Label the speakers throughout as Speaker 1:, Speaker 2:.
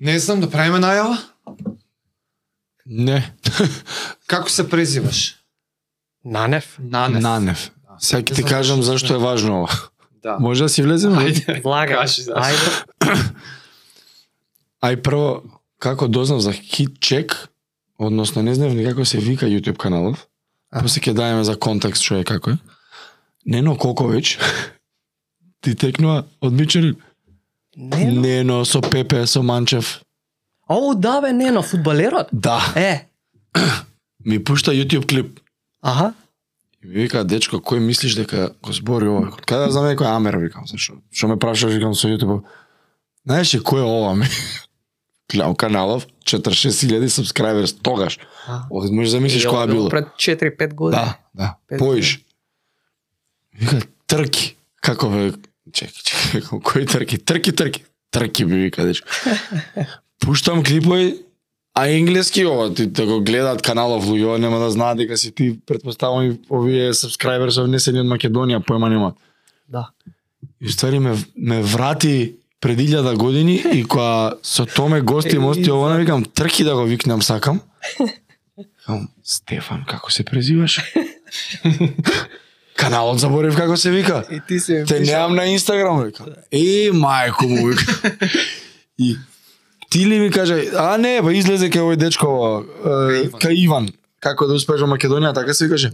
Speaker 1: Не знам да правиме најава.
Speaker 2: Не.
Speaker 1: Како се презиваш?
Speaker 3: Нанев?
Speaker 1: Нанев. Да.
Speaker 2: Нанев. Сега ќе ти
Speaker 1: Знам
Speaker 2: кажам
Speaker 1: што.
Speaker 2: зашто е важно ова.
Speaker 1: Да.
Speaker 2: Може да си влеземе? ли?
Speaker 1: Ајде.
Speaker 3: Влага.
Speaker 1: Кажи, да.
Speaker 3: Ајде.
Speaker 2: Ај прво, како дознав за хитчек, односно не знаев ни како се вика YouTube каналов,
Speaker 1: Аха.
Speaker 2: после ќе даеме за контекст што е како е. Нено Кокович ти текнува од Мичерин.
Speaker 3: Не. не.
Speaker 2: Нено со Пепе, со Манчев.
Speaker 3: О, да бе, не, на фудбалерот.
Speaker 2: Да.
Speaker 3: Е,
Speaker 2: Ми пушта YouTube клип.
Speaker 3: аха.
Speaker 2: И ми вика, дечко, кој мислиш дека го збори ова? Кај да знам е кој е Амер, викам, зашо? Што ме прашаш, викам, со YouTube. Знаеш ли кој е ова, ми? Кляо каналов, 46.000 сабскрайберс, тогаш.
Speaker 3: А.
Speaker 2: Одмеш замислиш
Speaker 3: Е,
Speaker 2: која
Speaker 3: ова
Speaker 2: било.
Speaker 3: Пред 4-5 години.
Speaker 2: Да, да.
Speaker 3: Пет
Speaker 2: Поиш. Вика, трки. Како бе? Чекай, чекай, викам, кој трки? Трки, трки. Трки би вика, дечко. Пуштам клипови, а енглески ова, ти да го гледаат каналов луѓе, нема да знаат дека си ти, предпоставам и овие сабскрајберс не се ни од Македонија, појма нема.
Speaker 3: Да.
Speaker 2: И ствари ме, ме врати пред илјада години и која со Томе гости мости ова, не викам, трки да го викнам сакам. Викам, Стефан, како се презиваш? Каналот заборев како се вика.
Speaker 3: И ти се
Speaker 2: Да. Те немам на Инстаграм, викам. Е, мајко му, викам. И ти ли ми каже, а не, ба излезе кај овој дечко, ова, е, кај Иван, како да успееш во Македонија, така се каже.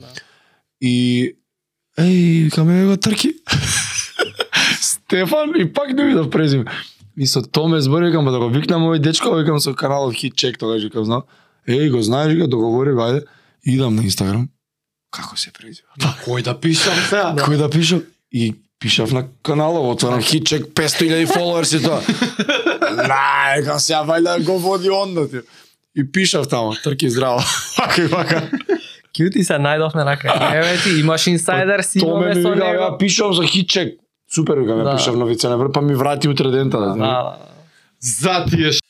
Speaker 2: И, еј, викам, е, го трки. Стефан, и пак не видов презиме. И со Томе збори, викам, ба да го викнам овој дечко, ова, викам, со каналот Хит Чек, тогаш, викам, знам. Еј, го знаеш, го договори, ајде, идам на Инстаграм. Како се презива?
Speaker 1: На кој да пишам сега?
Speaker 2: Кој да пишам? И пишав на каналов, отварам хитчек, 500.000 фоловерс и тоа. Нај, кам се вајда го води он да ти. И пишав тамо, трки здраво. Вака и вака.
Speaker 3: Кјути се најдовме на крај. Еве ти, имаш инсайдер, си
Speaker 2: Томе
Speaker 3: имаме
Speaker 2: ми
Speaker 3: со
Speaker 2: вика,
Speaker 3: него.
Speaker 2: ја пишам за хитчек. Супер, вика, ја
Speaker 3: Да.
Speaker 2: пишав на вице па ми врати утре дента. Да,
Speaker 3: Да,
Speaker 2: знаеш.
Speaker 3: да, да.
Speaker 1: За тие ш-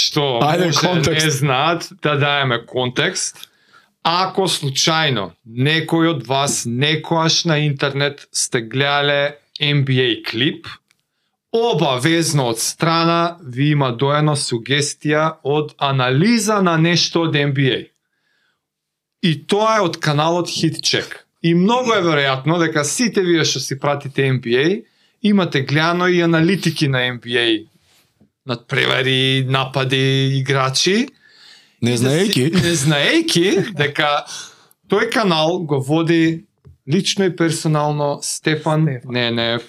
Speaker 1: што
Speaker 2: Ајде,
Speaker 1: може
Speaker 2: контекст.
Speaker 1: не знаат да даеме контекст. Ако случајно некој од вас некојаш на интернет сте гледале NBA клип, обавезно од страна ви има доено сугестија од анализа на нешто од NBA. И тоа е од каналот HitCheck. И многу е веројатно дека сите вие што си пратите NBA, имате гледано и аналитики на NBA надпревари, напади, играчи.
Speaker 2: Не знаеки.
Speaker 1: Не знаејки дека тој канал го води лично и персонално Стефан,
Speaker 3: Стефан.
Speaker 1: Ненев.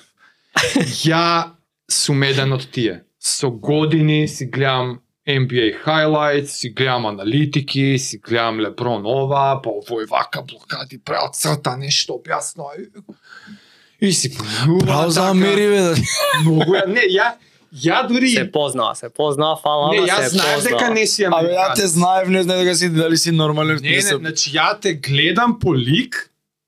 Speaker 1: Ја сум еден од тие. Со години си гледам NBA highlights, си гледам аналитики, си гледам Леброн ова, па овој вака блокади, прават црта, нешто објаснува. И си помилува
Speaker 2: Право за
Speaker 1: така.
Speaker 2: Амери, бе. да.
Speaker 1: Многу ја, не, ја, ја дури
Speaker 3: Се познава, се познава, фала,
Speaker 1: Не,
Speaker 3: ама
Speaker 1: јас
Speaker 3: се
Speaker 1: знаев дека
Speaker 3: познава.
Speaker 1: не си
Speaker 2: Абе, ја
Speaker 1: американец.
Speaker 2: те знаев, не знаев дека си дали си нормален.
Speaker 1: Не, не, значи ја те гледам по лик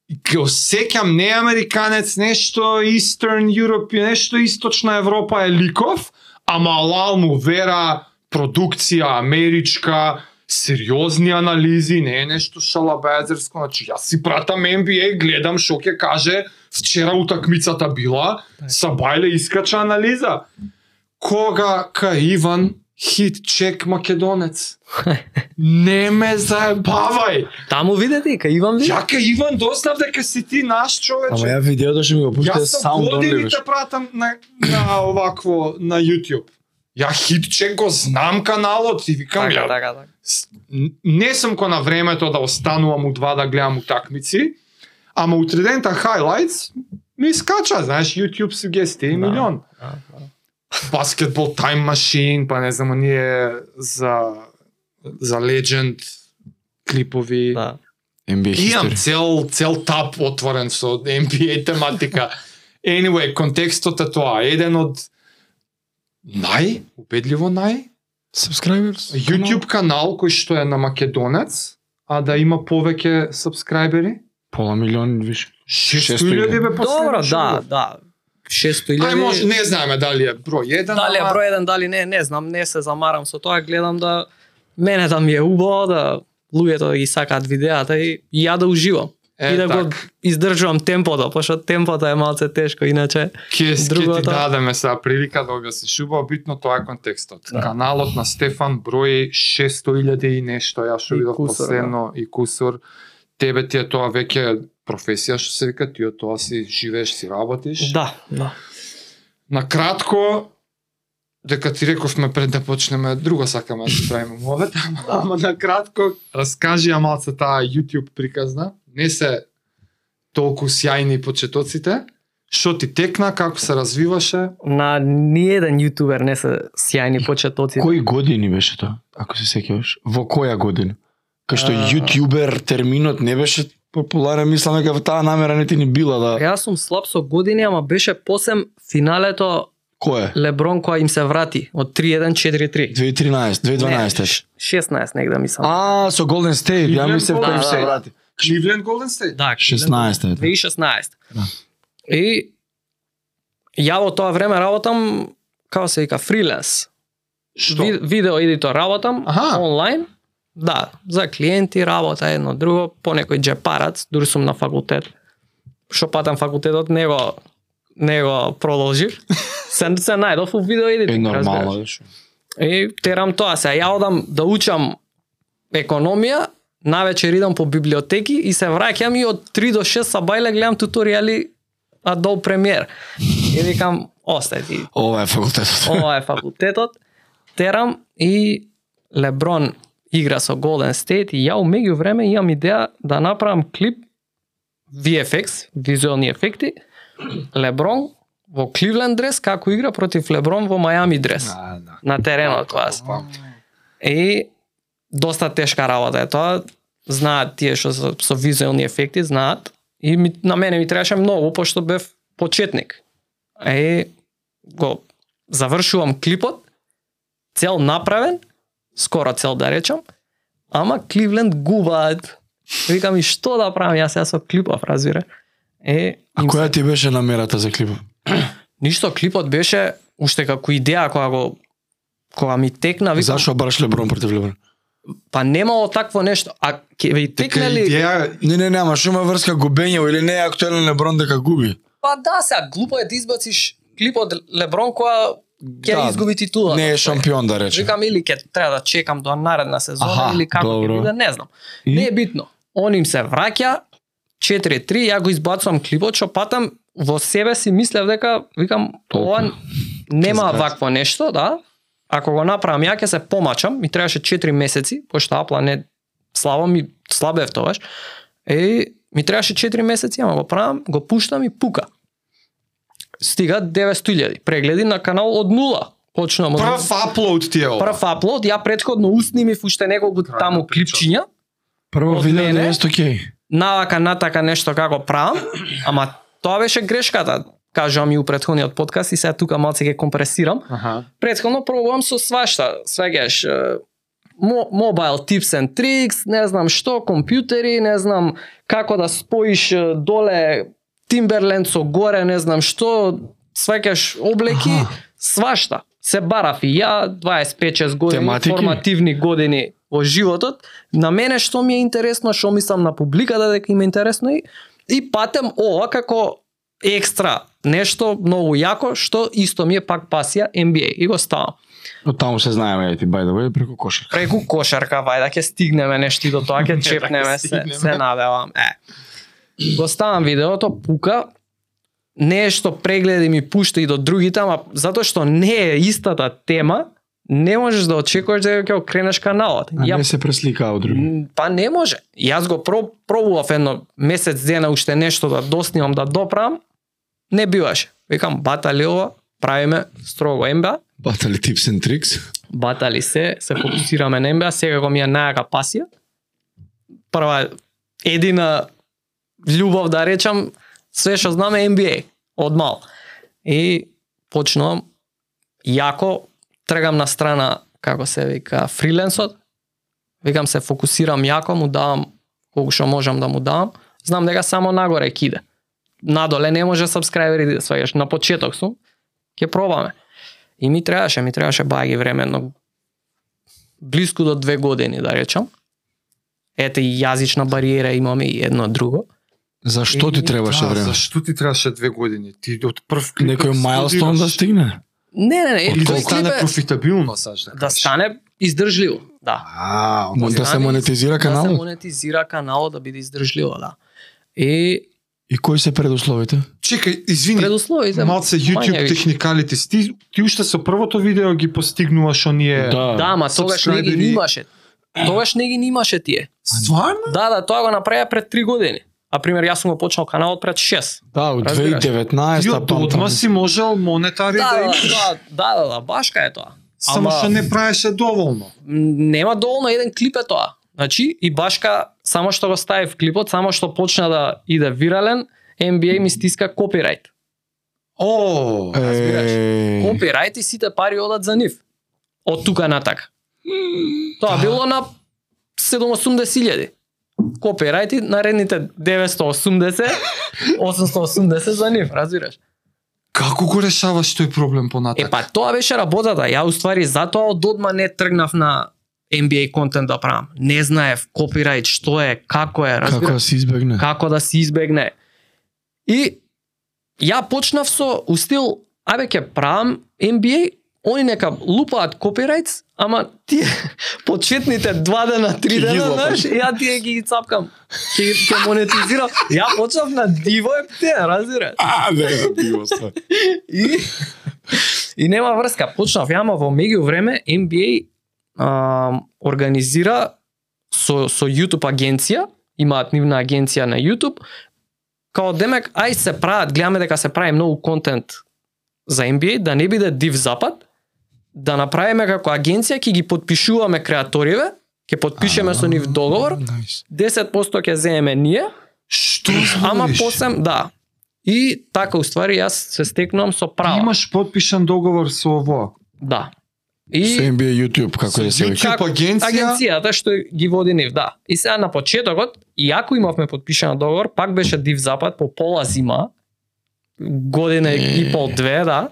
Speaker 1: и ке осеќам не американец, нешто Eastern Europe, нешто Источна Европа е ликов, ама лал му вера продукција америчка, сериозни анализи, не е нешто шалабајазерско, значи јас си пратам NBA, гледам што ќе каже, вчера утакмицата била, Сабајле искача анализа. Кога ка Иван хит чек македонец? Не ме заебавај.
Speaker 3: Таму видете, кај Иван ви.
Speaker 1: Јака Иван дознав дека си ти наш
Speaker 2: Ама
Speaker 1: човече.
Speaker 2: ја видеото што ми го пуште
Speaker 1: Јас сам
Speaker 2: саунд онли.
Speaker 1: години
Speaker 2: беше.
Speaker 1: те пратам на, на овакво на YouTube. Ја хитче го знам каналот и викам
Speaker 3: Така,
Speaker 1: ја
Speaker 3: така, така.
Speaker 1: С- н- не сум ко на времето да останувам у два да гледам утакмици, ама утредента highlights ми искача, знаеш, YouTube сугестии
Speaker 3: Да.
Speaker 1: милион.
Speaker 3: А, а.
Speaker 1: Basketball Time Machine, па не знам, ние за за Legend клипови.
Speaker 3: Да.
Speaker 2: NBA
Speaker 1: Имам
Speaker 2: history.
Speaker 1: цел цел тап отворен со NBA тематика. Anyway, контекстот е тоа, еден од нај, убедливо нај,
Speaker 2: Subscribers.
Speaker 1: YouTube канал кој што е на македонец, а да има повеќе сабскрајбери?
Speaker 2: Пола милион и више.
Speaker 1: 6000 бе
Speaker 3: Добро,
Speaker 1: последно
Speaker 3: да,
Speaker 1: шо-
Speaker 3: да. 600
Speaker 1: Ај може,
Speaker 3: илјади.
Speaker 1: не знаеме дали е број 1,
Speaker 3: Дали е број еден, дали не, не знам, не се замарам со тоа, гледам да мене да ми е убаво, да луѓето ги сакаат видеата и, и ја да уживам.
Speaker 1: Е,
Speaker 3: и да
Speaker 1: така.
Speaker 3: го издржувам темпото, пошто темпото е малце тешко, иначе
Speaker 1: Ке, ке ти
Speaker 3: Другото-
Speaker 1: дадеме сега прилика да објасниш убаво, битно тоа е контекстот.
Speaker 3: Да.
Speaker 1: Каналот на Стефан брои 600.000 и нешто, јас што
Speaker 3: И
Speaker 1: видов
Speaker 3: кусор, да.
Speaker 1: последно и кусор. Тебе ти е тоа веќе професија што се вика, ти од тоа си живееш, си работиш.
Speaker 3: да, да.
Speaker 1: На кратко, дека ти рековме пред да почнеме, друго сакаме да си правиме мовет, ама, ама на кратко, раскажи ја малце таа YouTube приказна, не се толку сјајни почетоците, што ти текна, како се развиваше,
Speaker 3: На ниеден јутубер не се сјајни почетоци.
Speaker 2: Кои години беше тоа, ако се сеќаваш? Во која година? Кај што
Speaker 3: А.
Speaker 2: јутјубер терминот не беше популарен, мислам дека таа намера не ти ни била да...
Speaker 3: Јас сум слаб со години, ама беше посем финалето
Speaker 2: Кој е?
Speaker 3: Леброн која им се врати од 3-1-4-3.
Speaker 2: 2013, 2012
Speaker 3: Не,
Speaker 2: беше.
Speaker 3: 16 негде мислам.
Speaker 2: А, со Голден Стейт, ја
Speaker 1: Кливленд,
Speaker 2: мислев
Speaker 3: да,
Speaker 2: да им се
Speaker 3: да, да.
Speaker 2: врати.
Speaker 1: Кливленд Голден Стейт.
Speaker 3: да,
Speaker 2: 16 е тоа.
Speaker 3: 2016.
Speaker 2: Да.
Speaker 3: И ја во тоа време работам како се вика фриленс.
Speaker 1: Што?
Speaker 3: Ви- Видео едитор работам
Speaker 1: Аха.
Speaker 3: онлайн. Да, за клиенти работа едно друго, по некој джепарац, дури сум на факултет. Што патам факултетот, не го не го продолжив. Се се најдов у видео едитинг,
Speaker 2: Е
Speaker 3: разбираш.
Speaker 2: нормално беше.
Speaker 3: И терам тоа се. Ја одам да учам економија, навечер идам по библиотеки и се враќам и од 3 до 6 сабајле гледам туторијали Adobe Premiere. И викам, остај ти,
Speaker 2: Ова е факултетот.
Speaker 3: ова е факултетот. Терам и Леброн игра со Golden State и ја у меѓувреме имам идеја да направам клип VFX, визуелни ефекти, Леброн во Кливленд дрес како игра против Леброн во Мајами дрес
Speaker 1: А, да.
Speaker 3: на теренот тоа се.
Speaker 1: Па,
Speaker 3: И доста тешка работа е тоа. Знаат тие што со, со визуелни ефекти, знаат. И ми, на мене ми требаше многу, пошто бев почетник. Е, го завршувам клипот, цел направен, скоро цел да речам, ама Кливленд губаат. Викам и што да правам јас сега со клипов, разбира. Е,
Speaker 2: А
Speaker 3: им се-
Speaker 2: која ти беше намерата за клипот?
Speaker 3: ништо клипот беше уште како идеја која го која ми текна, викам,
Speaker 2: Зашо бараш Леброн против Леброн?
Speaker 3: Па немало такво нешто. А ќе ви
Speaker 2: Така
Speaker 1: Дека
Speaker 3: текне ли?
Speaker 1: идеја,
Speaker 2: Не, не, нема, што има врска губење или не е актуелен Леброн дека губи.
Speaker 3: Па да, сега глупо е да избациш клип од Леброн која ќе
Speaker 2: Да,
Speaker 3: изгуби титула.
Speaker 2: Не е шампион да рече.
Speaker 3: Викам или ќе треба да чекам до наредна сезона
Speaker 2: Аха,
Speaker 3: или како
Speaker 2: добро.
Speaker 3: ќе биде, не знам.
Speaker 2: И?
Speaker 3: Не е битно. Он им се враќа 4-3, ја го избацувам клипот, што патам во себе си мислев дека викам
Speaker 2: Толку.
Speaker 3: ова нема
Speaker 2: Ќе
Speaker 3: вакво нешто, да. Ако го направам ја ќе се помачам, ми требаше 4 месеци, пошто Апла не слабо ми слабев тогаш. Е, ми требаше 4 месеци, ама го правам, го пуштам и пука. Стига 900.000 прегледи на канал од нула. Почнам од
Speaker 1: прв аплоуд ти е ова.
Speaker 3: прв аплод, ја предходно уснимив уште неколку
Speaker 1: Крајна
Speaker 3: таму
Speaker 1: прича.
Speaker 3: клипчиња,
Speaker 2: Прво
Speaker 3: Од
Speaker 2: видео
Speaker 3: мене?
Speaker 2: не е окей.
Speaker 3: навака натака нешто како правам, ама тоа беше грешката. Кажам и у претходниот подкаст и сега тука малце ќе компресирам.
Speaker 1: Аха.
Speaker 3: Предходно пробувам со свашта, сваѓаш е, мо- мобайл tips and tricks, не знам што, компјутери, не знам како да споиш е, доле Timberland со горе, не знам што, сваќаш облеки,
Speaker 2: Аха.
Speaker 3: свашта. Се барав и ја 25-6 години,
Speaker 2: Тематики?
Speaker 3: формативни години во животот. На мене што ми е интересно, што мислам на публиката дека им е интересно и, и патем ова како екстра нешто многу јако што исто ми е пак пасија NBA и го ставам.
Speaker 2: Од таму се знаеме, ети, by the way, преку кошер.
Speaker 3: Преку кошарка, вајда ќе стигнеме нешто и до тоа ќе чепнеме се,
Speaker 1: стигнеме.
Speaker 3: се надевам. Е. Го ставам видеото, пука, нешто прегледи ми пушта и до другите, ама затоа што не е истата тема, не можеш да очекуваш дека ќе окренеш каналот.
Speaker 2: А
Speaker 3: Ја
Speaker 2: не се преслика од други.
Speaker 3: М, Па не може. Јас го про- пробував едно месец дена уште нешто да доснимам, да доправам. Не биваше. Викам, батали ова, правиме строго МБА,
Speaker 2: Батали tips and tricks.
Speaker 3: батали се, се фокусираме на МБА, сега го ми ја најака пасија. Прва, едина љубов да речам, све што знам е NBA, од мал. И почнувам јако, тргам на страна, како се вика, фриленсот, викам се фокусирам јако, му давам колку што можам да му давам. Знам дека само нагоре киде. Надоле не може сабскрајбери, сваѓаш, на почеток сум. Ќе пробаме. И ми требаше, ми требаше баги време, но близко до две години, да речам. Ете и јазична бариера имаме и едно друго.
Speaker 2: Зашто ти
Speaker 3: И-
Speaker 2: требаше
Speaker 1: да,
Speaker 2: време?
Speaker 1: Зашто ти требаше две години? Ти од прв клип
Speaker 2: Некој майлстоун да
Speaker 1: студираш.
Speaker 2: стигне?
Speaker 3: Не, не, не,
Speaker 1: И да
Speaker 3: тој
Speaker 1: стане
Speaker 3: клип е-
Speaker 1: профитабилно, саш да
Speaker 3: да
Speaker 1: кажеш.
Speaker 3: стане издржливо, да.
Speaker 1: А,
Speaker 2: Мо Да се
Speaker 3: Стане-
Speaker 2: монетизира
Speaker 1: Така
Speaker 3: Да се
Speaker 2: каналот?
Speaker 3: монетизира каналот да биде издржливо, да. И
Speaker 2: И кои се предусловите?
Speaker 1: Чекај, извини,
Speaker 3: предусловите
Speaker 1: малце YouTube
Speaker 3: мanje више.
Speaker 1: техникалите. Ти, ти уште со првото видео ги постигнуваш оние...
Speaker 3: Да, ама тогаш не ги
Speaker 1: Субскрајбери-
Speaker 3: имаше. Тогаш не ги имаше тие.
Speaker 1: Стварно?
Speaker 3: Да, да, тоа го направија пред 3 години. А пример, јас сум го почнал каналот пред 6.
Speaker 2: Да, од
Speaker 3: Разбираш.
Speaker 2: 2019
Speaker 1: Ти
Speaker 2: та
Speaker 1: од одма си можел монетари
Speaker 3: Да,
Speaker 1: да
Speaker 3: да,
Speaker 1: имаш.
Speaker 3: да, да, да, да, башка е тоа.
Speaker 1: Само
Speaker 3: Ама-
Speaker 1: што не правеше доволно.
Speaker 3: нема доволно еден клип е тоа. Значи, и башка, само што го стави в клипот, само што почна да иде вирален, NBA ми стиска копирајт.
Speaker 1: О,
Speaker 3: разбираш.
Speaker 2: Е,
Speaker 3: Копирајт и сите пари одат за нив. Од тука натака. Тоа било на 780.000. Копирајт и наредните 980, 880 за нив, разбираш.
Speaker 1: како го решаваш тој проблем понатак?
Speaker 3: Е па тоа беше работата. Ја уствари затоа од одма не тргнав на NBA контент да правам. Не знаев копирајт што е, како е, разбираш.
Speaker 2: Како да се избегне?
Speaker 3: како да се избегне. И ја почнав со у стил, абе ќе правам NBA, они нека лупаат копирајтс, ама ти почетните два дена, три
Speaker 2: Ќе ги
Speaker 3: дена,
Speaker 2: лопаш.
Speaker 3: знаеш, ја тие ги ги цапкам. Ќе ги- ќе монетизирам. Ја почнав на диво е те, разбираш.
Speaker 2: А, не, било се.
Speaker 3: И и нема врска. Почнав ја, ама во меѓу време NBA а, организира со со YouTube агенција, имаат нивна агенција на YouTube, као демек ај се прават, гледаме дека се прави многу контент за NBA, да не биде див запад, да направиме како агенција ќе ги подпишуваме креаториве, ќе подпишеме со нив договор, 10% ќе земеме ние,
Speaker 1: Што
Speaker 3: ама
Speaker 1: збориш?
Speaker 3: посем да. И така уствари јас се стекнувам со
Speaker 1: Ти
Speaker 3: право.
Speaker 1: имаш подпишан договор со ово.
Speaker 3: Да.
Speaker 2: Со
Speaker 3: И
Speaker 2: NBA YouTube, како
Speaker 1: Со
Speaker 2: да се вика.
Speaker 1: YouTube
Speaker 3: Како?
Speaker 1: агенција,
Speaker 3: агенцијата што ги води нив, да. И сега на почетокот, иако имавме подпишан договор, пак беше див запад по пола зима, година и пол две, да.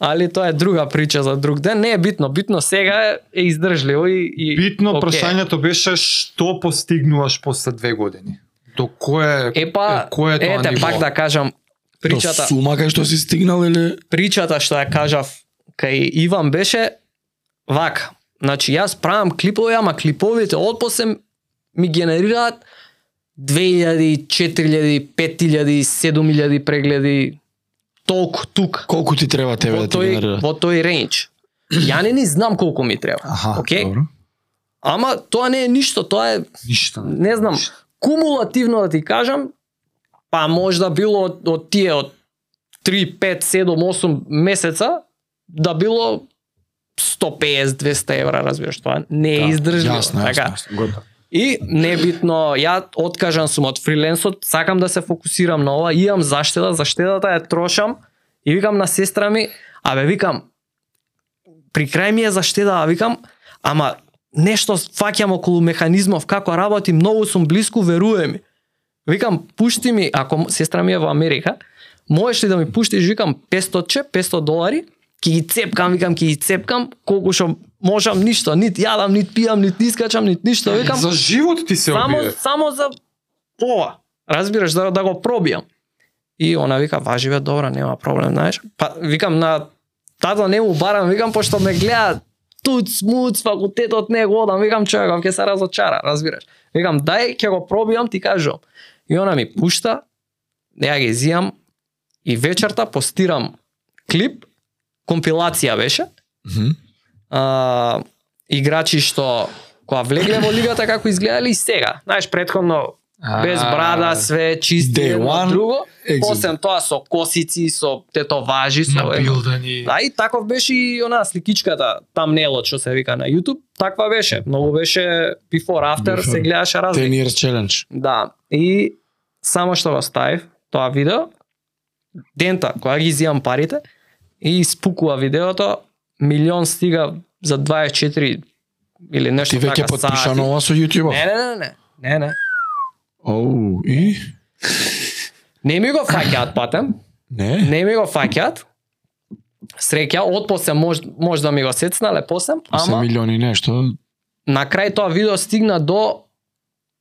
Speaker 3: Али тоа е друга прича за друг ден. Не е битно, битно сега е, е издржливо и, и
Speaker 1: Битно okay.
Speaker 3: окей.
Speaker 1: прашањето беше што постигнуваш после две години. До кое
Speaker 3: Е па,
Speaker 1: е, кое е тоа
Speaker 3: ете
Speaker 1: ниво?
Speaker 3: пак да кажам
Speaker 2: Причата.
Speaker 3: причата.
Speaker 2: Сума кај што си стигнал или
Speaker 3: причата што ја кажав кај Иван беше вака. Значи јас правам клипови, ама клиповите отпосле ми генерираат 2000, 4000, 5000, 7000 прегледи толку тук
Speaker 2: колку ти треба тебе
Speaker 3: во
Speaker 2: да ти
Speaker 3: тој
Speaker 2: генерира?
Speaker 3: во тој рейндж. Ја не ни знам колку ми треба.
Speaker 2: Аха,
Speaker 3: Океј.
Speaker 2: добро.
Speaker 3: Ама тоа не е ништо, тоа е
Speaker 1: ништа.
Speaker 3: не знам, кумулативно да ти кажам, па можда било од, од тие од 3, 5, 7, 8 месеца да било 150, 200 евра, разбираш, тоа не е
Speaker 2: Да,
Speaker 3: издржливо.
Speaker 2: Јасно,
Speaker 3: така.
Speaker 2: јасно, јасно. Готово.
Speaker 3: И небитно, ја откажан сум од фриленсот, сакам да се фокусирам на ова, имам заштеда, заштедата ја трошам и викам на сестра ми, абе викам, при крај ми е заштеда, а викам, ама нешто фаќам околу механизмов како работи, многу сум блиску, веруе ми. Викам, пушти ми, ако м- сестра ми е во Америка, можеш ли да ми пуштиш, викам, 500че, 500 долари, ќе ги цепкам, викам, ќе ги цепкам, колку што можам, ништо, нит јадам, нит пијам, нит искачам, нит ништо, викам,
Speaker 1: За живот ти се
Speaker 3: само
Speaker 1: обиде.
Speaker 3: само за ова. Разбираш да да го пробијам. И она вика важи бе, добра, нема проблем, знаеш. Па викам на тата не му барам, викам пошто ме гледа туц, муц, факултетот не го одам, викам човеков ќе се разочара, разбираш. Викам дај ќе го пробијам, ти кажам. И она ми пушта, ја ги зијам и вечерта постирам клип, компилација беше,
Speaker 2: Мгм.
Speaker 3: а, играчи што која влегле во лигата како изгледале и сега. Знаеш, предходно без брада, све чисти
Speaker 2: Day
Speaker 3: едно
Speaker 2: one,
Speaker 3: друго.
Speaker 2: exit.
Speaker 3: Освен тоа со косици, со тетоважи, со едно.
Speaker 1: набилдани.
Speaker 3: Да, и таков беше и она сликичката, тамнелот што се вика на YouTube, таква беше. Многу беше before after,
Speaker 2: Before.
Speaker 3: се гледаше разлика.
Speaker 2: 10 years challenge.
Speaker 3: Да, и само што го ставив тоа видео, дента кога ги изјам парите и спукува видеото, милион стига за 24 или нешто
Speaker 2: Ти веќе
Speaker 3: така,
Speaker 2: потпиша
Speaker 3: сати.
Speaker 2: нова со YouTube.
Speaker 3: Не, не, не, не. Не, не.
Speaker 2: Оу, и?
Speaker 3: Не ми го фаќаат патем.
Speaker 2: Не.
Speaker 3: Не ми го фаќаат. Среќа, од после мож, може да ми го сецнале посем,
Speaker 2: Се
Speaker 3: ама
Speaker 2: милиони нешто.
Speaker 3: на крај тоа видео стигна до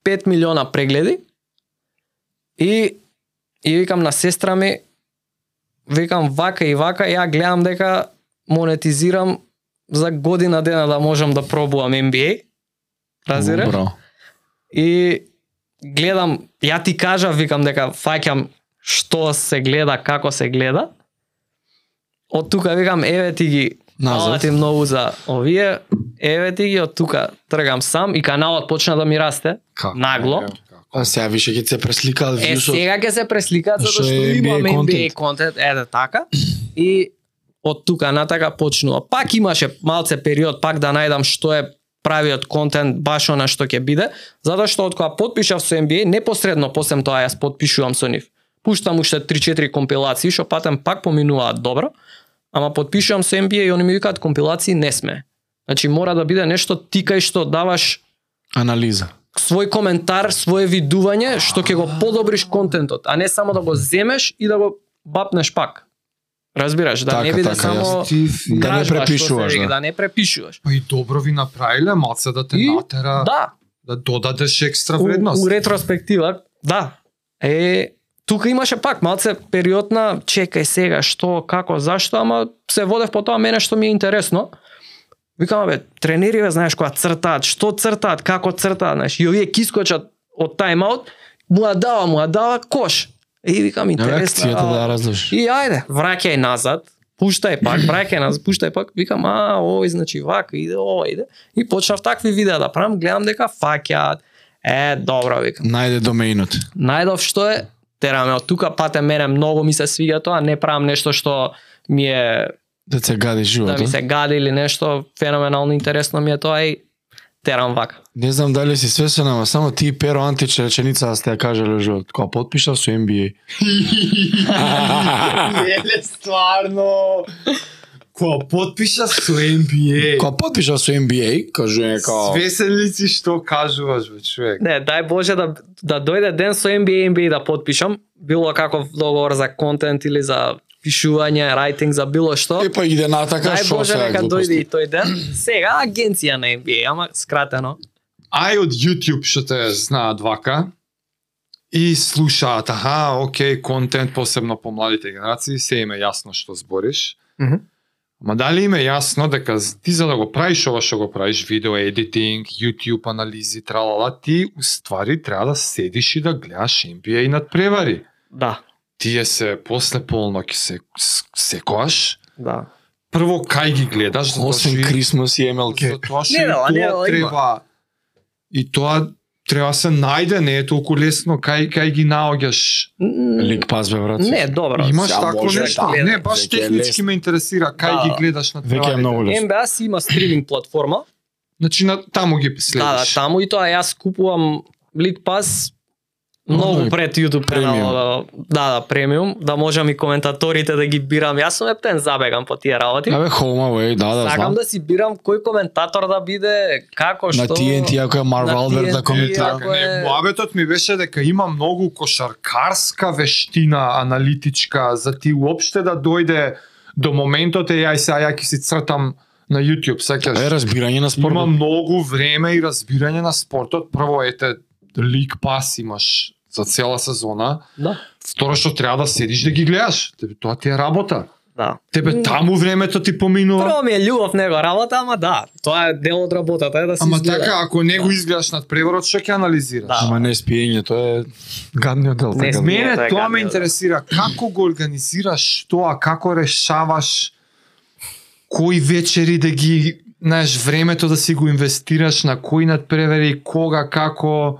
Speaker 3: 5 милиона прегледи. И и викам на сестра ми викам вака и вака, ја гледам дека монетизирам за година дена да можам да пробувам MBA. Разбираш?
Speaker 2: Браво.
Speaker 3: И гледам, ја ти кажа, викам дека фаќам што се гледа, како се гледа. Од тука викам, еве ти ги
Speaker 2: Назад.
Speaker 3: Фала ти многу за овие, еве ти ги од тука тргам сам и каналот почна да ми расте.
Speaker 2: Како?
Speaker 3: Нагло.
Speaker 2: А сега више ќе се пресликаат
Speaker 3: Е,
Speaker 2: вјусот.
Speaker 3: сега ќе се пресликаат
Speaker 2: Што
Speaker 3: затоа што
Speaker 2: е
Speaker 3: имаме
Speaker 2: NBA
Speaker 3: NBA контент, еде така. И од тука натака почнува. Пак имаше малце период пак да најдам што е правиот контент баш она што ќе биде, затоа што од кога потпишав со NBA, непосредно посем тоа јас потпишувам со нив. Пуштам уште 3-4 компилации, што патем пак поминуваат добро, ама потпишувам со NBA и они ми викаат компилации не сме. Значи мора да биде нешто ти кај што даваш
Speaker 2: Анализа.
Speaker 3: свој коментар, свое видување, што ќе го подобриш контентот, а не само да го земеш и да го бапнеш пак. Разбираш, да не
Speaker 2: Така,
Speaker 3: биде
Speaker 2: така,
Speaker 3: само
Speaker 2: јас
Speaker 1: Ти,
Speaker 2: Да не
Speaker 3: кражба, што се
Speaker 2: препишуваш,
Speaker 3: вика,
Speaker 2: да.
Speaker 3: да не препишуваш.
Speaker 1: Па и добро ви направиле, малце да те
Speaker 3: И-
Speaker 1: натера, да,
Speaker 3: Да,
Speaker 1: додадеш екстра
Speaker 3: у,
Speaker 1: вредност.
Speaker 3: у ретроспектива, да. Е, тука имаше пак малце период на чекај сега што, како, зашто, ама се водев по тоа мене што ми е интересно. Викам, бе, тренери, бе, знаеш која цртаат, што цртаат, како цртаат, знаеш, и овие кискочат од тајмаут, му ја дава, му ја дава кош. И викам, интересно.
Speaker 2: Реакцијата да ја
Speaker 3: а,
Speaker 2: раздаш.
Speaker 3: И ајде, враќај назад, пуштај пак, враќај назад, пуштај пак, викам, а, ој, значи, вака иде, ој, иде. И почнав такви видеа да правам, гледам дека фаќаат. Е, добро, викам.
Speaker 2: Најде домеинот.
Speaker 3: Најдов што е, тераме од тука, пате мене многу ми се свиѓа тоа, не правам нешто што ми е
Speaker 2: Да се гади
Speaker 3: да ми
Speaker 2: животот.
Speaker 3: се гади или нешто феноменално интересно ми е тоа и терам вака.
Speaker 2: Не знам дали си свесен, ама само ти и Перо Антич реченица да сте ја кажале во живот. Кога потпишав со NBA.
Speaker 1: Еле, стварно. Кога потпиша со NBA,
Speaker 2: Кога потпишав со NBA, кажувам како
Speaker 1: свесен ли си што кажуваш, бе, човек?
Speaker 3: Не, дај Боже да, да дојде ден со NBA, NBA да потпишам, било каков договор за контент или за пишување, рајтинг, за било што.
Speaker 2: Е па иде натака
Speaker 3: Дај
Speaker 2: што
Speaker 3: Боже
Speaker 2: се
Speaker 3: нека дојде и тој ден. Сега агенција на NBA, ама скратено.
Speaker 1: ај од YouTube што те знаат вака и слушаат, аха, окей, контент посебно по младите генерации, се им е јасно што збориш.
Speaker 3: Мгм.
Speaker 1: Ма дали им е јасно дека з- ти за да го правиш ова што го правиш, видео едитинг, YouTube анализи, тралала, ти уствари треба да седиш и да гледаш NBA и надпревари.
Speaker 3: Да,
Speaker 1: Тие се после полноќ се с- секојаш,
Speaker 3: да.
Speaker 1: прво кај ги гледаш, затоа што
Speaker 2: Освен
Speaker 1: и-
Speaker 2: Крисмас и
Speaker 1: Со
Speaker 2: MLK.
Speaker 1: тоа што
Speaker 3: Не,
Speaker 1: и
Speaker 3: да,
Speaker 1: тоа
Speaker 3: не, да, има.
Speaker 1: треба. И тоа треба се најде, не е толку лесно кај кај ги наоѓаш.
Speaker 3: М,
Speaker 2: Лик пас бе брат.
Speaker 3: Не, добро.
Speaker 1: Имаш
Speaker 2: Сега
Speaker 1: такво
Speaker 2: може,
Speaker 1: нешто?
Speaker 3: да.
Speaker 1: Не, баш
Speaker 2: Веќе е
Speaker 1: технички ме интересира кај
Speaker 3: Да,
Speaker 1: ги
Speaker 3: да.
Speaker 1: гледаш на
Speaker 2: Веќе е
Speaker 1: тренерите.
Speaker 2: многу лесно.
Speaker 3: NBA си има стриминг платформа.
Speaker 1: Значи на таму ги
Speaker 3: Да, да,
Speaker 1: следиш.
Speaker 3: таму и тоа јас купувам League Pass многу
Speaker 2: Оној,
Speaker 3: пред YouTube
Speaker 2: да премиум.
Speaker 3: канала. Да, да, премиум, да можам и коментаторите да ги бирам. Јас сум ептен забегам по тие работи.
Speaker 2: Абе home away, да да
Speaker 3: Сакам
Speaker 2: знам.
Speaker 3: да си бирам кој коментатор да биде, како што.
Speaker 2: На TNT ако е Марв
Speaker 3: На
Speaker 2: Алберт да
Speaker 3: TNT,
Speaker 2: коментира.
Speaker 3: ако-
Speaker 1: Така, не,
Speaker 3: е-
Speaker 1: муабетот ми беше дека има многу кошаркарска вештина аналитичка за ти уопште да дојде до моментот е јај сега ја ќе си цртам на YouTube, сеќаш?
Speaker 2: Е разбирање на
Speaker 1: Има
Speaker 2: спортот.
Speaker 1: многу време и разбирање на спортот. Прво, ете, лик пас имаш за цела сезона.
Speaker 3: Да.
Speaker 1: Второ, што треба да седиш да ги гледаш. Тебе, тоа ти е работа.
Speaker 3: Да.
Speaker 1: Тебе таму времето ти поминува.
Speaker 3: Прво ми е љубов него работа, ама да, тоа е дел од работата е да се
Speaker 1: Ама
Speaker 3: изгледа.
Speaker 1: така, ако не го изгледаш над преворот, што ќе анализираш?
Speaker 3: Да.
Speaker 2: Ама не спиење, тоа е гадниот дел.
Speaker 3: Не
Speaker 2: така.
Speaker 3: спи-
Speaker 1: Мене
Speaker 3: Тоа е
Speaker 1: тоа ме
Speaker 3: гадно, да.
Speaker 1: интересира. Како го организираш тоа? Како решаваш кои вечери да ги знаеш времето да си го инвестираш на кои надпревери, кога, како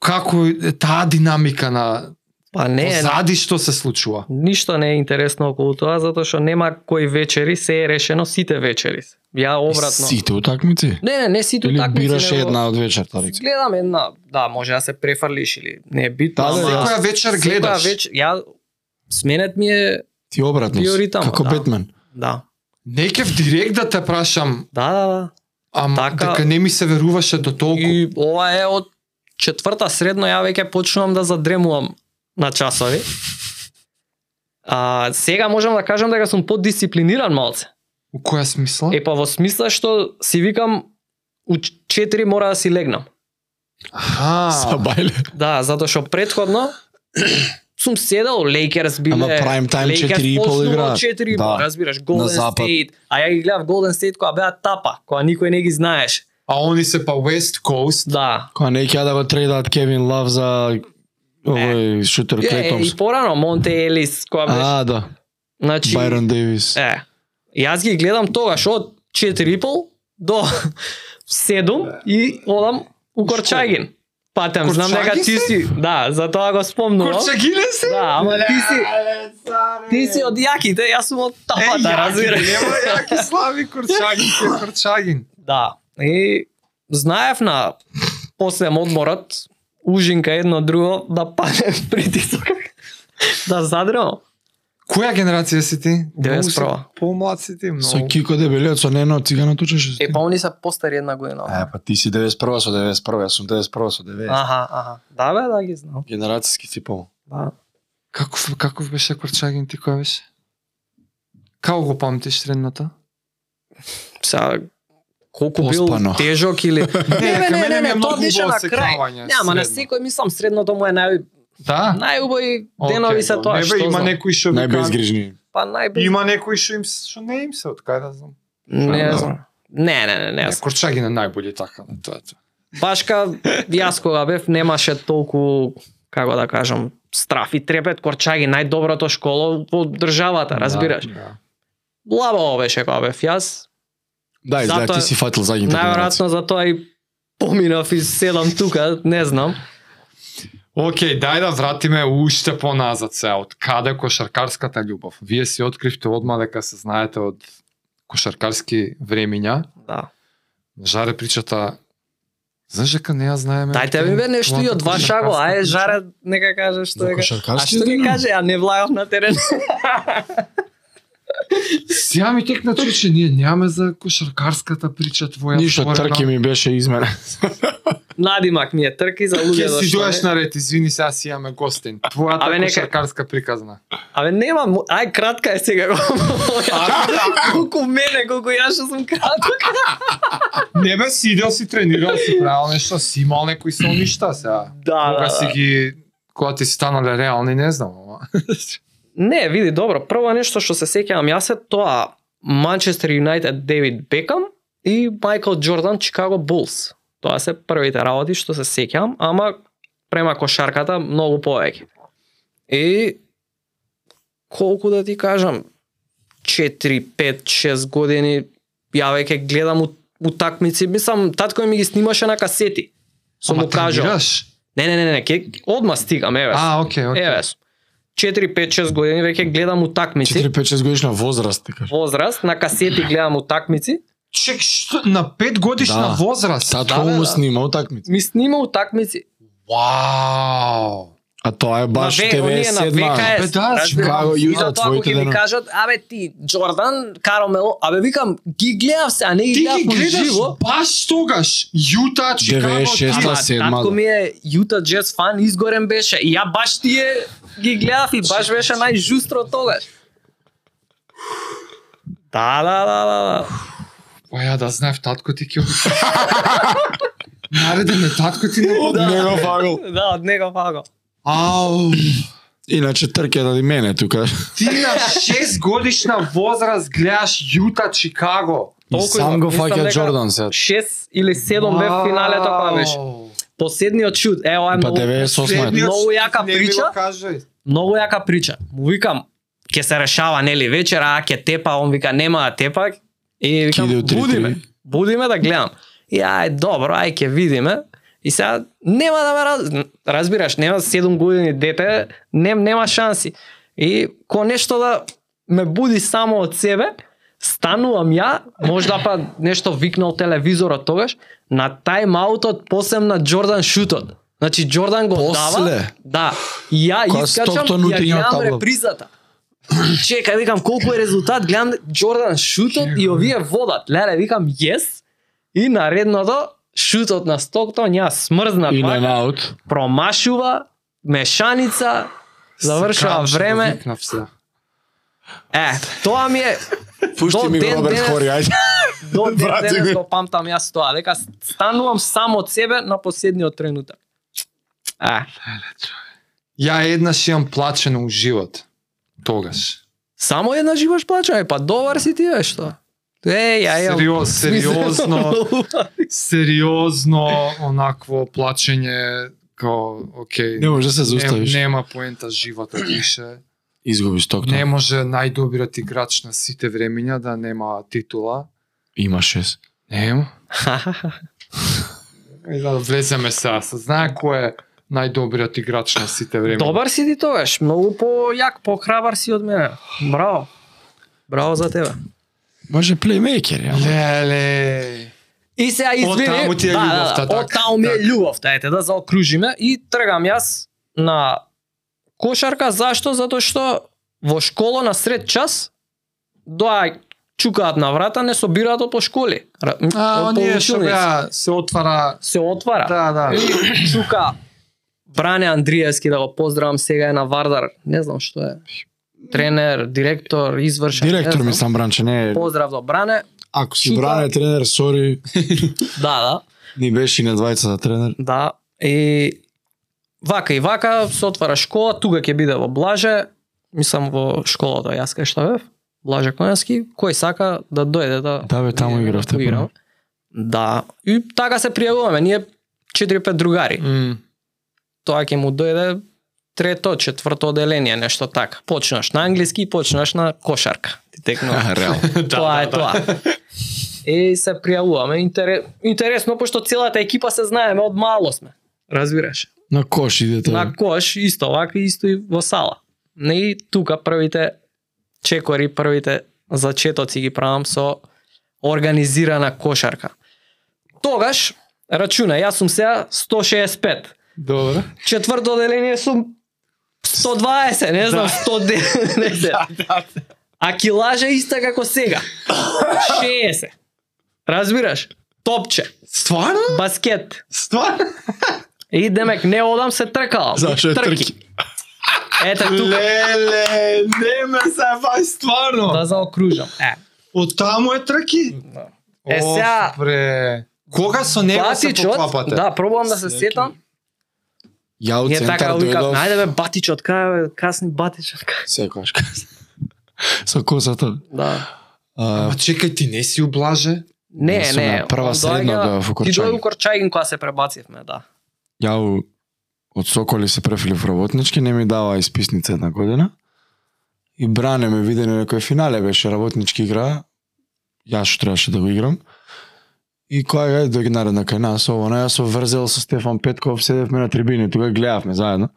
Speaker 1: како е таа динамика на
Speaker 3: Па не е
Speaker 1: позади што се случува.
Speaker 3: ништо не е интересно околу тоа затоа што нема кои вечери се е решено сите вечери. се. Ја
Speaker 2: да.
Speaker 3: обратно.
Speaker 2: Сите утакмици.
Speaker 3: Не, не, не сите
Speaker 2: Или
Speaker 3: утакмици.
Speaker 2: бираш
Speaker 3: него-
Speaker 2: една од вечерта, речи.
Speaker 3: Гледам една, да, може да се префрлиш или не е битно.
Speaker 2: Да, да,
Speaker 3: ама-
Speaker 2: да.
Speaker 1: Секоја вечер гледаш.
Speaker 3: Секоја вечер, ја сменет ми е,
Speaker 2: Ти обратно. си,
Speaker 3: Биоритам,
Speaker 2: Како
Speaker 3: да.
Speaker 2: Бетмен.
Speaker 3: да.
Speaker 1: Некев директ да те прашам
Speaker 3: Да, да, да.
Speaker 1: Ама
Speaker 3: Така-
Speaker 1: така не ми се веруваше до толку.
Speaker 3: И ова е од четврта средно, ја веќе почнувам да задремувам на часови. А, сега можам да кажам дека сум поддисциплиниран малце.
Speaker 1: У која смисла?
Speaker 3: Е па во смисла што си викам у 4 мора да си легнам.
Speaker 1: Аха.
Speaker 2: Сабајле.
Speaker 3: Да, затоа што предходно сум седел Лейкерс биле.
Speaker 2: Ама prime time
Speaker 3: Лейкерс
Speaker 2: 4,5
Speaker 3: почнува
Speaker 2: играат.
Speaker 3: од 4,5,
Speaker 2: Да.
Speaker 3: разбираш, Golden
Speaker 2: запад.
Speaker 3: State. А ја ги гледав Golden State која беа тапа, која никој не ги знаеш.
Speaker 1: А они се па West Coast.
Speaker 3: Да.
Speaker 2: Кога не ќе да го трейдат Кевин Лав за овој шутер Клей
Speaker 3: Е, и
Speaker 2: Томпсон.
Speaker 3: порано Монте Елис која беше.
Speaker 2: А, да.
Speaker 3: Значи,
Speaker 2: Байрон Дейвис.
Speaker 3: Е, јас ги гледам тогаш од 4,5 до 7 и одам у Корчагин. Патем, знам дека
Speaker 1: Корчагин
Speaker 3: ти
Speaker 1: си?
Speaker 3: си, да, затоа го спомнувам.
Speaker 1: Корчагиле се?
Speaker 3: Да, ама ти си, ти си од јаките, јас сум од
Speaker 1: Е,
Speaker 3: тапата,
Speaker 1: јаки,
Speaker 3: Па да разбираш.
Speaker 1: нема јаки слави Корчагин, ти е Корчагин.
Speaker 3: Да, и знаев на после одморот, ужинка едно друго, да паде притисок, да задрам.
Speaker 1: Која генерација си ти?
Speaker 3: 91-ва.
Speaker 1: Помлад си ти,
Speaker 2: Со
Speaker 1: многу.
Speaker 2: Кико Дебелиот, со Нено Цигано тучеше.
Speaker 3: Е, па они се постари една година.
Speaker 2: Е, па ти си 91 со 91, јас сум 91 со 90.
Speaker 3: Аха, аха. Да, бе, да ги знам.
Speaker 2: Генерацијски си по.
Speaker 3: Да.
Speaker 1: Каков, каков беше Корчагин ти која беше? Као го памтиш средната?
Speaker 3: сега колку бил
Speaker 2: Оспано.
Speaker 3: тежок или
Speaker 1: Не, кај мене ми е многу
Speaker 3: тоа беше
Speaker 1: убаво
Speaker 3: на
Speaker 1: секавање,
Speaker 3: крај. Нема на
Speaker 1: средно.
Speaker 3: секој мислам средното му е нај
Speaker 1: Да?
Speaker 3: најубави
Speaker 1: Океј,
Speaker 3: денови се
Speaker 1: добро.
Speaker 3: тоа
Speaker 1: Не бе,
Speaker 3: што
Speaker 1: има
Speaker 3: знам.
Speaker 1: некои што викаат
Speaker 2: Најбезгрижни.
Speaker 3: па најбез
Speaker 1: Има некои што им се- што не им се, од кај да знам.
Speaker 3: не
Speaker 2: Да.
Speaker 3: знам. Не, не, не, не.
Speaker 1: Не, Корчагин е најболи така, на тоа. е тоа.
Speaker 3: Башка јас кога бев немаше толку како да кажам страф и трепет Корчаги најдоброто школо во државата, разбираш?
Speaker 1: Да, да.
Speaker 3: Лабаво беше кога бев јас.
Speaker 2: Да, изгледа
Speaker 3: Затоа-
Speaker 2: ти си фатил задните генерации.
Speaker 3: Најверојатно затоа и поминав и седам тука, не знам.
Speaker 1: Океј, дај да вратиме уште поназад се, од каде кошаркарската љубов? Вие си откривте одма дека се знаете од кошаркарски времиња.
Speaker 3: Да.
Speaker 1: Жаре причата Знаеш дека не ја знаеме. да
Speaker 3: Дајте
Speaker 1: од
Speaker 3: ми
Speaker 1: кај-
Speaker 3: бе нешто и од
Speaker 1: кошаркарска
Speaker 3: ваша го, ајде
Speaker 1: прича.
Speaker 3: жаре нека каже што е. А
Speaker 2: Кошаркарски
Speaker 3: што ни
Speaker 2: денар?
Speaker 3: каже, а не влагав на терен.
Speaker 1: Сега ми текна чуј, че ние немаме за кошаркарската прича твоја.
Speaker 2: Ништо
Speaker 1: отворена.
Speaker 2: трки ми беше измене.
Speaker 3: Надимак ми е трки за
Speaker 1: Ќе
Speaker 3: луѓето.
Speaker 1: си
Speaker 3: што
Speaker 1: дојаш
Speaker 3: не.
Speaker 1: на ред, извини, сега си имаме гостин. Твојата
Speaker 3: Абе,
Speaker 1: Абе,
Speaker 3: нека-
Speaker 1: кошаркарска приказна.
Speaker 3: Абе нема, му- ај кратка е сега го.
Speaker 1: да,
Speaker 3: Колку мене, колку јас што сум краток.
Speaker 1: Не бе, си идел, си тренирал, си правил нешто, си имал некои солништа сега.
Speaker 3: Да,
Speaker 1: Кога
Speaker 3: да,
Speaker 1: си
Speaker 3: да.
Speaker 1: ги кога ти си станале реални, не знам, ама.
Speaker 3: Не, види, добро, прво нешто што се сеќавам јас е тоа Манчестер Юнайтед Девид Бекам и Майкл Джордан Чикаго Булс. Тоа се првите работи што се сеќавам, ама према кошарката многу повеќе. И колку да ти кажам, 4, 5, 6 години ја веќе гледам у- утакмици, мислам татко ми ги снимаше на касети. Сум
Speaker 1: Ама
Speaker 3: му кажал.
Speaker 1: тренираш?
Speaker 3: Не, не, не, не, ке, одма стигам, еве.
Speaker 1: А, окей, окей.
Speaker 3: Еве, 4-5-6 години веќе гледам утакмици.
Speaker 2: 4-5-6 годишна возраст, така.
Speaker 3: Возраст, на касети гледам утакмици.
Speaker 1: Чек, што, на 5 годишна
Speaker 2: Да.
Speaker 1: возраст?
Speaker 2: Татко
Speaker 3: Да, бе,
Speaker 2: му
Speaker 3: да.
Speaker 2: снима утакмици.
Speaker 3: Ми снима утакмици.
Speaker 1: Вау!
Speaker 2: А тоа е баш
Speaker 3: на ве- оние на
Speaker 2: 97
Speaker 1: Бе,
Speaker 3: ВКС.
Speaker 1: да,
Speaker 3: разбираш?
Speaker 2: Чикаго, Јута,
Speaker 3: Затоа ако
Speaker 2: твоите
Speaker 3: ќе ми
Speaker 2: денови.
Speaker 3: кажат, абе ти, Джордан, Карамело, абе викам, ги гледав се, а не ги
Speaker 1: Ти
Speaker 3: гледав
Speaker 1: ги гледаш
Speaker 3: живо.
Speaker 1: баш тогаш, Јута, Чикаго,
Speaker 2: 96-та,
Speaker 1: ти-
Speaker 3: Ама,
Speaker 2: седма,
Speaker 3: татко
Speaker 2: да.
Speaker 3: ми е Јута Джез фан, изгорен беше. И ја баш тие ги гледав и баш беше најжустро тогаш. Да, да, да, да, да.
Speaker 1: Па ја да знаев татко ти ќе оди. Нареден е татко ти не
Speaker 2: од
Speaker 1: оди.
Speaker 2: него фагол.
Speaker 3: Да, од него фаго.
Speaker 1: Ау!
Speaker 2: Иначе трке да мене тука.
Speaker 1: Ти на 6 годишна возраст гледаш Јута, Чикаго.
Speaker 2: И
Speaker 3: Толку
Speaker 2: сам
Speaker 3: има.
Speaker 2: го
Speaker 3: Мислам
Speaker 2: фаќа
Speaker 3: дека-
Speaker 2: Джордан се.
Speaker 3: 6 или 7 бев финалето која беше.
Speaker 1: Вау!
Speaker 3: Последниот шут, е ова е
Speaker 2: Па
Speaker 3: многу,
Speaker 2: 98 е.
Speaker 1: Следниот
Speaker 3: Многу јака
Speaker 1: не ми го
Speaker 3: прича.
Speaker 1: кажај.
Speaker 3: многу јака прича. Му викам, ќе се решава, нели, вечера, а ќе тепа, он вика, нема да тепа. И
Speaker 2: Иде
Speaker 3: викам,
Speaker 2: у три,
Speaker 3: буди ме,
Speaker 2: три.
Speaker 3: буди ме да гледам. И ај, добро, ај, ќе видиме. И сега, нема да ме раз... разбираш, нема 7 години дете, нем, нема шанси. И ко нешто да ме буди само од себе, станувам ја, можда па нешто викнал телевизорот тогаш, на тајм-аутот посем на Джордан шутот. Значи Джордан го дава.
Speaker 2: После?
Speaker 3: Да. И ја
Speaker 2: Која
Speaker 3: искачам
Speaker 2: стоктон
Speaker 3: и ја
Speaker 2: утре има
Speaker 3: гледам
Speaker 2: табла.
Speaker 3: репризата. Чека, викам колку е резултат, гледам Джордан шутот и овие водат. Леле, викам јес. И наредното, шутот на Стоктон, ја смрзна
Speaker 2: In
Speaker 3: двака,
Speaker 2: and out.
Speaker 3: промашува, мешаница, завршува
Speaker 1: да
Speaker 3: време. Е, тоа ми е
Speaker 2: Пушти
Speaker 3: До
Speaker 2: ми го
Speaker 3: ден
Speaker 2: Роберт
Speaker 3: денес-
Speaker 2: Хори, ајде.
Speaker 3: до ден
Speaker 2: Брате,
Speaker 3: денес
Speaker 2: го.
Speaker 3: го памтам јас тоа, дека станувам сам од себе на последниот тренутак. Е,
Speaker 1: Ја еднаш имам плачено у живот. Тогаш.
Speaker 3: само една живаш плачај, па довар си ти бе што? Е, ја имам.
Speaker 1: Сериоз, сериозно, сериозно онакво плачење као, окей,
Speaker 2: Не може да се
Speaker 1: не,
Speaker 2: зауставиш.
Speaker 1: нема поента живота више.
Speaker 2: Изгубиш Стоктон.
Speaker 1: Не може најдобриот играч на сите времења да нема титула.
Speaker 2: Има шест.
Speaker 1: Нема. И да влеземе сега, се знае кој е најдобриот играч на сите времења.
Speaker 3: Добар си ти тогаш, многу појак, похрабар си од мене. Браво. Браво за тебе.
Speaker 2: Може плеймейкер, ја.
Speaker 1: Леле.
Speaker 3: И сега извини.
Speaker 1: таму ти е
Speaker 3: да,
Speaker 1: љубовта,
Speaker 3: да, да,
Speaker 1: така,
Speaker 3: Од таму ми е
Speaker 1: така.
Speaker 3: љубовта, ете да заокружиме и тргам јас на кошарка зашто? Затоа што во школа на сред час доа чукаат на врата, не собираат од по школи. Ра- м,
Speaker 1: А,
Speaker 3: од
Speaker 1: оние што
Speaker 3: поучилници.
Speaker 1: беа се отвара
Speaker 3: се отвара.
Speaker 1: Да, да.
Speaker 3: И чука Бране Андриевски да го поздравам сега е на Вардар. Не знам што е. Тренер, директор, извршен.
Speaker 2: Директор
Speaker 3: не
Speaker 2: ми
Speaker 3: знам.
Speaker 2: сам бранче, не.
Speaker 3: Поздрав до Бране.
Speaker 2: Ако си
Speaker 3: Шута.
Speaker 2: бране тренер, сори,
Speaker 3: Да, да.
Speaker 2: ни беше и на двајцата тренер.
Speaker 3: Да. И вака и вака се отвара школа, тука ќе биде во Блаже, мислам во школата јас кај што бев, Блаже Конјански, кој сака да дојде да
Speaker 2: Да, бе, таму
Speaker 3: видиме
Speaker 2: игравте,
Speaker 3: како играм. Да. И така се пријавуваме, ние 4-5 другари.
Speaker 1: М,
Speaker 3: тоа ќе му дојде трето, четврто оделение, нешто така. Почнаш на англиски и почнаш на кошарка. Ти текнува.
Speaker 2: Реал.
Speaker 3: тоа е тоа. Е, се пријавуваме. Интере... Интересно, пошто целата екипа се знаеме, од мало сме. Разбираш.
Speaker 2: На кош идете.
Speaker 3: На кош, исто вака, исто и во сала. Не и тука првите чекори, првите зачетоци ги правам со организирана кошарка. Тогаш, рачуна, јас сум сега 165
Speaker 1: Добро.
Speaker 3: четврто деление сум 120, не знам,
Speaker 2: Да.
Speaker 3: 110. А килажа иста како сега. 60. Разбираш? Топче,
Speaker 1: Стварно?
Speaker 3: баскет.
Speaker 1: Стварно?
Speaker 3: И демек не одам се тркалам.
Speaker 2: Зашо е трки?
Speaker 3: Ете тука
Speaker 1: Леле, не ме се бај стварно.
Speaker 3: да заокружам. Е,
Speaker 1: Од таму е трки.
Speaker 3: Е,
Speaker 1: Оф,
Speaker 3: сега-
Speaker 1: Бре. Кога со
Speaker 2: па
Speaker 1: него се
Speaker 3: батичот,
Speaker 1: поклапате?
Speaker 3: да, пробувам да се
Speaker 2: Секи.
Speaker 3: сетам.
Speaker 2: Ја у
Speaker 3: Ние така
Speaker 2: центар
Speaker 3: викам,
Speaker 2: дојдов.
Speaker 3: најде бе батичот, кај бе, касни батичот. кај.
Speaker 2: Секојаш. Со косата.
Speaker 3: Да.
Speaker 2: А,
Speaker 1: Ама чекај, ти не си ублаже?
Speaker 3: Не,
Speaker 2: Јас сум
Speaker 3: не.
Speaker 2: на прва
Speaker 3: он
Speaker 2: средна
Speaker 3: доаѓа-
Speaker 2: бев во
Speaker 3: Ти
Speaker 2: Корчагин.
Speaker 3: дојде у Корчагин кога се пребацивме, да.
Speaker 2: Ја у- од Соколи се префили в работнички, не ми дава исписница една година. И бране ме виде на некој финале беше работнички игра. Јас што требаше да го играм. И која га е дојде наредна кај нас, ово, на јас со врзел со Стефан Петков, седевме на трибини, тука гледавме заедно.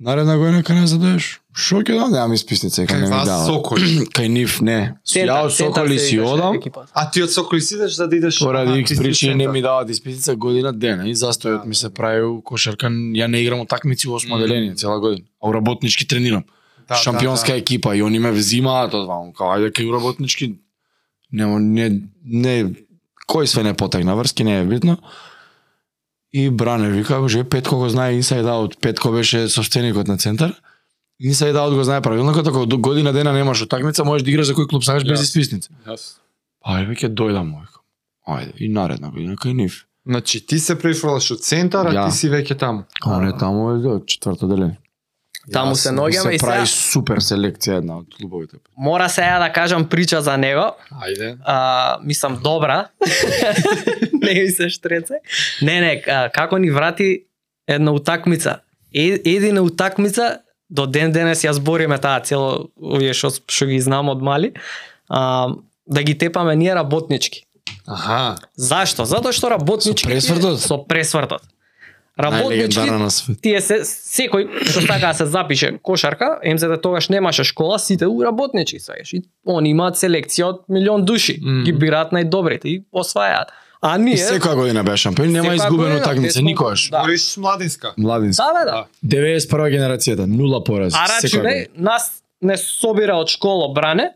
Speaker 2: Наредна година кај нас да дојдеш. Шо ќе дам, да, немам исписница, кај Па не
Speaker 1: Кај
Speaker 2: ми
Speaker 1: вас
Speaker 2: дава.
Speaker 1: Соколи.
Speaker 2: Кај нив не. Ја од Соколи си одам,
Speaker 1: А ти од Соколи си идеш за да идеш?
Speaker 2: Поради икс причини не ми
Speaker 1: да.
Speaker 2: даваат испитица година дена и застојот ми се прави у кошарка, ја не играм такмици во осмо
Speaker 1: Мм.
Speaker 2: деление цела година. А у работнички тренирам.
Speaker 1: да,
Speaker 2: Шампионска
Speaker 1: да.
Speaker 2: екипа и они ме взимаат од ваму, кај ајде кај у работнички. Нема не не кој све не потегна врски, не е битно. И Бране вика, боже, Петко го знае Inside Out, Петко беше собственикот на центар. Inside Out го знае правилно, како ако до- година дена немаш утакмица, можеш да играш за кој клуб сакаш без
Speaker 1: Јас.
Speaker 2: исписница.
Speaker 1: Јас.
Speaker 2: Па е, веќе дојдам, му викам. Ајде, и наредна година кај нив.
Speaker 1: Значи ти се префрлаш од центар, а
Speaker 2: Ја.
Speaker 1: ти си веќе таму.
Speaker 2: А, не, таму е до четврто деление.
Speaker 3: Таму се ноѓаме и
Speaker 2: се прави
Speaker 3: сега
Speaker 2: супер селекција една од клубовите.
Speaker 3: мора се ја да кажам прича за него.
Speaker 1: Ајде.
Speaker 3: А, мислам добра. не ми се штреце. Не, не, а, како ни врати една утакмица. Е, едина утакмица до ден денес ја збориме таа цело овие што што ги знам од мали. А, да ги тепаме ние работнички.
Speaker 1: Аха.
Speaker 3: Зашто? Затоа што работнички
Speaker 2: Со пресвртот?
Speaker 3: со пресвртот. Работнички
Speaker 2: на свет.
Speaker 3: тие се секој што така се запише кошарка, МЗД тогаш немаше школа, сите у работнички сееш. И они имаат селекција од милион души,
Speaker 1: Мгм.
Speaker 3: ги бираат најдобрите и освајаат. А ние
Speaker 2: И секоја година беа шампион, нема
Speaker 3: секоја
Speaker 2: изгубено
Speaker 3: година,
Speaker 2: такмица
Speaker 3: тесто-
Speaker 2: никогаш.
Speaker 3: Да.
Speaker 1: Бориш младинска.
Speaker 2: Младински.
Speaker 3: Да, бе, да.
Speaker 2: 91 генерацијата, нула пораз.
Speaker 3: А рачи
Speaker 2: секоја година.
Speaker 3: не, нас не собира од школа бране,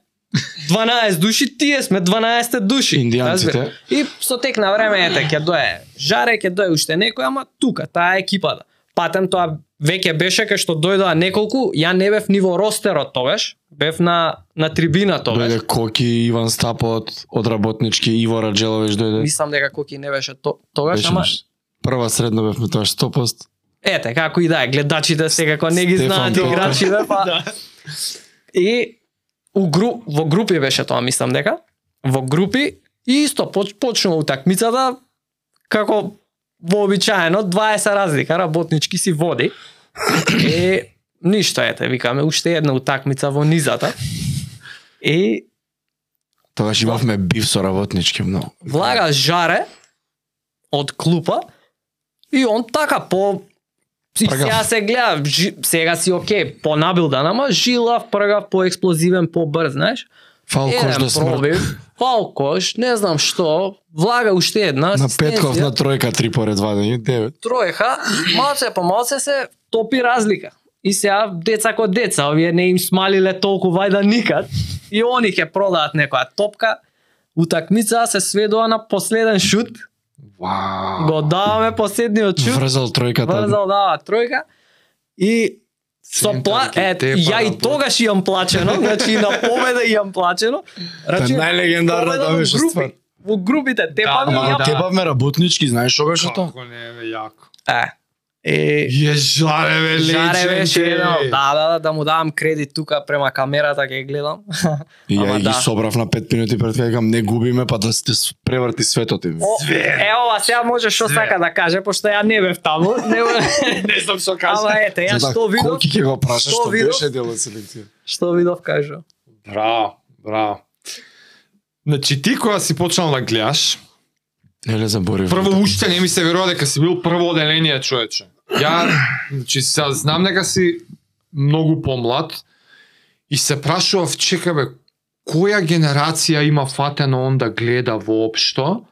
Speaker 3: 12 души, тие сме 12 души.
Speaker 2: Индијанците.
Speaker 3: разбира. И со тек на време, ете, ќе дое Жаре, ќе дое уште некој, ама тука, таа екипата. Патем тоа веќе беше кај што дојдоа неколку, ја не бев ниво ростерот тогаш, бев на, на трибина тогаш.
Speaker 2: Дојде Коки, Иван Стапот, од работнички, Иво Раджелович дојде.
Speaker 3: Мислам дека Коки не беше то, тогаш,
Speaker 2: Беше
Speaker 3: ама
Speaker 2: наш- Прва средно бевме тоа 100%.
Speaker 3: ете, како и да е, гледачите секако не ги
Speaker 2: Стефан
Speaker 3: знаат
Speaker 2: Тотев.
Speaker 3: играчите, па И у гру, во групи беше тоа, мислам дека. Во групи и исто поч, почнува утакмицата како вообичаено 20 разлика работнички си води. Е ништо ете, викаме уште една утакмица во низата. И Да.
Speaker 2: Тогаш имавме бив со работнички многу.
Speaker 3: влага жаре од клупа и он така по И
Speaker 2: Пргав.
Speaker 3: сега се гледа, жи, сега си окей, понабилдан, ама жилав, пргав, поексплозивен, побрз, знаеш?
Speaker 2: Фал кош
Speaker 3: Еден
Speaker 2: до смрт.
Speaker 3: пробив, фалкош, не знам што, влага уште една,
Speaker 2: На
Speaker 3: асистенција,
Speaker 2: Петков на тројка три поред вадење, девет.
Speaker 3: троеха, малце по малце се топи разлика. И сега деца ко деца, овие не им смалиле толку вајда никад, и они ќе продаат некоја топка, утакмица се сведува на последен шут,
Speaker 2: Вау.
Speaker 3: го даваме последниот шут,
Speaker 2: Врзал тројката.
Speaker 3: врзал дава тројка, и со пла...
Speaker 2: Центарки,
Speaker 3: Е,
Speaker 2: тепа
Speaker 3: ја
Speaker 2: на
Speaker 3: и
Speaker 2: бот.
Speaker 3: тогаш имам плачено, значи и на победа имам плачено.
Speaker 2: Та
Speaker 3: Рачи-
Speaker 2: најлегендарната
Speaker 3: Победа во
Speaker 2: беше
Speaker 3: групи.
Speaker 2: ствар.
Speaker 3: Во групите тепаме
Speaker 1: Ама,
Speaker 3: да,
Speaker 2: Ама
Speaker 1: да.
Speaker 2: те бавме работнички, знаеш што беше тоа?
Speaker 1: Како не, бе, јако.
Speaker 2: да.
Speaker 3: ја... Е,
Speaker 1: Е, жаре, бе,
Speaker 3: Жаре
Speaker 1: легенди.
Speaker 3: беше едно, да, да, да, да му давам кредит тука према камерата ќе гледам.
Speaker 2: И
Speaker 3: Ама
Speaker 2: ја ги
Speaker 3: да.
Speaker 2: собрав на 5 минути пред кај не губиме, па да сте с- преврти светот им.
Speaker 3: О, е, ова сега може што сака да каже, пошто ја не бев таму. Не,
Speaker 1: Не знам што
Speaker 3: ама
Speaker 1: кажа.
Speaker 3: ете, ја
Speaker 2: За
Speaker 3: што видов,
Speaker 2: Коки ќе го прашаш
Speaker 3: што
Speaker 2: што
Speaker 3: видов?
Speaker 2: беше дел од селекција?
Speaker 3: што видов кажа.
Speaker 1: Браво, браво. Значи ти кога си почнал да гледаш,
Speaker 2: Еле заборив.
Speaker 1: прво уште не ми се верува дека си бил прво оделение човече. Ја значи сега знам дека си многу помлад и се прашував чека бе која генерација има фатено он да гледа воопшто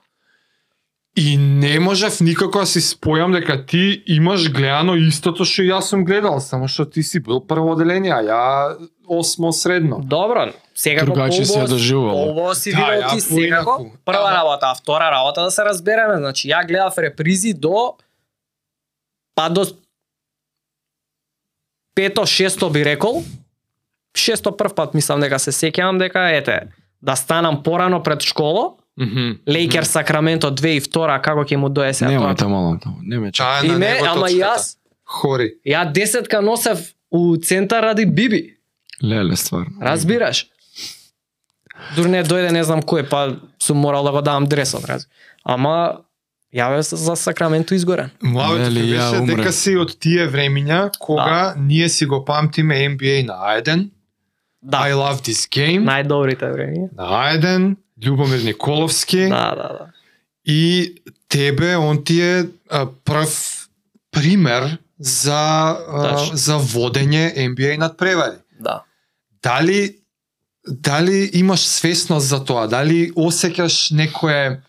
Speaker 1: и не можев никако да си спојам дека ти имаш гледано истото што и јас сум гледал, само што ти си бил прво оделение, а ја осмо средно.
Speaker 3: Добро, секако
Speaker 2: Другачи се ја
Speaker 3: поубаво
Speaker 2: доживувало.
Speaker 3: Ово си
Speaker 1: Да,
Speaker 3: видел
Speaker 1: ја
Speaker 3: ти секако.
Speaker 1: поинаку.
Speaker 3: Прва
Speaker 1: Ама-
Speaker 3: работа, а втора работа да се разбереме. Значи, ја гледав репризи до... Па до... Пето, шесто би рекол. Шесто прв пат мислам дека се сеќавам дека, ете, да станам порано пред школо,
Speaker 1: Мгм.
Speaker 3: Лейкер Сакраменто 2002, како ќе му дое сега
Speaker 2: Нема
Speaker 3: тоа?
Speaker 2: те малам таму, не ме чака.
Speaker 1: Чаа
Speaker 3: И
Speaker 1: на
Speaker 3: не,
Speaker 1: него
Speaker 3: ама
Speaker 1: точката.
Speaker 3: јас,
Speaker 1: Хори.
Speaker 3: ја десетка носев у центар ради Биби.
Speaker 2: Леле стварно.
Speaker 3: Разбираш? Дур не дојде не знам кој, па сум морал да го давам дресот, раз. Ама ја бев за Сакраменто изгорен.
Speaker 1: Млавето
Speaker 2: Нели,
Speaker 1: ти
Speaker 2: ја
Speaker 1: беше
Speaker 2: умрев.
Speaker 1: дека си од тие времиња кога ние си го памтиме NBA на Ајден, I
Speaker 3: Да,
Speaker 1: love this game,
Speaker 3: најдобрите времиња.
Speaker 1: на Ајден, Љубомир Николовски
Speaker 3: Да, да, да.
Speaker 1: и тебе он ти е а, прв пример за а,
Speaker 3: Точно.
Speaker 1: за водење NBA надпревари.
Speaker 3: Да.
Speaker 1: Дали дали имаш свесност за тоа? Дали осеќаш некое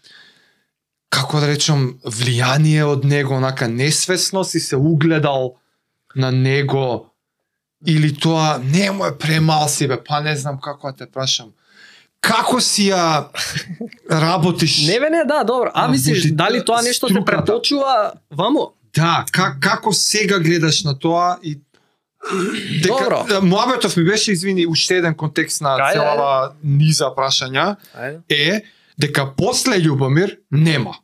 Speaker 1: како да речам влијание од него, онака несвесно си се угледал на него или тоа не му е премал си бе, па не знам како да те прашам. Како си ја работиш?
Speaker 3: Не бе не, да, добро. А
Speaker 1: Да,
Speaker 3: мислиш
Speaker 1: буши,
Speaker 3: дали тоа нешто се
Speaker 1: струката.
Speaker 3: преточува ваму?
Speaker 1: Да, как, како сега гледаш на тоа и
Speaker 3: Добро.
Speaker 1: Муабетов ми беше, извини, уште еден контекст на
Speaker 3: Ајде,
Speaker 1: целава низа прашања
Speaker 3: Ајде.
Speaker 1: е дека после Љубомир нема. Во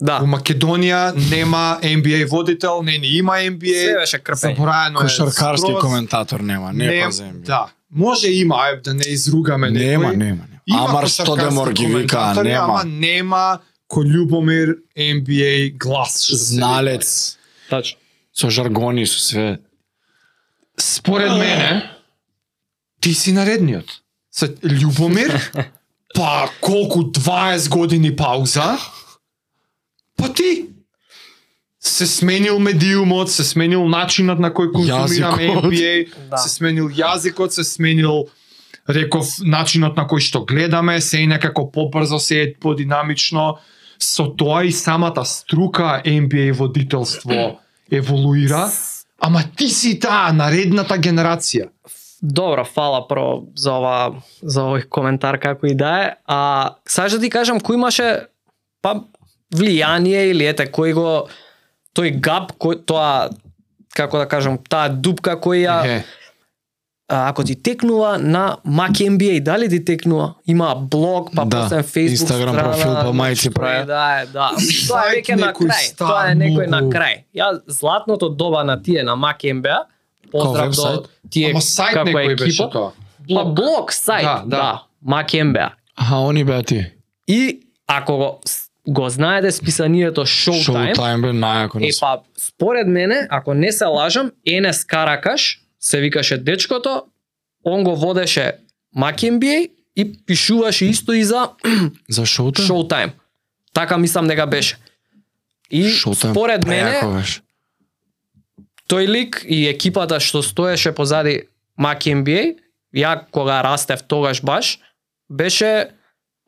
Speaker 3: Да.
Speaker 1: Македонија нема NBA водител, не ни има
Speaker 3: Се
Speaker 1: NBA.
Speaker 3: беше крпење.
Speaker 1: Забораено е.
Speaker 2: Кошаркарски
Speaker 1: скроз.
Speaker 2: коментатор нема, не
Speaker 1: Нем-
Speaker 2: па за NBA.
Speaker 1: Да. Може има, ајде да не изругаме
Speaker 2: Нема,
Speaker 1: некој.
Speaker 2: нема,
Speaker 1: Има
Speaker 2: нема. Амар што
Speaker 1: кошаркарски
Speaker 2: Демор ги вика,
Speaker 1: коментатори, Ама
Speaker 2: нема.
Speaker 1: нема кој Љубомир NBA глас. што се
Speaker 2: Зналец.
Speaker 3: Точно.
Speaker 2: Со жаргони, со све.
Speaker 1: според мене, ти си наредниот. Се Љубомир, па колку 20 години пауза, па ти се сменил медиумот, се сменил начинот на кој конзумираме
Speaker 2: Јазикот.
Speaker 1: NBA,
Speaker 3: Да.
Speaker 1: да. се сменил јазикот, се сменил реков начинот на кој што гледаме, се е некако побрзо, се е подинамично, со тоа и самата струка NBA водителство еволуира, ама ти си таа наредната генерација.
Speaker 3: Добро, фала про за ова за овој коментар како и да е. А сакаш да ти кажам кој имаше па влијание или ете кој го тој гап кој тоа како да кажам таа дупка која ја
Speaker 2: Е,
Speaker 3: а, ако ти текнува на Mac NBA, дали ти текнува? Има блог, па
Speaker 2: Да,
Speaker 3: после Facebook
Speaker 2: Instagram
Speaker 3: страна, значи,
Speaker 2: профил, па мајци
Speaker 3: што
Speaker 2: праја.
Speaker 3: е, Да, е, да. Тоа е
Speaker 1: Сајт
Speaker 3: веќе на
Speaker 1: некој
Speaker 3: крај.
Speaker 1: стар,
Speaker 3: Тоа е некој на
Speaker 1: многу.
Speaker 3: крај. Ја златното доба на тие на Mac NBA. Поздрав
Speaker 2: вебсайт?
Speaker 3: до тие
Speaker 1: Ама сайт
Speaker 3: како
Speaker 1: некој беше
Speaker 3: екипа.
Speaker 1: тоа.
Speaker 3: Па блог сајт,
Speaker 1: Да,
Speaker 3: да,
Speaker 1: да.
Speaker 3: да. Mac NBA.
Speaker 2: Аха, они беа ти.
Speaker 3: И ако го, го знаете списанието Showtime,
Speaker 2: Showtime бе најако
Speaker 3: Е
Speaker 2: не се.
Speaker 3: па, според мене, ако не се лажам, Енес Каракаш се викаше дечкото, он го водеше Мак NBA и пишуваше исто и за
Speaker 2: За Showtime?
Speaker 3: Showtime. Така мислам дека беше. И
Speaker 2: Showtime
Speaker 3: според
Speaker 2: прејако
Speaker 3: мене,
Speaker 2: Па беше.
Speaker 3: тој лик и екипата што стоеше позади Мак NBA, ја кога растев тогаш баш, беше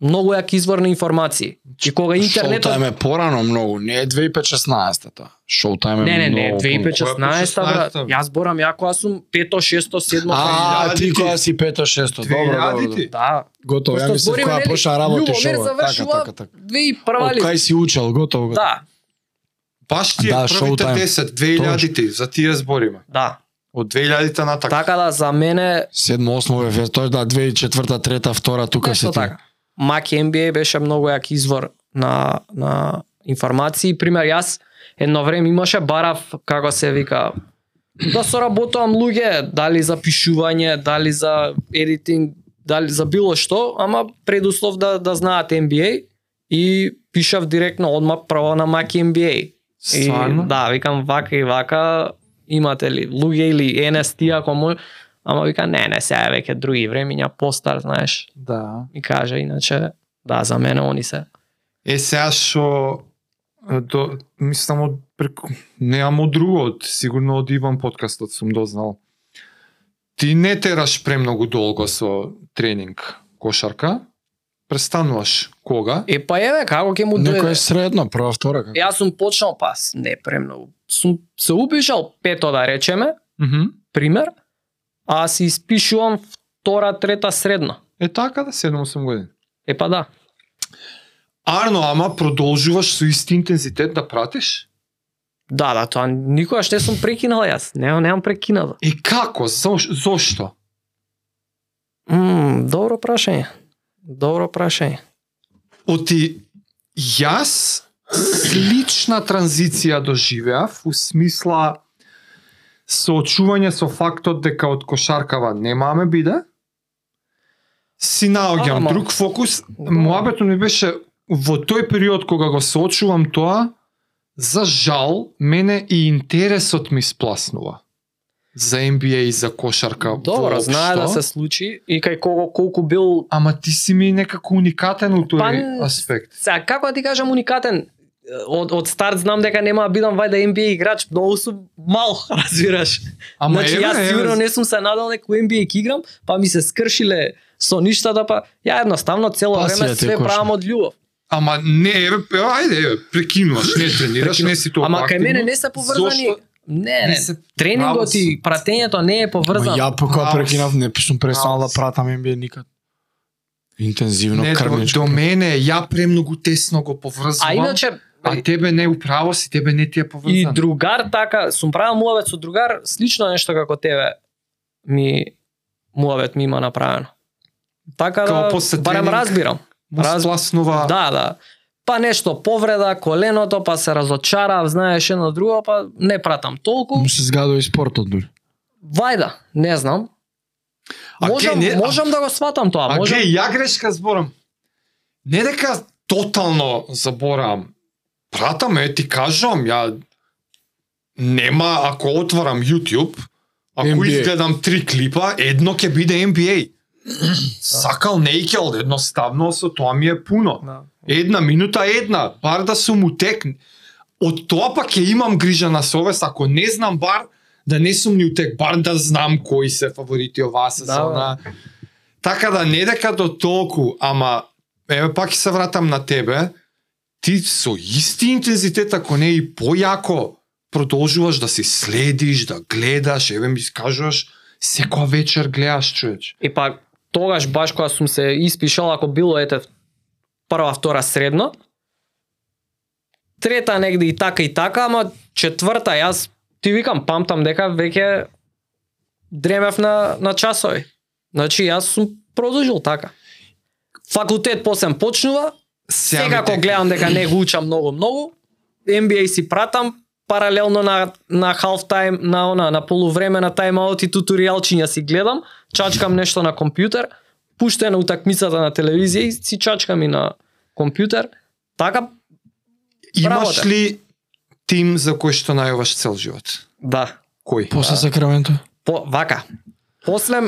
Speaker 3: многу јак извор на информации. И кога интернетот
Speaker 2: Showtime е порано многу, не е 2016 тоа. Showtime е
Speaker 3: Не, не, не,
Speaker 2: многу-
Speaker 3: 2015 брат.
Speaker 1: 16-та?
Speaker 3: Јас борам јако аз сум 5-то, 6-то, 7-то.
Speaker 2: А, ти
Speaker 1: Илјадите.
Speaker 2: која си 5-6, добро, добро, добро.
Speaker 1: Илјадите.
Speaker 3: Да.
Speaker 2: Готово, ја
Speaker 3: Пошто
Speaker 2: мислев
Speaker 3: збориме,
Speaker 2: која
Speaker 3: нели,
Speaker 2: почна работиш
Speaker 3: Љубомир
Speaker 2: ова. Така,
Speaker 3: завршува
Speaker 2: така, така.
Speaker 3: 2001
Speaker 2: Од
Speaker 3: ли?
Speaker 2: кај си учел, готово, готово.
Speaker 3: Да,
Speaker 1: Баш тие
Speaker 2: Да,
Speaker 1: првите
Speaker 2: Showtime.
Speaker 1: 10, 2000-ти, за тие збориме.
Speaker 3: да.
Speaker 1: Од 2000-та натака.
Speaker 3: Така да за мене
Speaker 2: Седмо, осмо бе, ве, тоа е да 2004, 3, 2, тука се
Speaker 3: нешто
Speaker 2: ти.
Speaker 3: така. Мак NBA беше многу јак извор на на информации. Пример јас едно време имаше барав како се вика да соработувам луѓе, дали за пишување, дали за едитинг, дали за било што, ама предуслов да да знаат NBA и пишав директно одма право на Мак NBA. И,
Speaker 1: Стварно?
Speaker 3: да, викам вака и вака, имате ли луѓе или НСТ ако може, ама вика не, не, сега е веќе други времиња, постар, знаеш,
Speaker 1: Да.
Speaker 3: ми кажа, иначе, да, за мене они се.
Speaker 1: Е сега што е, до мислам од преку немам од друго, од сигурно од Иван подкастот сум дознал. Ти не тераш премногу долго со тренинг кошарка, престануваш кога?
Speaker 3: Е, па еве, како ќе му дојде?
Speaker 2: Некој е средно, прва, втора, како.
Speaker 3: Јас сум почнал, па, с- не премногу, сум се упишал пето, да речеме,
Speaker 1: Мгм.
Speaker 3: пример, а си испишувам втора, трета, средна.
Speaker 1: Е така да 7-8 години.
Speaker 3: Е, па да.
Speaker 1: Арно, ама продолжуваш со исти интензитет да пратиш?
Speaker 3: Да, да, тоа никогаш не сум прекинал јас. Не, немам прекинато.
Speaker 1: И како? Зош, зошто?
Speaker 3: Мм, добро прашање. Добро прашање.
Speaker 1: Оти јас слична транзиција доживеав у смисла соочување со фактот дека од кошаркава немаме биде. Си наоѓам
Speaker 3: Ама.
Speaker 1: друг фокус.
Speaker 3: Да.
Speaker 1: Моабето ми беше во тој период кога го соочувам тоа, за жал, мене и интересот ми спласнува. За NBA и за кошарка
Speaker 3: Добро,
Speaker 1: воопшто.
Speaker 3: знае да се случи и кај кого колку бил
Speaker 1: Ама ти си ми некако уникатен у тој
Speaker 3: Па,
Speaker 1: аспект.
Speaker 3: Сега, како да ти кажам уникатен, од, од старт знам дека нема да бидам вајда NBA играч, многу сум мал, разбираш.
Speaker 1: Ама
Speaker 3: значи,
Speaker 1: еве,
Speaker 3: јас
Speaker 1: еве,
Speaker 3: сигурно не сум се надал некој NBA ќе играм, па ми се скршиле со ништата, па ја едноставно цело
Speaker 2: Пасија
Speaker 3: време
Speaker 2: те
Speaker 3: све
Speaker 2: кошна.
Speaker 3: правам од љубов.
Speaker 1: Ама не, еве, пе- ајде, еве, прекинуваш, не тренираш, не си толку
Speaker 3: Ама кај
Speaker 1: активно.
Speaker 3: мене не се поврзани.
Speaker 1: Зошто?
Speaker 3: Не,
Speaker 1: Не
Speaker 3: не,
Speaker 1: се- Право
Speaker 3: тренингот
Speaker 1: си.
Speaker 3: и пратењето не е
Speaker 2: Ама
Speaker 3: поврзано.
Speaker 2: ја покоја
Speaker 1: Браво.
Speaker 2: прекинав, не сум престанал
Speaker 1: Браво.
Speaker 2: да пратам NBA никад. Интензивно,
Speaker 1: Не, до,
Speaker 2: крвничко.
Speaker 1: до мене, ја премногу тесно го поврзувам.
Speaker 3: А иначе
Speaker 1: а тебе не управо си, тебе не ти е поврзано.
Speaker 3: И другар така, сум правил муавет со другар, слично нешто како тебе ми муавет ми има направено. Така
Speaker 1: Као
Speaker 3: да,
Speaker 1: после
Speaker 3: барем
Speaker 1: тренинг?
Speaker 3: разбирам.
Speaker 1: Му
Speaker 3: раз-
Speaker 1: спласнува.
Speaker 3: Да, да. Па нешто повреда, коленото, па се разочарав, знаеш едно друго, па не пратам толку.
Speaker 2: Му се згадува и спортот дури.
Speaker 3: Вајда, не знам.
Speaker 1: А
Speaker 3: можам,
Speaker 1: ке не-
Speaker 3: можам да го сватам тоа,
Speaker 1: А
Speaker 3: можам.
Speaker 1: ге, ја грешка зборам. Не дека тотално заборам. Пратам, е, ти кажам, ја нема, ако отворам YouTube, ако
Speaker 2: NBA.
Speaker 1: изгледам три клипа, едно ќе биде NBA. Сакал не икел, едноставно со тоа ми е пуно.
Speaker 3: Да.
Speaker 1: Една минута една, бар да сум утек. Од тоа пак ќе имам грижа на совест, ако не знам бар, да не сум ни утек, бар да знам кои се фаворити оваа сезона. Да. Така да не дека до толку, ама еве пак ќе се вратам на тебе. Ти со исти интензитет, ако не и појако, продолжуваш да се следиш, да гледаш, еве ми кажуваш, секоја вечер гледаш, човеч.
Speaker 3: И па тогаш баш кога сум се испишал, ако било ете прва, втора, средно, трета негде и така и така, ама четврта јас ти викам памтам дека веќе дремев на на часови. Значи јас сум продолжил така. Факултет посем почнува,
Speaker 1: ми
Speaker 3: сега кога
Speaker 1: тек-
Speaker 3: гледам дека не го учам многу многу, NBA си пратам паралелно на на half time на она на полувреме на тајмаут и туторијалчиња си гледам, чачкам нешто на компјутер, пуштена утакмицата на телевизија и си чачкам и на компјутер. Така
Speaker 1: Имаш
Speaker 3: Работа.
Speaker 1: ли тим за кој што најуваш цел живот?
Speaker 3: да.
Speaker 1: Кој?
Speaker 2: После Сакраменто?
Speaker 3: По вака. После